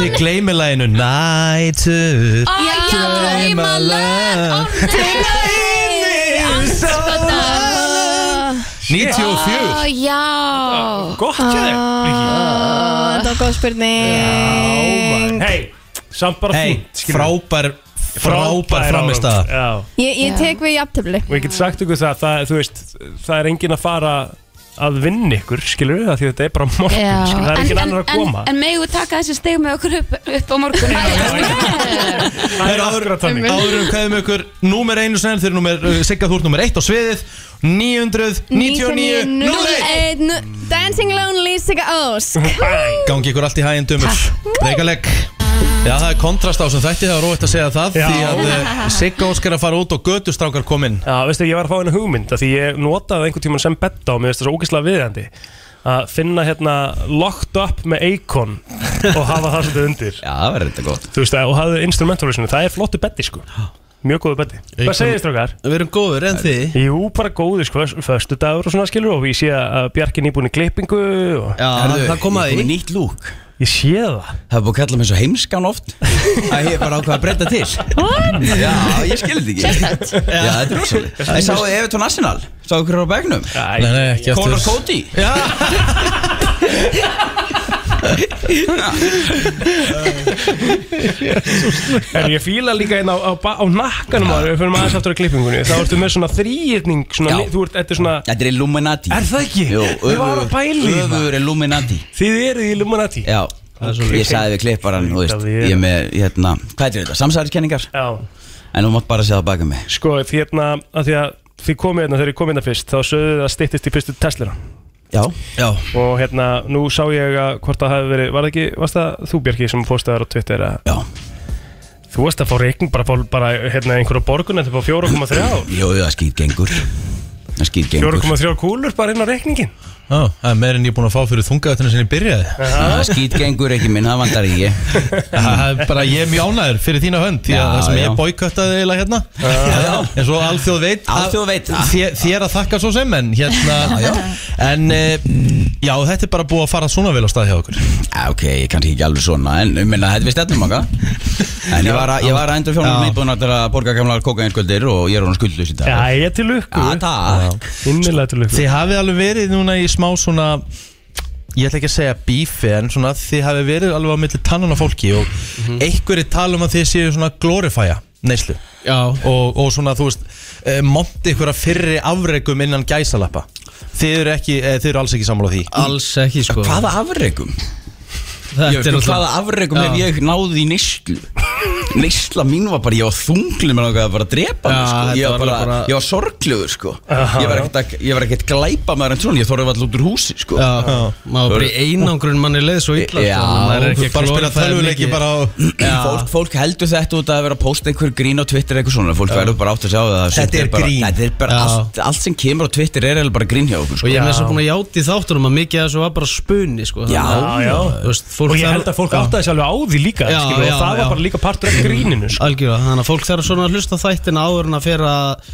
S1: Þið gleymi læginu Nætu
S12: Æ, já, drauma
S1: love
S9: Dag.
S1: 94
S9: Ó, Já
S3: Gott hjá þér
S10: Ah, Þetta var góð spurning
S3: Hei, samt bara
S1: Hei,
S3: fínt skilur við.
S1: frábær Frábær framistæða
S3: Já,
S10: Ég, ég tek við jafntöfli
S3: og ég get sagt ykkur það, það þú veist, það er engin að fara að vinna ykkur, skilur við það því þetta er bara morgun,
S9: Já.
S3: skilur, það er engin annar að koma
S8: En, en megum við taka þessi steg með okkur upp, upp á morgun
S3: Það er akkurat þannig
S1: Áðurum kveðum ykkur Númer einu snell Þeir eru númer uh, Sigga þú ert númer eitt á sviðið 999 01
S10: Dancing Lonely Sigga Ósk
S3: Bang.
S1: Gangi ykkur allt í hæginn dömur Reykjavík Já það er kontrast á sem þætti Það er róitt að segja það
S3: Já.
S1: Því að uh, Sigga óskar að fara út og gödustrákar kominn
S3: Já, veistu, ég var að fá henni hugmynd að því ég notaði einhvern tímann sem betta og mér veist það svo ógeðslega viðjandi að finna hérna locked up með Akon og hafa það svolítið undir
S13: Já, það verður þetta gott
S3: þú veist, og hafði instrumentalversinu, það er flottu betti sko mjög góðu betti
S1: Akon-
S3: Hvað segir strókar?
S1: Við erum góður en þið
S3: Jú, bara góðu sko, föstu dagur og svona skilur og ég sé að Bjarki er nýbúin í klippingu og
S13: Já,
S1: Herðu, það kom að því.
S13: Ég er búin í nýtt lúk
S3: ég sé það
S13: Það er búin að kalla mig svo heimskan oft að ég er bara ákvað að breyta til Já, ég skildi ekki Sérstætt Já, þetta er rosalega Það sáu þið Everton Arsenal Sáu ykkur á begnum
S1: Nei, nei, ekki
S13: Conor
S1: aftur
S13: Cody
S3: En ég fíla líka einn á, á, ba- á nakkanum að við fyrir maður aðeins aftur á klippingunni þá ertu með svona þrýirning svona,
S13: Já.
S3: ni- þú ert, þetta er svona
S13: Þetta er Illuminati
S3: Er það ekki?
S13: Jú,
S3: Ég var að pæla í það.
S13: Öfur Illuminati
S3: Þið eruð í Illuminati
S13: Já Ég sagði við klipparan, þú veist
S3: Líka við.
S13: Ég er með, hérna Hvað er þetta? Samsæðiskenningar
S3: Já,
S13: En þú mátt bara segja það baka mig
S3: sko því hérna að því að þið komið hérna þegar ég komið hérna fyrst þá sögðu þið að styttist í fyrstu Teslera
S13: Já Já
S3: og hérna nú sá ég að hvort það hafi verið var það ekki, varst það þú Bjarki sem fórstæðar á Twitter að
S13: Já
S3: þú varst að fá reikning bara, fá- bara hérna einhverja borgun en þið fá 4,3 ár
S13: Jú, jú, það skýt gengur Það skýt gengur
S3: 4,3 kúlur bara inn á reikningin
S1: Já, Það er meir en ég er búin að fá fyrir þungaðutunum sem ég byrjaði
S13: Það skýt gengur ekki minn, það vandar ekki
S1: Það er bara, ég er mjög ánæður fyrir þína hönd Því að
S13: Já,
S1: það sem
S13: já.
S1: ég boykottaði eiginlega hérna En svo alþjóð veit að-
S13: Alþjóð veit það.
S1: þér, þér að þakka svo sem en hérna En eh, já, þetta er bara búið að fara svona vel á stað hjá okkur
S13: Já, ok, ég kannski ekki alveg svona En um minna, þetta við stefnum okkar En ég var að, ég var að endur
S1: Já.
S13: fjónum íbúin að borga gamlar kókainsköldir Og ég er hún skuldlus í dag
S3: Já, ég til lukku
S13: Já, takk
S3: Innilega til lukku
S1: Þið hafið alveg verið núna í smá svona Ég ætla ekki að segja bífi En svona þið hafið verið alveg á milli tannan á fólki Og
S11: Mhm.
S1: mm einhverju tala um að þið séu svona glorifæja neyslu
S13: Já
S1: og, og svona þú veist eh, Monti ykkur að fyrri afregum innan gæsalappa Þið eru, ekki, eh, þið eru alls ekki sammála því
S11: Alls ekki sko
S13: Hvaða afregum?
S11: Þetta
S13: Ég,
S11: er náttúrulega-
S13: hvaða afregum
S11: Já.
S13: hef ég náði í neyslu? Neysla mín var bara, ég var þunglum Mér langaði bara að drepa mig,
S11: Já,
S13: sko
S11: þetta
S13: Ég var
S11: var
S13: bara,
S11: alveg bara-
S13: ég var sorglugur, sko
S3: Aha,
S13: Ég var ekkert að- Ég var ekkert glæpa maður en svona Ég þorði alltaf út úr húsi, sko
S11: Já, maður bara í einangrun manni leið svo illa
S13: Já,
S11: sko, maður er ekki að
S1: Bara að spila
S11: glóra það
S1: tölvuleiki
S11: mikið
S1: bara á
S13: Fólk, fólk heldur þetta út af að vera að posta einhver grín á Twitter eitthvað svona Fólk verður bara átt að sjá það Sumt
S1: Þetta er
S13: bara,
S1: grín.
S13: Þetta er bara
S11: Já.
S13: allt, allt sem kemur á Twitter er eiginlega bara grín hjá okkur
S11: Og
S13: sko.
S11: ég er með þess að búin að játi þáttunum að mikið af þessu var bara spuni sko
S13: Já,
S3: Já, já
S11: Þú veist, fólk
S3: Og ég
S11: þarf-
S3: held að fólk
S11: Já.
S3: áttaði sér alveg á því líka
S11: Já,
S3: skilur,
S11: já,
S3: Og það
S11: já.
S3: var bara líka partur af gríninu sko.
S11: Algjörlega, þannig að fólk þarf svona að hlusta á þættina áður en að fyrir að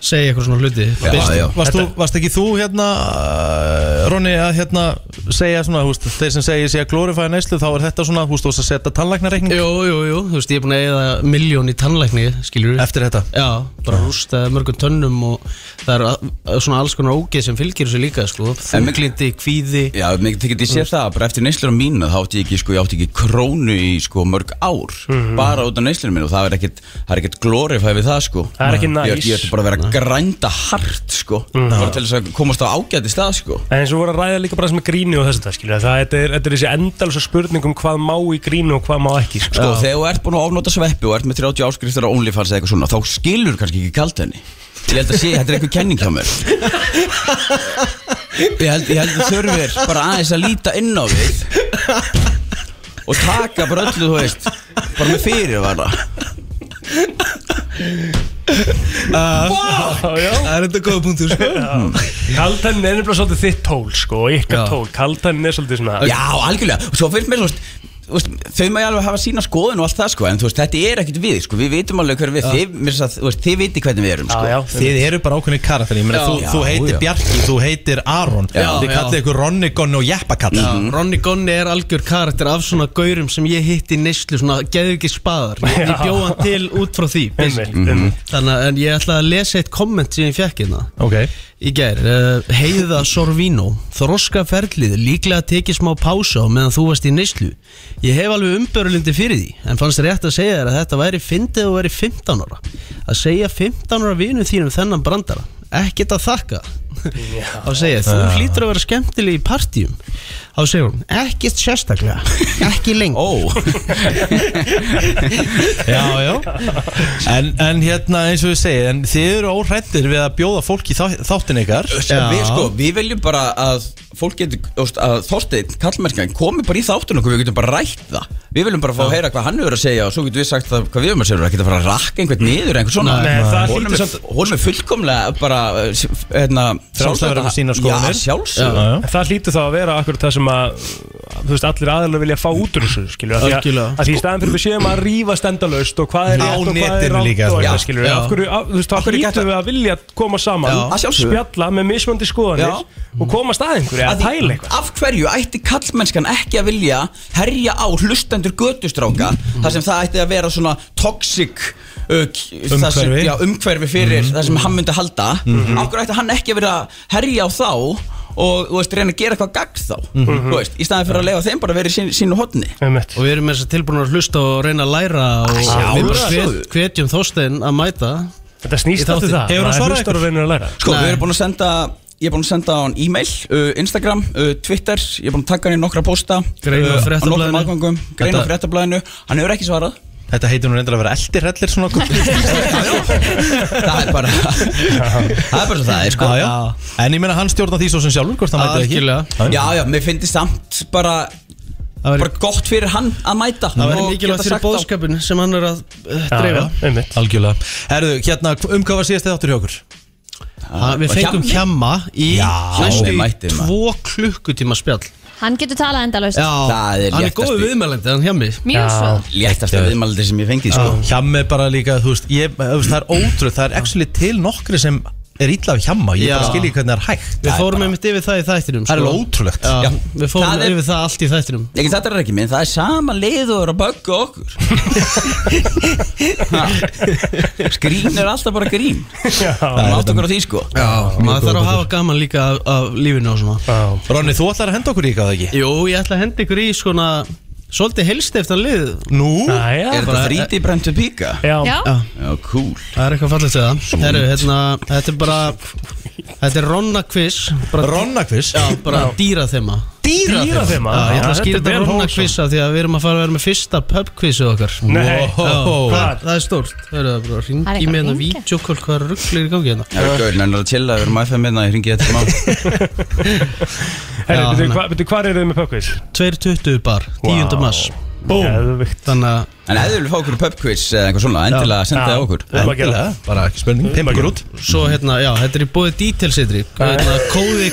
S11: segja eitthvað svona hluti
S13: Já,
S11: Byrst-
S13: já.
S1: Varst, þú, varst ekki þú hérna eh, Ronni að hérna segja svona húst, þeir sem segja sé að glorifæja neyslu þá er þetta svona, húst, þú veist að setja tannlæknareikning
S11: Jú, jú, jú, þú veist, ég er búin að eigða miljón í tannlækni, skilur við
S1: eftir þetta
S11: Já, bara rústaði mörgum tönnum og það er að- að svona alls konar ógeð sem fylgir þessu líka, sko Þunglindi, kvíði
S13: Já, mér þykir ég sé það, bara eftir neyslur á mínu þá átti ég ekki, sko, ég átti ekki krónu í sko, mörg ár,
S3: Mhm.
S13: bara út af neyslur mínu og það er ekkert, það er ekkert glorifæð við það sko.
S3: Það er ekki
S13: Ég-
S3: næs. Mhm.
S13: Ég ætti bara að vera grænda hart sko, bara til þess að komast á ágæti stað sko.
S3: En eins og voru að ræða líka bara sem er grínu og þess að skilja Það þetta er, þetta er þessi endalsa spurning um hvað má í grínu og hvað má ekki sko.
S13: Sko, þegar þú ert búin að ofnota sveppi og ert með 30 áskriftir á OnlyFans eða eitthvað svona, þá skilur kannski ekki kalt henni. Ég held að sé, þetta er eitthvað kenning hjá mér. Ég held, ég held að þurfir bara aðeins að líta inn á þig og taka bara öllu, þú veist, bara með fyrirvara. Ah,
S3: Já, já
S11: Það er þetta góða punktur, sko
S3: Kaldan er nefnilega svolítið þitt tól sko, og ykkar tól Kaldan er svolítið svona
S13: Já, algjörlega, og svo finnst mér, þú veist, veist, þau maður alveg hafa sína skoðun og allt það sko En þú veist, þetta er ekkert við sko Við vitum alveg hver við,
S1: Já.
S13: þið, mér, að, þú veist, þið viti hvernig við erum sko
S1: Þið eru bara ákveðni karakter Ég meina,
S13: Já.
S1: þú,
S13: Já,
S1: þú heitir
S13: já.
S1: Bjarki, þú heitir Aron
S11: Já,
S1: Þið
S11: já.
S1: kallið ykkur Ronni Gonni og Mhm. Jeppakall
S11: Já, Ronny Gonni er algjör karakter af svona gaurum sem ég hitti í neyslu, svona geðu ekki spaðar ég, ég bjó hann til út frá því basically.
S1: Einmitt, einmitt.
S11: þannig að en ég ætla að lesa eitt komment sem ég fekk hérna
S1: okay.
S11: í gær, uh, Heiða Sorvino þroska ferlið, líklega tekið smá pása á meðan þú varst í neyslu ég hef alveg umbörlindi fyrir því en fannst rétt að segja þér að þetta væri fyndið og væri 15 ára að segja 15 ára vinum þínum þennan brandara ekkert að þakka þá segja, þú
S1: Já.
S11: hlýtur að vera skemmtileg í partíum þá segir hún, ekkert sérstaklega ekki lengt
S13: oh.
S1: Já, já en, en hérna eins og við segja En þið eru óhrættir við að bjóða fólk í þá, þáttin ykkar
S13: Við, sko, við veljum bara að fólk getur, þú veist, að Þorsteinn, kallmennskan, komi bara í þáttun okkur, við getum bara rætt það Við viljum bara fá að heyra hvað hann hefur að segja og svo getum við sagt það hvað við erum að segja, við erum ekki að fara að rakka einhvern niður einhvern svona
S3: Nei, Nei. það
S13: Honum
S3: hlýtur
S13: er- Honum er fullkomlega bara, eh, s- hérna,
S3: Frjálst að vera með um sínar
S13: Já,
S3: skoðanir.
S13: sjálfsög
S3: En það hlýtur þá að vera akkurat það sem að þú veist, allir aðalega vilja fá út úr þessu skilur, af því að,
S11: Algjörlega.
S3: að því í staðan fyrir við séum að rífa stendalaust og hvað er
S1: Á
S3: rétt og hvað er
S1: netinu
S3: rátt
S1: líka,
S3: og
S1: sko.
S3: eitthvað
S1: Já.
S3: skilur
S1: Já.
S3: af hverju, af, þú veist, af hverju
S13: geta-
S3: hlýtur við að vilja koma saman,
S13: Já. Að sjálfsögðu.
S3: spjalla með mismandi skoðanir
S13: Já.
S3: og koma stað einhverju
S13: Að
S3: að
S13: því-
S3: pæla eitthvað
S13: Af hverju ætti kallmennskan ekki að vilja herja á hlustendur gödustráka þar sem það ætti að vera svona toxic uh, k- það sem-
S1: Umhverfi.
S13: já, umhverfi fyrir
S3: Mhm.
S13: það sem hann myndi halda af hverju ætti hann ekki að vera að herja á þá og þú veist, reyna að gera eitthvað gagn þá
S3: Mhm.
S13: þú veist, í staðin fyrir að lega þeim bara að vera í sín, sínu hodni
S3: Einmitt.
S11: og við erum með þess að tilbúin að hlusta og reyna að læra og
S13: sjálfsögðu.
S11: við bara hvet- hvetjum Þorstein að mæta
S3: Þetta
S11: Í
S3: snýst alltaf
S11: þáttinn.
S3: það
S1: Hefur hann
S3: Maður
S1: svarað
S3: hlustar og reynir að læra
S13: sko,
S11: Nei.
S13: við erum búin að senda Ég er búin að senda á hann e-mail, uh, Instagram, uh, Twitter, ég er búin að taka hann í nokkra posta
S11: Grein á
S13: uh, á
S11: Fréttablaðinu.
S13: nokkrum aðgangum, grein á
S11: Þetta-
S13: fréttablaðinu, hann hefur ekki svarað
S1: Þetta heitir nú reyndar að vera eldirhellir svona
S13: það er bara það er bara svo það er sko
S1: Já, já. En ég meina hann stjórnar því svo sem sjálfur Hvort hann mætið ekki
S11: Algjörlega.
S13: já, já, mér finnst þið samt bara
S11: það
S13: bara
S11: væri,
S13: gott fyrir hann að mæta
S11: það væri
S13: og
S11: mikilvægt
S13: geta
S11: fyrir
S13: sagt á-
S11: bóðskapin sem hann er að uh,
S3: Já,
S11: dreifa
S3: já, einmitt.
S1: Algjörlega Herðu, hérna, um hvað var síðast eða áttur hjá okkur?
S11: Ha, Við
S13: Og
S11: fengum
S13: Hjammi.
S11: hjemma í
S1: Já,
S11: næstu
S13: við
S11: í
S13: mættum að-
S11: tvo klukkutíma spjall
S2: Hann getur talað endalaust
S11: Já,
S13: Það er
S11: hann er
S13: léttasti.
S11: góður viðmælandi, hann hjemmi
S2: Mjög svo
S13: léttasta viðmældi sem ég fengið sko
S1: Hjammi bara líka, þú veist, ég, þú veist Það er ótrúð, það er actually til nokkri sem er illa af hjamma Ég
S11: Já.
S1: bara skilji hvernig það er hægt
S11: Við fórum einmitt yfir það í þættinum
S1: Það er
S11: sko.
S1: alveg ótrúlegt
S11: Já,
S13: Já.
S11: Við fórum
S13: Það er-
S11: yfir það allt í þættinum
S13: ekki þetta er ekki minn, það er sama lið og er að bögga okkur Ha. grín er alltaf bara grín
S3: Já,
S13: það mátt okkur á því sko
S11: Maður þarf að hafa gaman líka af, af lífinu og svona
S3: já
S1: Ronni, þú ætlar að henda okkur í eitthvað eða ekki?
S11: Jú, ég ætla að henda ykkur í svona Svolítið helst eftir lið
S1: Nú?
S3: Jæja.
S13: er þetta
S11: bara-
S13: þríti brentu píka?
S2: Já,
S3: Já,
S13: já, cool
S11: Það er eitthvað fallegt við það Herru, hérna, þetta er bara Þetta er Ronna quiz bara,
S1: Ronnakviss?
S11: Já, bara dýra þema
S3: dýra þeim
S11: Já, ég ætla að skýra þetta Ronna quiz af Því að við erum að fara að vera með fyrsta pub quizið okkar
S3: Nei,
S11: Já, það,
S3: Hvar?
S11: það er stórt Það er bara
S2: Það er
S11: hringi með
S2: eitthvað
S11: hérna
S2: að hringja.
S11: Vídeokól, hvað er rugglir í gangi hérna
S13: Já, gauður, menn er að chilla, við erum að FM minna, ég ringi þetta má
S11: Já,
S3: Herri,
S11: hann-
S3: betur hvað eru þið með pökkvís?
S11: 2.20 bar, 10.
S3: Vá.
S11: mass
S3: Geðvikt
S11: Þannig að
S13: En ef þið viljum fá okkur pub quiz eða eitthvað svona, endilega senda það
S3: Já.
S13: okkur
S3: Við erum að gera
S1: Endilega, bara ekki spurning, pimpa okkur út
S11: Svo hérna, já, þetta er í bóði dítelsetri hérna, Kóði,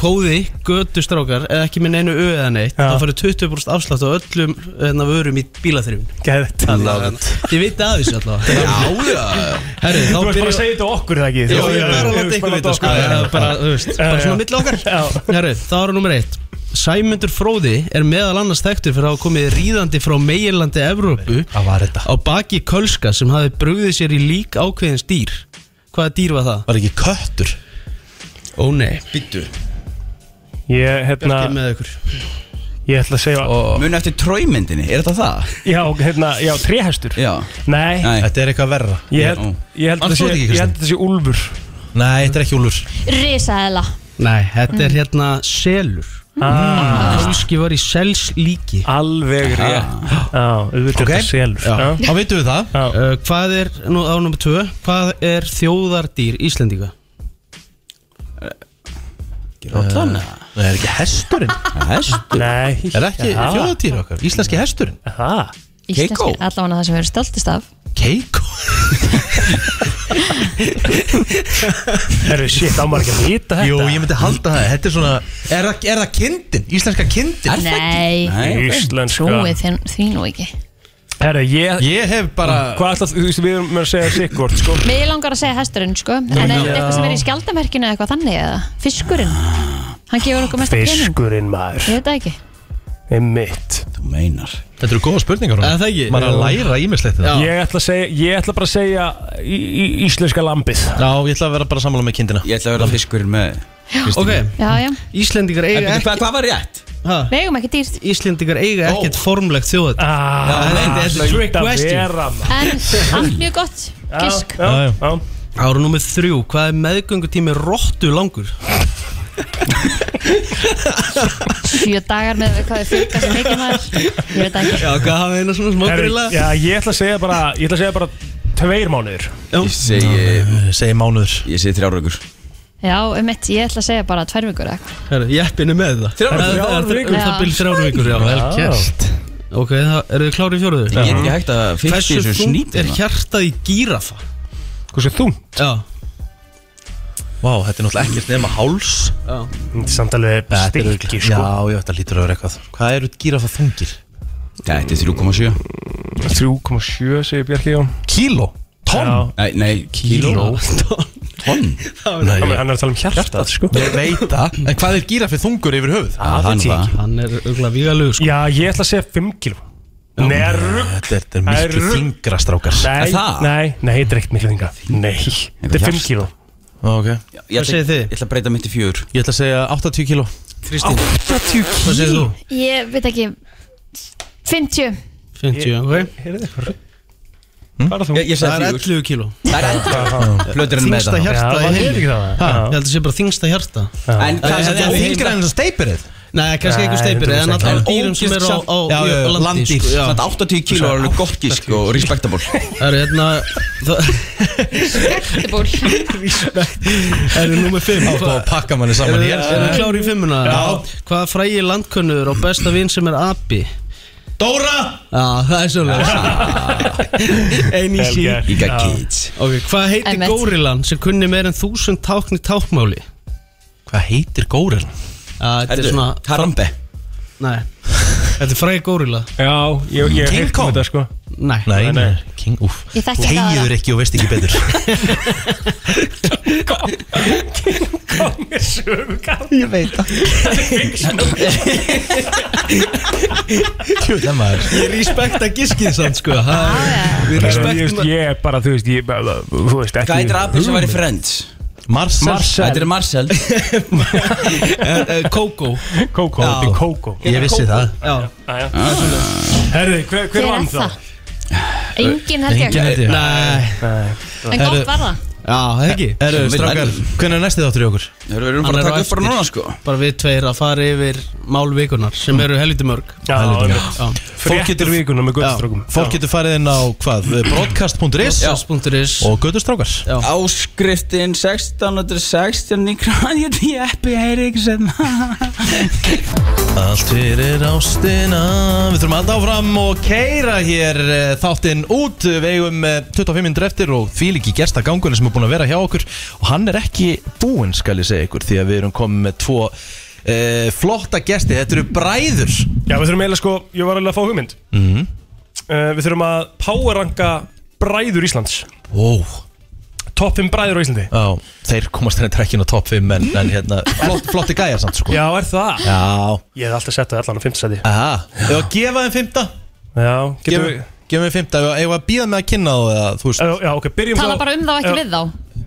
S11: kóði Götustrákar, eða ekki minn einu öð eða neitt
S3: Já.
S11: þá farið 20% afslátt á öllum hérna, vörum í bílaþrifun
S3: Geðvikt
S11: Ég veit að þessu allavega
S13: Já, já,
S11: Herri,
S3: Þú veist bara
S11: þá
S3: að
S11: byrjum
S3: segja þetta á okkur, það ekki?
S11: Jó,
S3: Þú-
S11: ég er bara
S3: þú
S11: að láta
S3: veist
S11: ykkur
S3: bara
S11: vita
S3: láta
S11: sko
S3: okkur.
S11: Það er bara, þú veist, bara svona milli okkar Herru, þá er nummer eitt Sæmundur Fróði er meðal annars þekktur fyrir að hafa komið ríðandi frá meginlandi Evrópu
S1: Hvað var þetta?
S11: á baki kölska sem hafi brugðið sér í lík ákveðins dýr Hvaða dýr var það?
S1: Var ekki köttur?
S11: Ó nei,
S13: býttu
S3: Ég, hérna,
S11: ekki með ykkur
S3: ég ætla að segja
S13: Muni eftir tróymyndinni, er þetta það?
S3: Já, hérna, já, tréhestur
S13: Já
S3: Nei,
S13: Nei.
S1: Þetta er eitthvað verra
S3: ég held,
S13: Ó.
S3: ég held að
S1: Manstu
S3: sé,
S1: þetta ekki,
S3: ég held að sé úlfur
S1: Nei, þetta er ekki úlur
S2: risaðela
S11: Nei, þetta
S2: Mm.
S11: er hérna selur
S3: Ah,
S11: Kölski var í sels líki
S3: Alveg rétt Já, auðvitað
S1: Ok.
S3: okay. selur
S11: Já.
S3: Já.
S1: Þá veitum við það
S3: Já.
S11: uh, Hvað er, nú á nummer 2 Hvað er þjóðardýr Íslendinga? Uh,
S13: Rótlan
S1: Nei, það er ekki hesturinn
S13: Hestur
S3: Nei,
S1: Er ekki
S3: Já.
S1: þjóðatýr okkar? Íslenski hesturinn
S3: Það
S2: Íslenski,
S13: Keikó.
S2: allavega það sem við erum stoltist af
S1: Keiko
S3: Herru, shit, á maður ekki að vita þetta
S1: Jú, ég myndi halda það Þetta er svona Er, það- er það kindin? Íslenska kindin?
S2: Nei, trúið þér- því nú ekki
S3: Herru, ég
S1: Ég hef bara
S3: Hvað alltaf, þú veist, við erum að segja sikkort, sko
S2: Mér langar að segja hesturinn sko En er þetta
S3: Já.
S2: eitthvað sem er í skjaldamerkinu eða eitthvað þannig eða Fiskurinn Hann gefur okkur mesta pening
S3: Fiskurinn maður
S2: Ég veit það ekki
S3: er mitt
S7: Þú meinar
S1: Þetta eru góða spurningar
S11: Eða það ekki?
S1: Maður er að
S3: Já.
S1: læra hérna. ímislegt þetta
S3: Ég ætla, að segja, ég ætla bara að segja í, í, íslenska lambið
S1: Já, ég ætla að vera bara sammála með kindina
S13: Ég ætla að vera fiskurinn með
S11: Ok,
S2: Já, já,
S11: Íslendingar
S13: En
S11: eiga
S13: byrju,
S11: ekki
S13: Hvað hvað var rétt?
S11: ha,
S2: við eigum ekki dýrt
S11: Íslendingar eiga ekkert formlegt þjóðat
S3: ah,
S11: þetta er
S3: hlaut
S11: trick
S3: að
S11: question.
S3: vera, maður.
S2: En allt mjög gott Gisk
S3: Já, já, já.
S11: Ára nummið þrjú, hvað er meðgöngutími rottu langur?
S2: Sjö dagar með hvað þið fylgja sem mikið maður Ég veit það ekki
S11: Já, hvað hafa eina svona
S3: Herru,
S11: smágrilla?
S3: já, ég ætla að segja bara Ég ætla að segja bara tveir mánuður
S13: Ég segi,
S1: Segir mánuður
S13: ég segi þrjáraugur
S2: Já, um mitt, ég ætla að segja bara tvær vikur eða eitthvað.
S11: Herru, jeppin er með það
S13: Þrjár vikur.
S11: Það er- það er-
S2: Já.
S11: Það byrjir þrjár vikur, já, vel
S3: Já.
S11: gert Ok, það eru þið klárið í
S13: Ég
S11: fjóruðu?
S13: get ekki hægt að fylgja
S11: Hversu
S13: þessu
S11: þungt
S13: snýti hérna.
S11: er hjartað í gírafa?
S3: Hversu þú?
S11: Já,
S1: Vá, þetta er náttúrulega ekkert nema háls
S3: Samtalið stikki, sko
S1: Já, já, þetta lítur að vera eitthvað Hvað eru gírafa þungir?
S13: Þetta er 3,7
S3: 3,7 segir Bjarki Jón
S1: Kíló? Tonn?
S3: Já,
S13: Nei, nei, kíló Tonn
S1: Nei,
S3: Hann er- hann er að tala um hjartað, sko
S1: ég veit það En hvað er gírafi þungur yfir höfuð?
S13: Ah,
S3: það
S13: það er
S3: veit ég
S13: nú
S3: ekki.
S11: hann er örgulega vígalög sko
S3: Já, ég ætla að segja 5 kíló Nei, rugg
S1: Þetta er- þetta er
S3: Það er
S1: miklu
S3: rugl.
S1: þingra strákar
S3: Nei,
S13: Er það?
S3: nei, nei, þetta er ekkert miklu þinga Nei, þetta er 5
S13: hjarta.
S3: kíló
S1: Ok
S13: það.
S11: Hvað segir þið?
S13: Ég ætla að breyta mitt í fjögur
S1: Ég ætla að segja 80 kíló
S11: Kristín, hvað segir þú?
S2: Ég veit ekki 50
S11: 50, ok
S3: Heyrðu þið, Hmm? bara þú
S13: Ég, ég
S11: Það er
S13: segi fjögur
S11: 11 kíló
S13: Plöturinn með
S11: Þingsta
S13: það
S3: Já,
S11: hjarta
S3: það
S11: í
S3: er
S11: heimi
S3: ekki
S11: Ha,
S3: það
S11: Ég held
S3: já.
S11: að sé bara þingsta hjarta
S13: En hvað
S11: Það
S13: sagði
S11: er-
S13: ég?
S1: Þingra en þess að steipir þið?
S11: Nei, kannski
S3: Nei,
S11: eitthvað steipir En
S3: 100%
S11: allar
S13: ekki.
S11: dýrum sem eru á, á,
S1: Já, já,
S11: á landi
S1: landdýr.
S11: sko. Já.
S13: Samt 80 kíló er alveg gott gísk og respectable
S11: Það eru hérna
S2: Rektibúl
S11: Það eru nummer 5
S1: Átt að pakka manni
S11: Eru
S1: saman í
S11: eru
S1: helst
S11: klári í fimmuna? Já Hvaða frægi landkönnur og besta vin sem er api?
S1: Dóra!
S11: Já, það er svolítið Einn í
S3: Vel
S11: sí
S3: gert.
S13: Ég got
S3: Já.
S13: kids
S11: Ok, hvað heitir
S2: Einmitt.
S11: górillan sem kunni meir en þúsund tákn í tákmáli?
S1: Hvað heitir górin?
S11: Já, Þetta er svona
S13: Karambe
S11: Nei Þetta er frægi górilla
S3: Já, ég, ég
S1: King
S3: heyrt um
S1: Kong?
S3: þetta, sko
S11: Nei
S1: Nei,
S3: Nei,
S1: nei,
S3: nei.
S1: King, úf
S2: Ég þekki það.
S1: Þegiður ekki og veist ekki betur
S3: Kong er sögukall Ég veit það
S1: Kjöldar maður
S11: Ég respekta giskið samt sko Það er- Við respektum
S3: Ég er bara, þú veist, ég bara, þú veist ekki
S13: Hvað heitir apið sem var í Friends?
S1: Marcel
S13: Þetta
S3: Marcel
S13: er Marcel
S11: Eh, eh, Kókó
S3: Kókó, þetta er Kókó
S1: Ég vissi það
S11: Já
S3: Herði, hver, hver
S2: Hver
S3: vann
S2: er
S3: þá?
S2: það? Engin held
S1: Engin
S2: ég
S1: heiti
S11: Nei
S2: En gott var það
S11: Já, það ekki
S1: Eru, strákar, hvernig er næsti þáttur í okkur?
S13: Við erum
S11: Hann
S13: bara
S11: er
S13: að
S11: á
S13: taka upp bara
S11: eftir.
S13: núna sko
S11: Bara við tveir að fara yfir málvikunar sem eru helviti mörg
S3: Já, einmitt.
S11: Já
S1: Fólk
S3: Fréttir
S1: getur-
S3: vikuna með guttstrókum
S1: Fólk getur farið inn á hvað? Eh, Broadcast.is
S11: Sess.is
S1: Og göttustrákar
S11: Já.
S13: Áskriftin 1616 í kranjit í Eppi Eiríksen
S1: Allt fyrir ástina Við þurfum að áfram og keira hér eh, þáttinn út Við eigum eh, 25 minnur eftir og því líki gersta gangunni sem er búin að vera hjá okkur og hann er ekki búinn skal ég segja ykkur því að við erum komið með tvo e, flotta gesti, þetta eru bræður
S3: Já, við þurfum eiginlega sko, ég var alveg að fá hugmynd uh, Við þurfum að powerranka bræður Íslands
S1: Ó,
S3: Top 5 bræður á Íslandi
S1: á, þeir komast henni trekkin á topp 5 en, en hérna, flott, flotti gæjar samt sko
S3: Já, er það?
S1: Já,
S3: Ég hef alltaf sett það allan á 5. seti
S1: aha, ef að gefa þeim 5
S3: Já, getum við
S1: Gefum gefum við 5, ef að býða með að kynna þá eða, þú veist,
S3: Já, Já, ok, Sko, byrjum
S2: Tala bara um þá ekki
S3: Já.
S2: við þá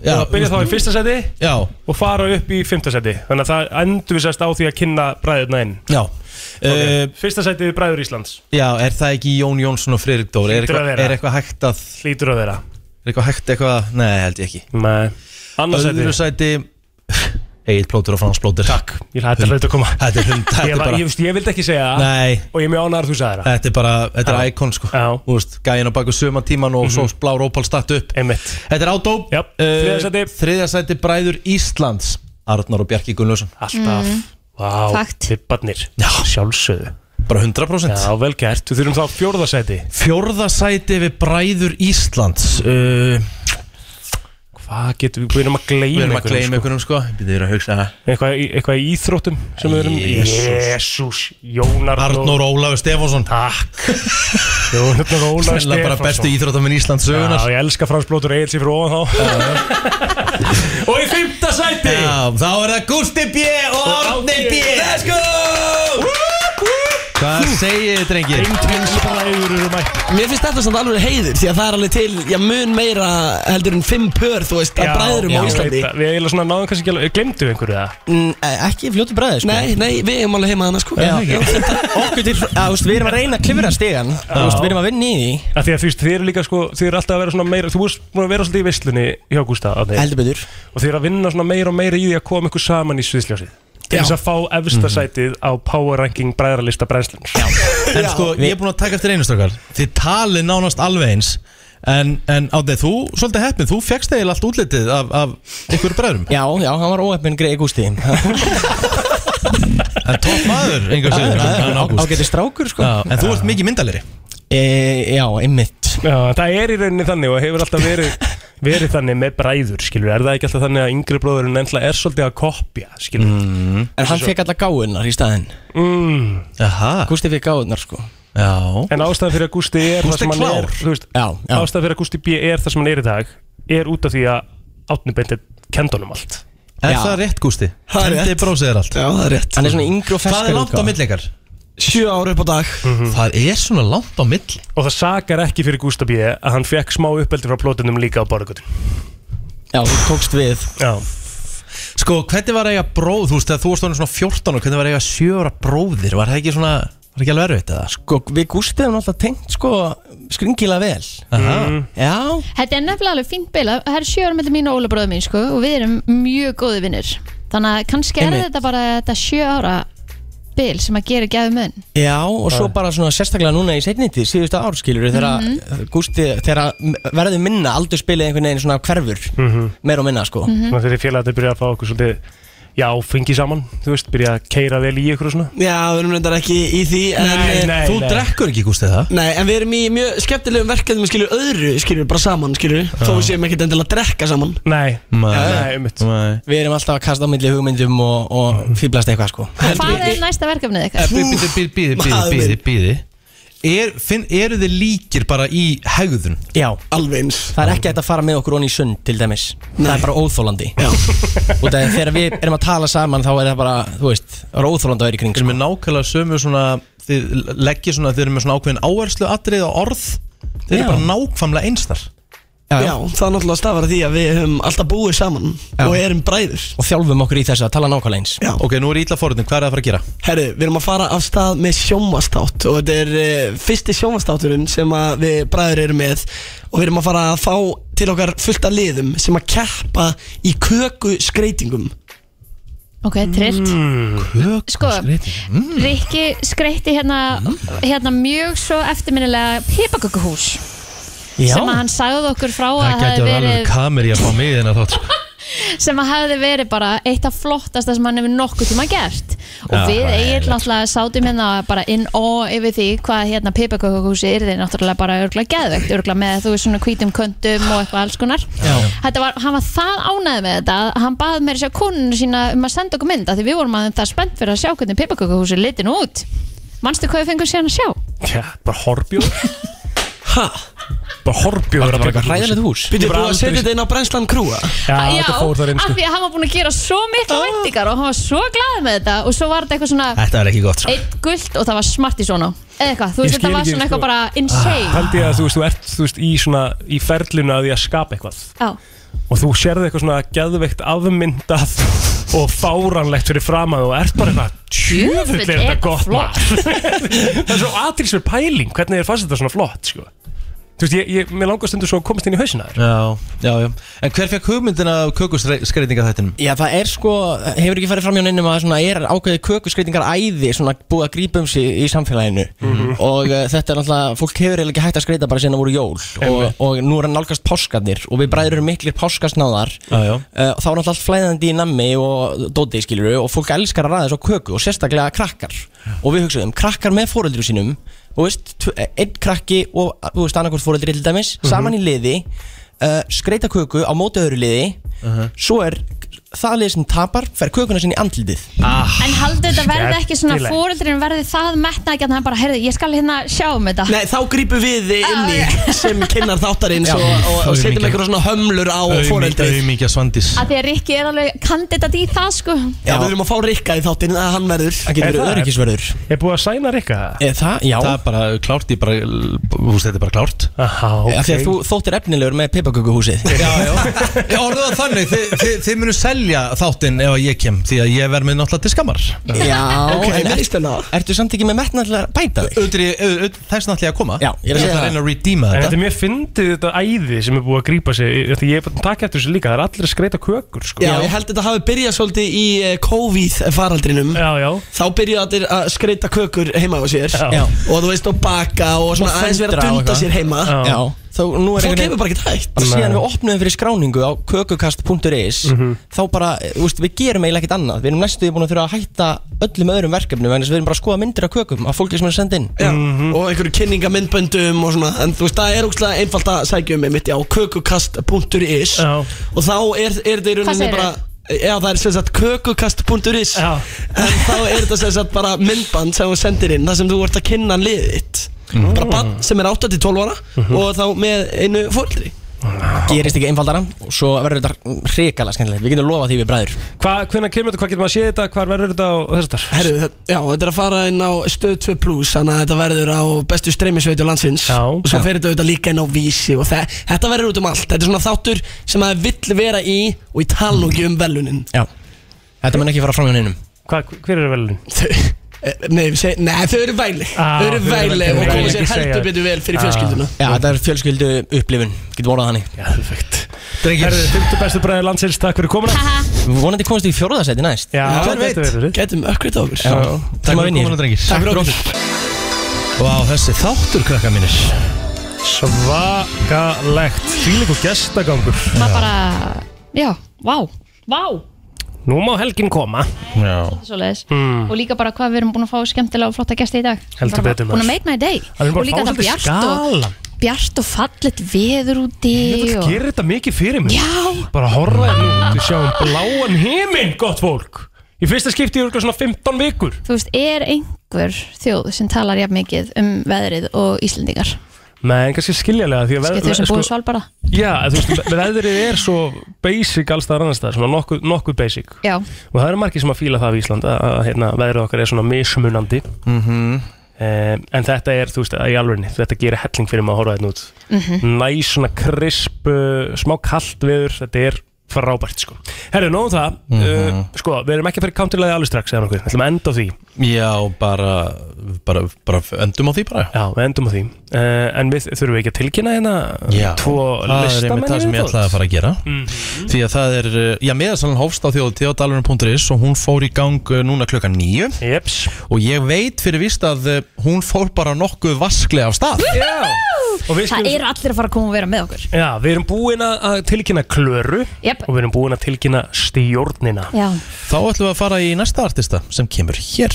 S1: já,
S3: Byrjum þá í fyrsta seti
S1: já,
S3: og fara upp í 5. seti Þannig að það endur við sérst á því að kynna bræðurna inn
S1: já
S3: okay.
S1: okay.
S3: Fyrsta seti bræður Íslands
S1: Já, er það ekki Jón Jónsson og Friðrik Dór? Er
S3: Hlýtur að
S1: eitthvað
S3: vera.
S1: er eitthvað hægt að,
S3: Hlýtur að vera
S1: er eitthvað hægt eitthvað, nei, held ég ekki.
S3: Nei Annars seti
S1: Öðru sæti, Egil Plótur og Frans Plótur. Takk.
S3: Ég hætti að hluta að koma
S1: Þetta er hund, þetta
S3: Ég,
S1: er
S3: var,
S1: bara,
S3: ég, veist, ég vildi ekki segja það
S1: nei, Eh,
S3: Og ég er mjög ánægður að þú sagði það
S1: þetta er bara, þetta er íkon sko.
S3: Já. Mhm.
S1: Þú veist, gæin á baku söma tíman og svo blá rópál statt upp.
S3: Einmitt
S1: Þetta er ádó.
S3: Já, þriðja sæti.
S1: Þriðja sæti bræður Íslands, Arnar og Bjarki Gunnlauson.
S3: Alltaf Vá,
S2: Fakt.
S3: tipparnir
S1: Já.
S3: Sjálfsögðu
S1: Bara 100%.
S3: Já, vel gert Við þurfum þá fjórðasæti
S1: Eh, Fjórða sæti við bræður Íslands uh,
S3: Hvað getum við, við erum að gleyma
S14: Við erum að gleyma einhverjum sko Við erum að hugsa
S3: Eitthvað, í- eitthvað í íþróttum sem við erum Jésús, Jónar
S1: Arnór Ólafur Stefánsson
S3: Takk Jónar Ólafur
S1: Sennilega bara
S3: Stefánsson.
S1: bestu íþróttamenn Íslands sögunar
S3: Já, ég elska Frans Blótur Egil sér fyrir ofan þá Og í fymta sæti
S1: Já, þá er það Gústi B og Árni B
S3: E. Let's
S1: go Hvað segir þið, drengir?
S3: Eintrinsbræður eru mætt
S14: Mér finnst þetta samt alveg heiður Því að það er alveg til Já, mun meira heldur en fimm pör Þú veist, að
S1: um
S14: bræðurum á Íslandi
S3: Við eiginlega svona náðum kannski ekki alveg, glemdu einhverju það
S14: Mm, eh, Ekki fljótu bræði sko. Nei, nei, við erum alveg heima þannig sko.
S3: Já, já.
S14: Okkur til, að, veist, Við erum að reyna að klifra stegan veist, Við erum að vinna í því
S3: Af Því að þú veist, þið eru líka sko, þið eru alltaf að vera svona meira Þú veist, búin að vera svolítið í veislunni hjá Gústa
S14: Heldur betur
S3: Og þið eru að vinna svona meira og meira í því að koma ykkur saman í sviðsljósið Til þess að fá
S14: Mhm.
S3: efsta sætið á Power Ranking bræðarlista brennslun
S1: En sko, ég er búin að taka eftir einu strákar Þið talið nánast alveg eins En, en átnið, þú, svolítið heppin, þú fegst eiginlega allt útlitið af, af ykkur bræðrum
S14: Já, já, hann var óheppin greið Gústi En
S1: topp maður, engar
S14: Já,
S1: segir
S14: já, já, ágætis strákur sko.
S1: Já, En þú ert mikið myndalegri
S14: e, Já, einmitt
S3: Já, það er í rauninni þannig og hefur alltaf verið verið þannig með bræður, skilur, er það ekki alltaf þannig að yngri bróðurinn ennla er svolítið að kopja, skilur
S1: Mhm.
S3: mm.
S14: En hann fekk alla gáunar í staðinn
S3: mm.
S14: Gústi fekk gáunar sko
S1: Já
S3: En ástæðan fyrir að Gústi er það
S14: Gústi
S3: sem hann
S14: klár.
S3: er þú veist,
S14: Já, já.
S3: Ástæðan fyrir að Gústi B er það sem hann er í dag er út af því að Átni Beinti kendunum allt
S1: Er það rétt, Gústi?
S14: Það er rétt.
S1: Kendið brósið er allt
S14: Já, það er rétt sko. Hann er svona yngri og ferskari
S1: Hvað er langt á
S14: útgáfa.
S1: milli ykkar?
S14: Sjö ára upp á dag
S1: Það er svona langt á milli
S3: Mhm. Og það sakar ekki fyrir Gústa B að hann fekk smá uppeldi frá plótunum líka á borgutin
S14: Já, þú tókst við
S3: Já
S1: Sko, hvernig var eiga bróð, þú veist, þegar þú varst orðin svona 14 og hvernig var eiga 7 ára bróðir? Var það ekki svona, var ekki alveg erfitt eða?
S14: Sko, við Gústi hefum alltaf tengt sko skringilega vel
S1: Aha.
S14: Já
S2: Þetta er nefnilega alveg fínt bila Það er sjö ára með mín og Óla bróður mín sko, og við erum mjög góði vinnir Þannig að kannski er
S14: Einmitt.
S2: þetta bara þetta sjö ára bil sem að gera gæfi mun
S14: Já, og
S1: Ah.
S14: svo bara svona sérstaklega núna í setniti síðustu árskilur þegar mm
S11: Mhm.
S14: Gústi, þegar verður minna aldur spilið einhvern veginn svona hverfur
S1: Mhm.
S3: Mhm.
S14: meir og minna sko
S11: Mhm.
S3: Þannig að þeirri félagatið byrja að fá okkur svolítið Já, fengi saman, þú veist, byrja að keira vel í ykkur og svona
S14: Já, við erum reyndar ekki í því en,
S3: Nei,
S14: eh,
S3: nei,
S1: Þú
S3: nei.
S1: drekkur ekki, Gústi, það?
S14: Nei,
S11: En við erum í mjög skemmtilegum verkefnum skilur öðru, skilur bara saman skilur þó við séum ekkert endilega að drekka saman
S3: Nei, nei, um mitt
S1: Nei.
S14: við erum alltaf að kasta á milli hugmyndum
S1: Mhm.
S14: og, og fýblast eitthvað sko
S2: Hvað er næsta verkefnið ykkar?
S1: Býði, býði, býði, býði,
S14: maður
S1: býði,
S14: minn.
S1: býði er, finn, Eru þið líkir bara í hegðun?
S14: Já,
S11: Alveg eins
S14: það er ekki hægt að fara með okkur onni í sund til dæmis Það er bara óþólandi
S11: Já.
S14: Út af því þegar við erum að tala saman þá er það bara, þú veist, það er óþólandi að vera í kring
S1: Sem
S14: sko.
S1: er nákvæmlega sömu svona Þið leggir svona, þið eru með svona ákveðin áherslu atrið á orð Þið eru
S14: Já.
S1: bara nákvæmlega einstar
S11: Já, það er náttúrulega stafar af því að við höfum alltaf búið saman og erum bræður
S14: Og þjálfum okkur í þessu að tala nákvæmlega eins
S11: Já,
S1: Ok, nú er ítla fórhundin, hvað er það að fara að gera?
S11: herru, við erum að fara af stað með sjómastátt og þetta er uh, fyrsti sjómastáturinn sem að við bræður erum með og við erum að fara að fá til okkar fullt af liðum sem að keppa í köku skreitingum
S2: Ok, trillt
S1: Mm. Kök,
S2: Sko,
S1: Mm.
S2: Rikki skreitti hérna, hérna mjög svo eftirminnilega pipakökuhús sem að hann sagði okkur frá að
S1: Það
S2: hefði
S1: getur alveg
S2: verið,
S1: kameri að fá mig í þennan þátt sko.
S2: sem að hefði verið bara eitt af flottasta sem hann hefur nokkuð tíma gert og
S1: Já,
S2: við
S1: það er
S2: eigin náttúrulega sátum hérna bara inn og yfir því hvað hérna pipakökuhúsi er þið náttúrulega bara örgulega geðvegt örgulega með þú veist svona hvítum köndum og eitthvað alls konar Þetta var, hann var það ánæði með þetta að hann baði mér að sjá konunum sína um að senda okkur mynd af því við vorum aðeins það spennt fyrir að sjá hvernig pipakökuhúsi litin út Manstu hvað við fengum síðan að sjá?
S3: Já, bara horbjóður
S11: Ha?
S3: Bara horbjóður
S14: Bara eitthvað hræðilegt hús
S11: Býttu búið að setja
S3: aldrei-
S11: þetta inn á brennslan krúa
S3: Já,
S2: Ah, Já,
S3: þetta fór það
S2: af
S3: reynslu Ah.
S2: því að hann var búin að gera svo mikla væntingar og hann var svo glaðið með þetta og svo var þetta eitthvað svona
S1: Þetta er ekki gott sko.
S2: eitt gult og það var smart í svona eða eitthvað,
S3: Ég
S2: þú veist
S3: skil
S2: þetta var
S3: ekki,
S2: svona
S3: sko.
S2: eitthvað bara insane
S3: held ég að þú veist, þú ert þú veist, í, svona, í ferlinu að því að skapa eitthvað
S2: Já,
S3: og þú sérði eitthvað svona geðveikt afmyndað og fáranlegt fyrir framað og ert bara eitthvað tjöfull er
S2: Djöfull er
S3: þetta
S2: þetta
S3: gott
S2: flott."
S3: maður það er svo aðtilsverð pæling hvernig er fannst þetta svona flott sko. þú veist, ég, ég, mér langar stundu svo að komast inn í hausina þér
S1: Já, já, já En hver fekk hugmyndina af kökuskreitinga þættinum?
S14: Já, það er sko, hefur ekki farið fram hjá neinum að svona er ákveðið kökuskreitingar æði svona búið að grípa um sig í samfélaginu
S1: Mhm.
S14: og uh, þetta er náttúrulega, fólk hefur eiginlega ekki hægt að skreita bara sinna voru jól og, og nú er hann nálgast páskarnir og við bræður erum miklir páskasnáðar
S1: Já, já.
S14: uh, þá er náttúrulega allt flæðandi í nammi og dóti skilur og fólk elskar að ræða svo köku og sérstaklega krakkar og við hugsaðum, krakkar með fóreldru
S1: Mhm.
S14: sínum þú veist, tv- einn krakki og þú veist, annarkvort fóreldri til dæmis, saman í liði uh, skreita köku á móti öðru liði
S1: Mhm.
S14: Svo er það liði sem tapar Fer kökuna sinni í andlitið ah.
S2: En haldi þetta verði ekki svona
S14: Skemmtilegt.
S2: fóreldrin verði það metna ekki að hann bara, heyrðu, ég skal hérna sjá um þetta
S5: Nei, þá grípum við þið
S2: Ah,
S5: inn í sem kynnar þáttarins
S1: Já.
S5: og, og, og setjum
S1: Auðmýkja.
S5: einhverja svona hömlur á foreldrið
S1: Auðmíkja Svandís
S2: Af því að Rikki er alveg kandidat í það sko
S5: Já, við þurfum að fá Rikka í þáttinn að hann verður Hann
S1: Er
S5: getur
S1: það-
S5: öryggisverður
S3: Er búið að sæna Rikka?
S14: Eh,
S5: Er það? Já
S1: Það er bara klárt, ég bara, þú veist, þetta er bara klárt
S3: Aha,
S5: ok.
S14: Þegar þú þóttir efnilegur með pipakökuhúsið
S1: Já, orðið það þannig, þið, þið, þið munu selja þáttinn ef að ég kem Því að ég verð með náttúrulega til skammar
S14: Já,
S1: Ok,
S14: en
S1: mér
S14: er, ertu samt ekki með metna til að bæta þig?
S1: Undir ég, þess náttúrulega að koma
S14: Já, ég er
S1: Ég
S14: að segja
S1: ætla að
S14: það.
S1: reyna að redeema
S3: En
S1: þetta
S3: þetta er mjög fyndið þetta æði sem er búið að grípa sig Ég- Þetta ég er bara að taka eftir þessu líka, það er allir að skreita kökur sko.
S5: Já, ég held að þetta hafi byrjað svolítið í eh, COVID faraldrinum
S3: Já, já
S5: Þá byrjuðu allir að skreita kökur heima á sér
S3: Já. Já.
S5: Og þú veist, og baka og svona
S14: Og
S5: aðeins vera
S14: föndra
S5: að
S14: og
S5: dunda
S14: eitthvað.
S5: sér heima
S14: Já. Já. Þá, nú er
S5: Fólk
S14: einhvern veginn-
S5: hefur bara ekkert hætt.
S14: Bara Síðan
S5: Nei.
S14: við opnuðum fyrir skráningu á kökukast.is
S1: Mhm.
S14: Þá bara, úst, við gerum eiginlega ekkert annað Við erum næstu því búin að þurfa að hætta öllum öðrum verkefnum En við erum bara að skoða myndir af kökum Af fólki sem er Mhm. að senda inn
S5: Já, og einhverju kynningamindböndum og svona En þú veist, það er ógstlega einfalt að sækja um einmitt á kökukast.is
S3: Já.
S5: Og þá er, er þetta í rauninni
S14: segirðu?
S5: bara Já, það er sem sagt kökukast.is
S3: Já.
S5: En þá er þetta sem sagt bara myndband sem þú sendir inn þar sem þú ert að kynna liðið þitt
S14: Mhm.
S5: Bara bann sem er 8-12 ára og þá með einu fóldri
S14: Gerist ekki einfaldara Og svo verður þetta hrikalega skemmtilegt Við getum lofa því við bræður
S3: Hva, Hvenær kemur þetta, hvað getur maður að sé þetta, hvar verður þetta og þess að
S5: Herru, þetta- já, þetta er að fara inn á stöð 2 plus Þannig að þetta verður á bestu streymisveitu landsins
S3: Já.
S5: Og svo
S3: Já.
S5: fer þetta auðvitað líka inn á vísi Og þe þetta verður út um allt Þetta er svona þáttur sem það vill vera í Og ég tala nú ekki um velunin
S14: Já Þetta mun ekki fara fram hjá neinum
S3: Hvað, hver eru velin?
S5: eh, Nei, við seg, nei þau eru væli
S3: Ah,
S5: Þau eru
S3: þau eru
S5: væli
S3: væli.
S5: og
S3: Ég
S5: koma
S3: vil
S5: sér
S3: ekki segja
S5: heldur
S3: það.
S5: betur vel fyrir
S3: Ah.
S5: fjölskylduna
S14: Já, þetta er fjölskyldu upplifun Getum orðað þannig
S3: Perfekt Herðu, fymtu bestu bræði landsins, takk fyrir komuna
S14: Vonandi komast í fjórðasæti næst
S3: Já,
S5: Hver
S3: þetta verður
S5: veit, getum ökkrið á okkur
S14: Já.
S1: Takk
S14: Tíma
S1: fyrir
S14: að vinna í
S1: komuna,
S14: þessu.
S1: drengir
S5: Takk fyrir okkur
S1: Vá, þessi þáttur, krakka mínir
S3: Svakalegt Fílik og gestagangur
S2: Maður bara, já, vá, vá
S3: Nú má helgin koma
S1: Já
S2: Svoleiðis
S3: Mm.
S2: Og líka bara hvað við erum búin að fá skemmtilega og flotta gesti í dag
S3: Heldur
S2: Bara
S3: betur, maður.
S2: Búin að make my day
S3: Það er
S2: Og
S3: bara að
S2: líka
S3: fá
S2: það
S3: svolítið
S2: bjart og,
S3: skalan
S2: bjart og fallet veður úti
S3: Ég vil
S2: og-
S3: gera þetta mikið fyrir mig
S2: Já.
S3: Bara horfa hérna út, við sjáum bláan heiminn, gott fólk Í fyrsta skipti ég er svona 15 vikur
S2: Þú veist, er einhver þjóð sem talar jafn mikið um veðrið og Íslendingar?
S3: Nei, en kannski skiljalega því að
S2: Skið
S3: veð-
S2: þau sem
S3: sko-
S2: búið svalbara?
S3: Já, en þú veist, veðrið er svo basic alls allstaðar annars staðar, svona nokkuð, nokkuð basic
S2: Já,
S3: og það eru margir sem að fíla það af Ísland að, að hérna, veðrið okkar er svona mismunandi mm
S1: Mhm.
S3: en þetta er, þú veist, í alvegni þetta gerir helling fyrir maður að horfa þetta út
S2: Mhm.
S3: næ svona krisp uh, smá kallt viður, þetta er frábært sko. Herru, nóðum það
S1: Mhm.
S3: uh, sko, við erum ekki að fara í counterlæði alveg strax eða nokkuð, við ætlum að enda á því
S1: Já, bara, bara, bara endum á því bara
S3: Já, við endum á því uh, En við þurfum við ekki að tilkynna hérna
S1: Já,
S3: Tvo
S1: það er einmitt það sem ég ætlaði að fara að gera
S3: Mhm.
S1: Því að það er, uh, já, meðasalan hófst á þjóðtíð á dalurinn.is og hún fór í gang uh, núna klukkan nýju
S3: Jeps
S1: Og ég veit fyrir víst að uh, hún fór bara nokkuð vasklega af stað
S3: Já Og við
S2: það
S3: skulum
S2: eru allir að fara að koma og vera með okkur
S3: Já, við erum búin að að tilkynna klöru
S2: Jep.
S3: Og við erum búin að tilkynna stjórnina
S2: Já,
S1: Þá ætlum við að fara í næsta artista sem kemur hér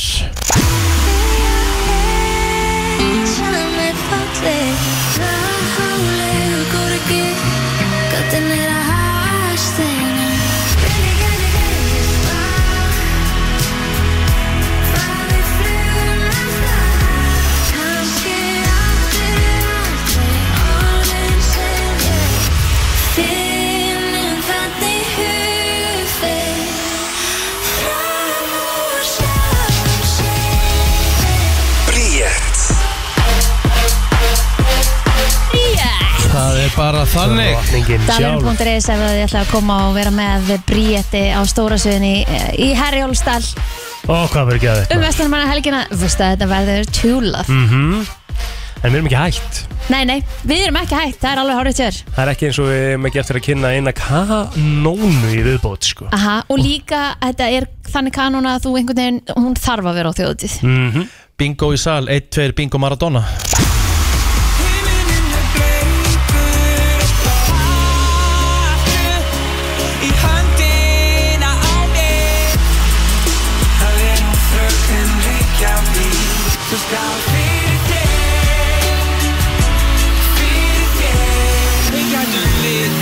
S9: Finnum hvernig hufið
S15: Bríett
S1: Það er bara þannig
S3: Drottningin sjálf
S2: Dalurinn.is ef þið ætlaði að koma og vera með Bríetti á Stórasviðinni eh, í Herjólfsdal
S3: Ó, hvað verður ekki að
S2: um
S3: þetta
S2: vestanmanna helgina Vistu að þetta verður tjúlað
S3: Mhm. En við erum ekki hægt
S2: Nei, nei, við erum ekki hægt, það er alveg hárið tjör
S3: Það er ekki eins og við erum ekki eftir að kynna eina kanónu í viðbót sko.
S2: Aha, og líka þetta er þannig kanón að þú einhvern veginn, hún þarf að vera á þjóðutíð
S3: mm -hmm.
S1: Bingo í sal, 1-2 bingo Maradona
S16: Fyrir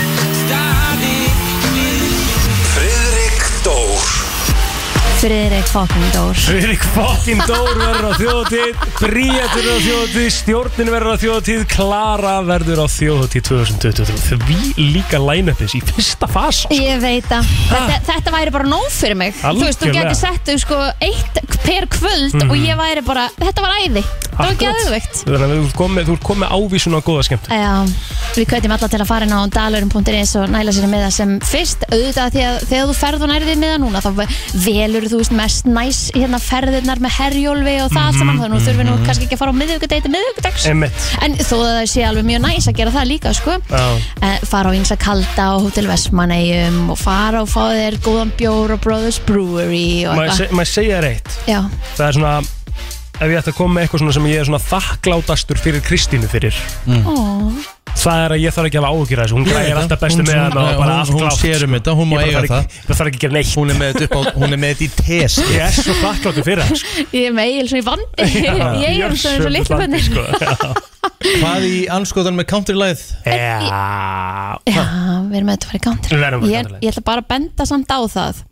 S16: þér Fyrir þér
S17: Friðrik fucking Dór
S3: Friðrik fucking Dór verður á þjóðatíð Bríett verður á þjóðatíð Stjórnin verður á þjóðatíð Klara verður á þjóðatíð 2023 Því líka line-upis í fyrsta fasa
S2: Ég veit að þetta, þetta væri bara nóg fyrir mig Þú veist, þú
S3: Algjörlega.
S2: getur sett þau sko eitt per kvöld
S3: Mhm.
S2: og ég væri bara, þetta var æði Það var geðveikt
S3: Þannig að þú ert komið, þú ert komið ávísun á góða skemmt
S2: Já, við kveitjum alla til að fara inn á dalurum.is og næla sér með það sem fyrst auðvitað því að þegar þú ferð og nærðir með það núna þá velur þú veist mest næs hérna ferðirnar með herjólfi og það allt saman þannig að þú þurfir nú
S3: mhm.
S2: kannski ekki að fara á miðvíkudeyti miðvíkudags
S3: Einmitt.
S2: en þó að það sé alveg mjög næs að gera það líka sko
S3: Já.
S2: Eh, fara á Insa Kalda og Hotel Vestmannegjum og fara og fá þér góðan bjór og Brothers Brewery og
S3: Maður se- maður segja reitt
S2: Já,
S3: Það er svona Ef ég ætti að koma með eitthvað svona sem ég er svona þakklátastur fyrir Kristínu fyrir
S2: ó
S3: Það er að ég þarf ekki að hafa áhugir að þessu Hún
S1: Ég
S3: græðir
S1: veit
S3: alltaf
S1: það.
S3: bestu
S1: Hún-
S3: með hana
S1: hún-
S3: og bara
S1: hún-
S3: allt
S1: hún
S3: klárt
S1: sér um þetta, hún má
S3: Ég bara
S1: eiga
S3: þarf ekki- Ég þarf ekki að gera neitt Hún
S1: er með þetta upp á- hún er með þetta í tes
S3: Ég er svo þakkláttur fyrir það sko.
S2: Ég er með eigin svona í vandi Ég er svona eins og litlu bönni
S3: sko.
S1: sko. Hvað í anskotan með country-læð?
S2: Já, við erum með þetta að fara í country
S1: Við verðum að fara í
S2: Ég-
S1: country.
S2: Ég ætla bara að benda samt á það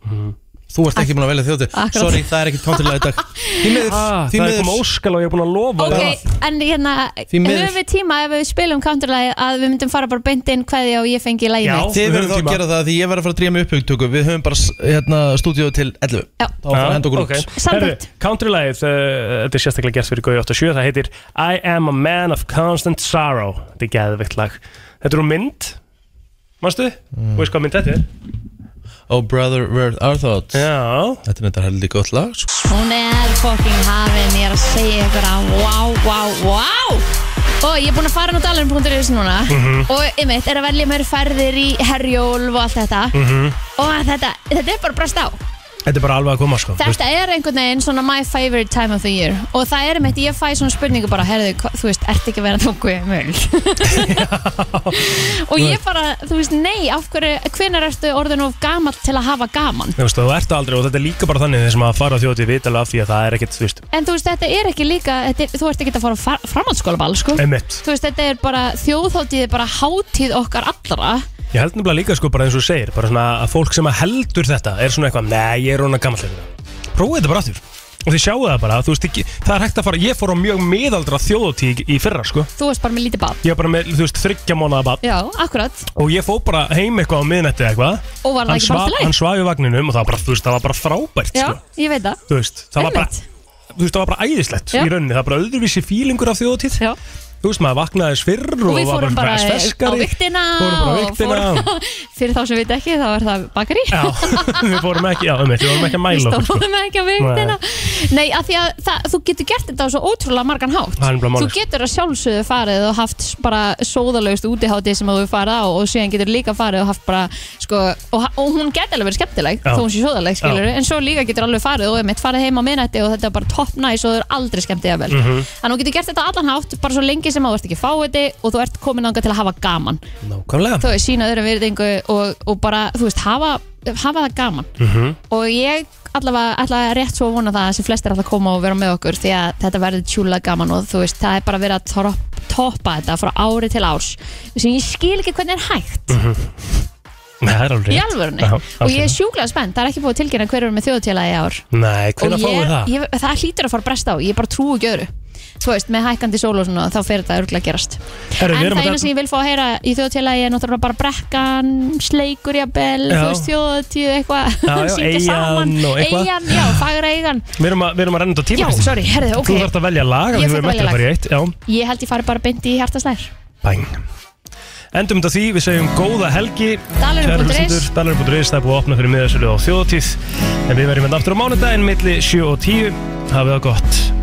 S1: Þú ert ekki búin að velja þjóttir
S2: Akkurat.
S1: Sorry, það er ekki country-læð í dag Því miður,
S3: Ah,
S1: því
S3: það er
S1: miður
S3: komið óskal og ég er búin að lofa
S2: Ok, en hérna,
S1: Því
S2: höfum
S1: miður.
S2: við tíma ef við spilum countrylægi að við myndum fara bara beint inn hverði og ég fengi lægi
S1: Þið verður þá að gera það því ég verður að fara að dríja með upphugtöku Við höfum bara s- hérna, stúdíu til 11 Já. Þá fyrir að henda okkur út
S3: Samkvæmt Countrylægið, uh, þetta er sérstaklega gert fyrir Gauði 87 Það heitir I am a man of constant sorrow Þetta er geðvikt lag Þetta er úr mynd Manstu? Mm. Veist hvað mynd þetta er?
S1: Oh brother, where are thoughts
S3: Já
S1: Þetta er þetta heldur gott lag sko.
S2: Hún er fucking hafin, ég er að segja ykkur að wow, wow, wow Og ég er búin að fara nú dalurinn.is núna
S9: Mhm.
S2: Og einmitt er að velja mér ferðir í herjólf og allt þetta
S3: Mhm.
S2: Og þetta, þetta er bara brast á
S3: Þetta er bara alveg að koma sko
S2: Þetta er einhvern veginn svona my favorite time of the year Og það er einmitt, ég fæ svona spurningu bara Herðu, hva- þú veist, ert ekki að vera þungu möl Og ég bara, þú veist, nei Af hverju, hvenær ertu orðin of gamall til að hafa gaman?
S3: Þú veist, þú ert aldrei og þetta er líka bara þannig þeir sem að fara á þjóti vitalega af því að það er ekkit, þú veist
S2: En þú veist, þetta er ekki líka þetta er, Þú ert ekki að fara á far- framhaldsskólaball, sko
S3: Einmitt.
S2: Þú veist, þetta er bara þjóðháttíð er bara hátíð okkar allra
S3: Ég held nefnilega líka sko bara eins og þú segir bara svona að fólk sem að heldur þetta er svona eitthvað Nei, ég er róna gammal Prófið þetta bara aftur og þið sjáu það bara, þú veist ekki, það er hægt að fara, ég fór á mjög miðaldra þjóðotík í fyrra sko
S2: Þú veist bara með lítið bad
S3: Ég var bara með, þú veist, þryggja mánuða barn
S2: Já, akkurat
S3: Og ég fó bara heim eitthvað á miðnætti eða eitthvað
S2: Og var
S3: Hann
S2: það ekki bara allt í
S3: svaf-
S2: lagi?
S3: Hann svaf í vagninum og það var bara, þú veist, það var bara frábært
S2: Já,
S3: sko.
S2: ég veit það
S3: Þú veist, það var bara
S2: Einmitt.
S3: Þú veist, það var bara æðislegt
S2: Já.
S3: í rauninni Það var bara öðruvísi fílingur af þjóðtíð
S2: Já.
S3: Þú veist, maður vaknaði þess fyrr og,
S2: og við
S3: var
S2: fórum bara eh,
S3: aðeins
S2: á
S3: ferskari.
S2: viktina
S3: Fórum bara á
S2: og
S3: vigtina
S2: fórum- fyrir þá sem við ekki þá er það bakari
S3: Já, við fórum ekki, já, um við fórum ekki að
S2: við
S3: mæla okkur, sko.
S2: stóðum ekki á viktina nei, af því að það, þú getur gert þetta á svo ótrúlega margan
S3: Það
S2: hátt
S3: er nefnilega
S2: þú
S3: málið.
S2: getur að sjálfsögðu farið og haft bara sóðalögst útihátti sem þú farið á og síðan getur líka farið og haft bara sko, og, ha- og hún getur alveg verið skemmtileg
S9: Já.
S2: þó hún sé sóðaleg, skilur
S9: Já.
S2: en svo líka getur alveg farið og emitt farið heim á minnætti og þetta er bara top nice og þau eru aldrei skemmtið að vel
S9: Mhm.
S2: þannig að þú getur gert þetta á allan hátt bara svo lengi sem að þú ert ekki fáiði og þú ert komin ánga til að hafa gaman
S3: Nákvæmlega
S2: þú veist, sína öðrum virðingu og, og bara, þú veist, hafa, hafa það gaman
S3: Mhm.
S2: og ég allavega ætla rétt svo að vona það að sem flestir ætla að koma og vera með okkur því að þetta verður tjúlega gaman og þú veist, það er bara verið að topp, toppa þetta frá ári til árs sem ég skil ekki hvernig er hægt
S3: Mhm. Nei, það er alveg
S2: í
S3: rétt.
S2: alvörunni
S3: Já,
S2: og ég er
S3: algjörlega.
S2: sjúklega spennt, það er ekki búið að tilkynna hverjum með þjóðtélagi í ár
S3: Nei,
S2: Og
S3: hvernig fáið það?
S2: Ég, það hlýtur að fara að bresta á, ég bara trúi ekki öðru Þú veist, með hækkandi sól og svona, þá fer þetta örgulega að gerast
S3: Herru, við
S2: En
S3: erum
S2: það
S3: að
S2: eina
S3: tala-
S2: sem ég vil fá að heyra í þjóðtélagi er náttúrulega bara brekkan, sleikur jafnvel,
S3: Já.
S2: þú veist þjóðtíð eitthvað
S3: Já, já,
S2: syngja
S3: eyjan
S2: saman.
S3: og eitthvað.
S2: Eyjan, já, fagra eigan
S3: Við erum að, við erum að renna út á tíma
S2: Já, sorry, herðu, ok.
S3: Þú þarft að velja lag
S2: Ég
S3: af því
S2: þarf
S3: við
S2: að
S3: mættum
S2: velja
S3: bara í
S2: lag.
S3: eitt, já.
S2: Ég held ég fari bara beint í hjartasnær
S3: Bæn Endum þetta á því, við segjum góða helgi
S2: Dalurinn
S3: Kæru
S2: punktur is.
S3: hlustendur, Dalurinn.is, það er búið að opna fyrir miðarsölu á þjóðatíð En við verðum hérna aftur á mánudaginn, milli 7 og 10 Hafið það gott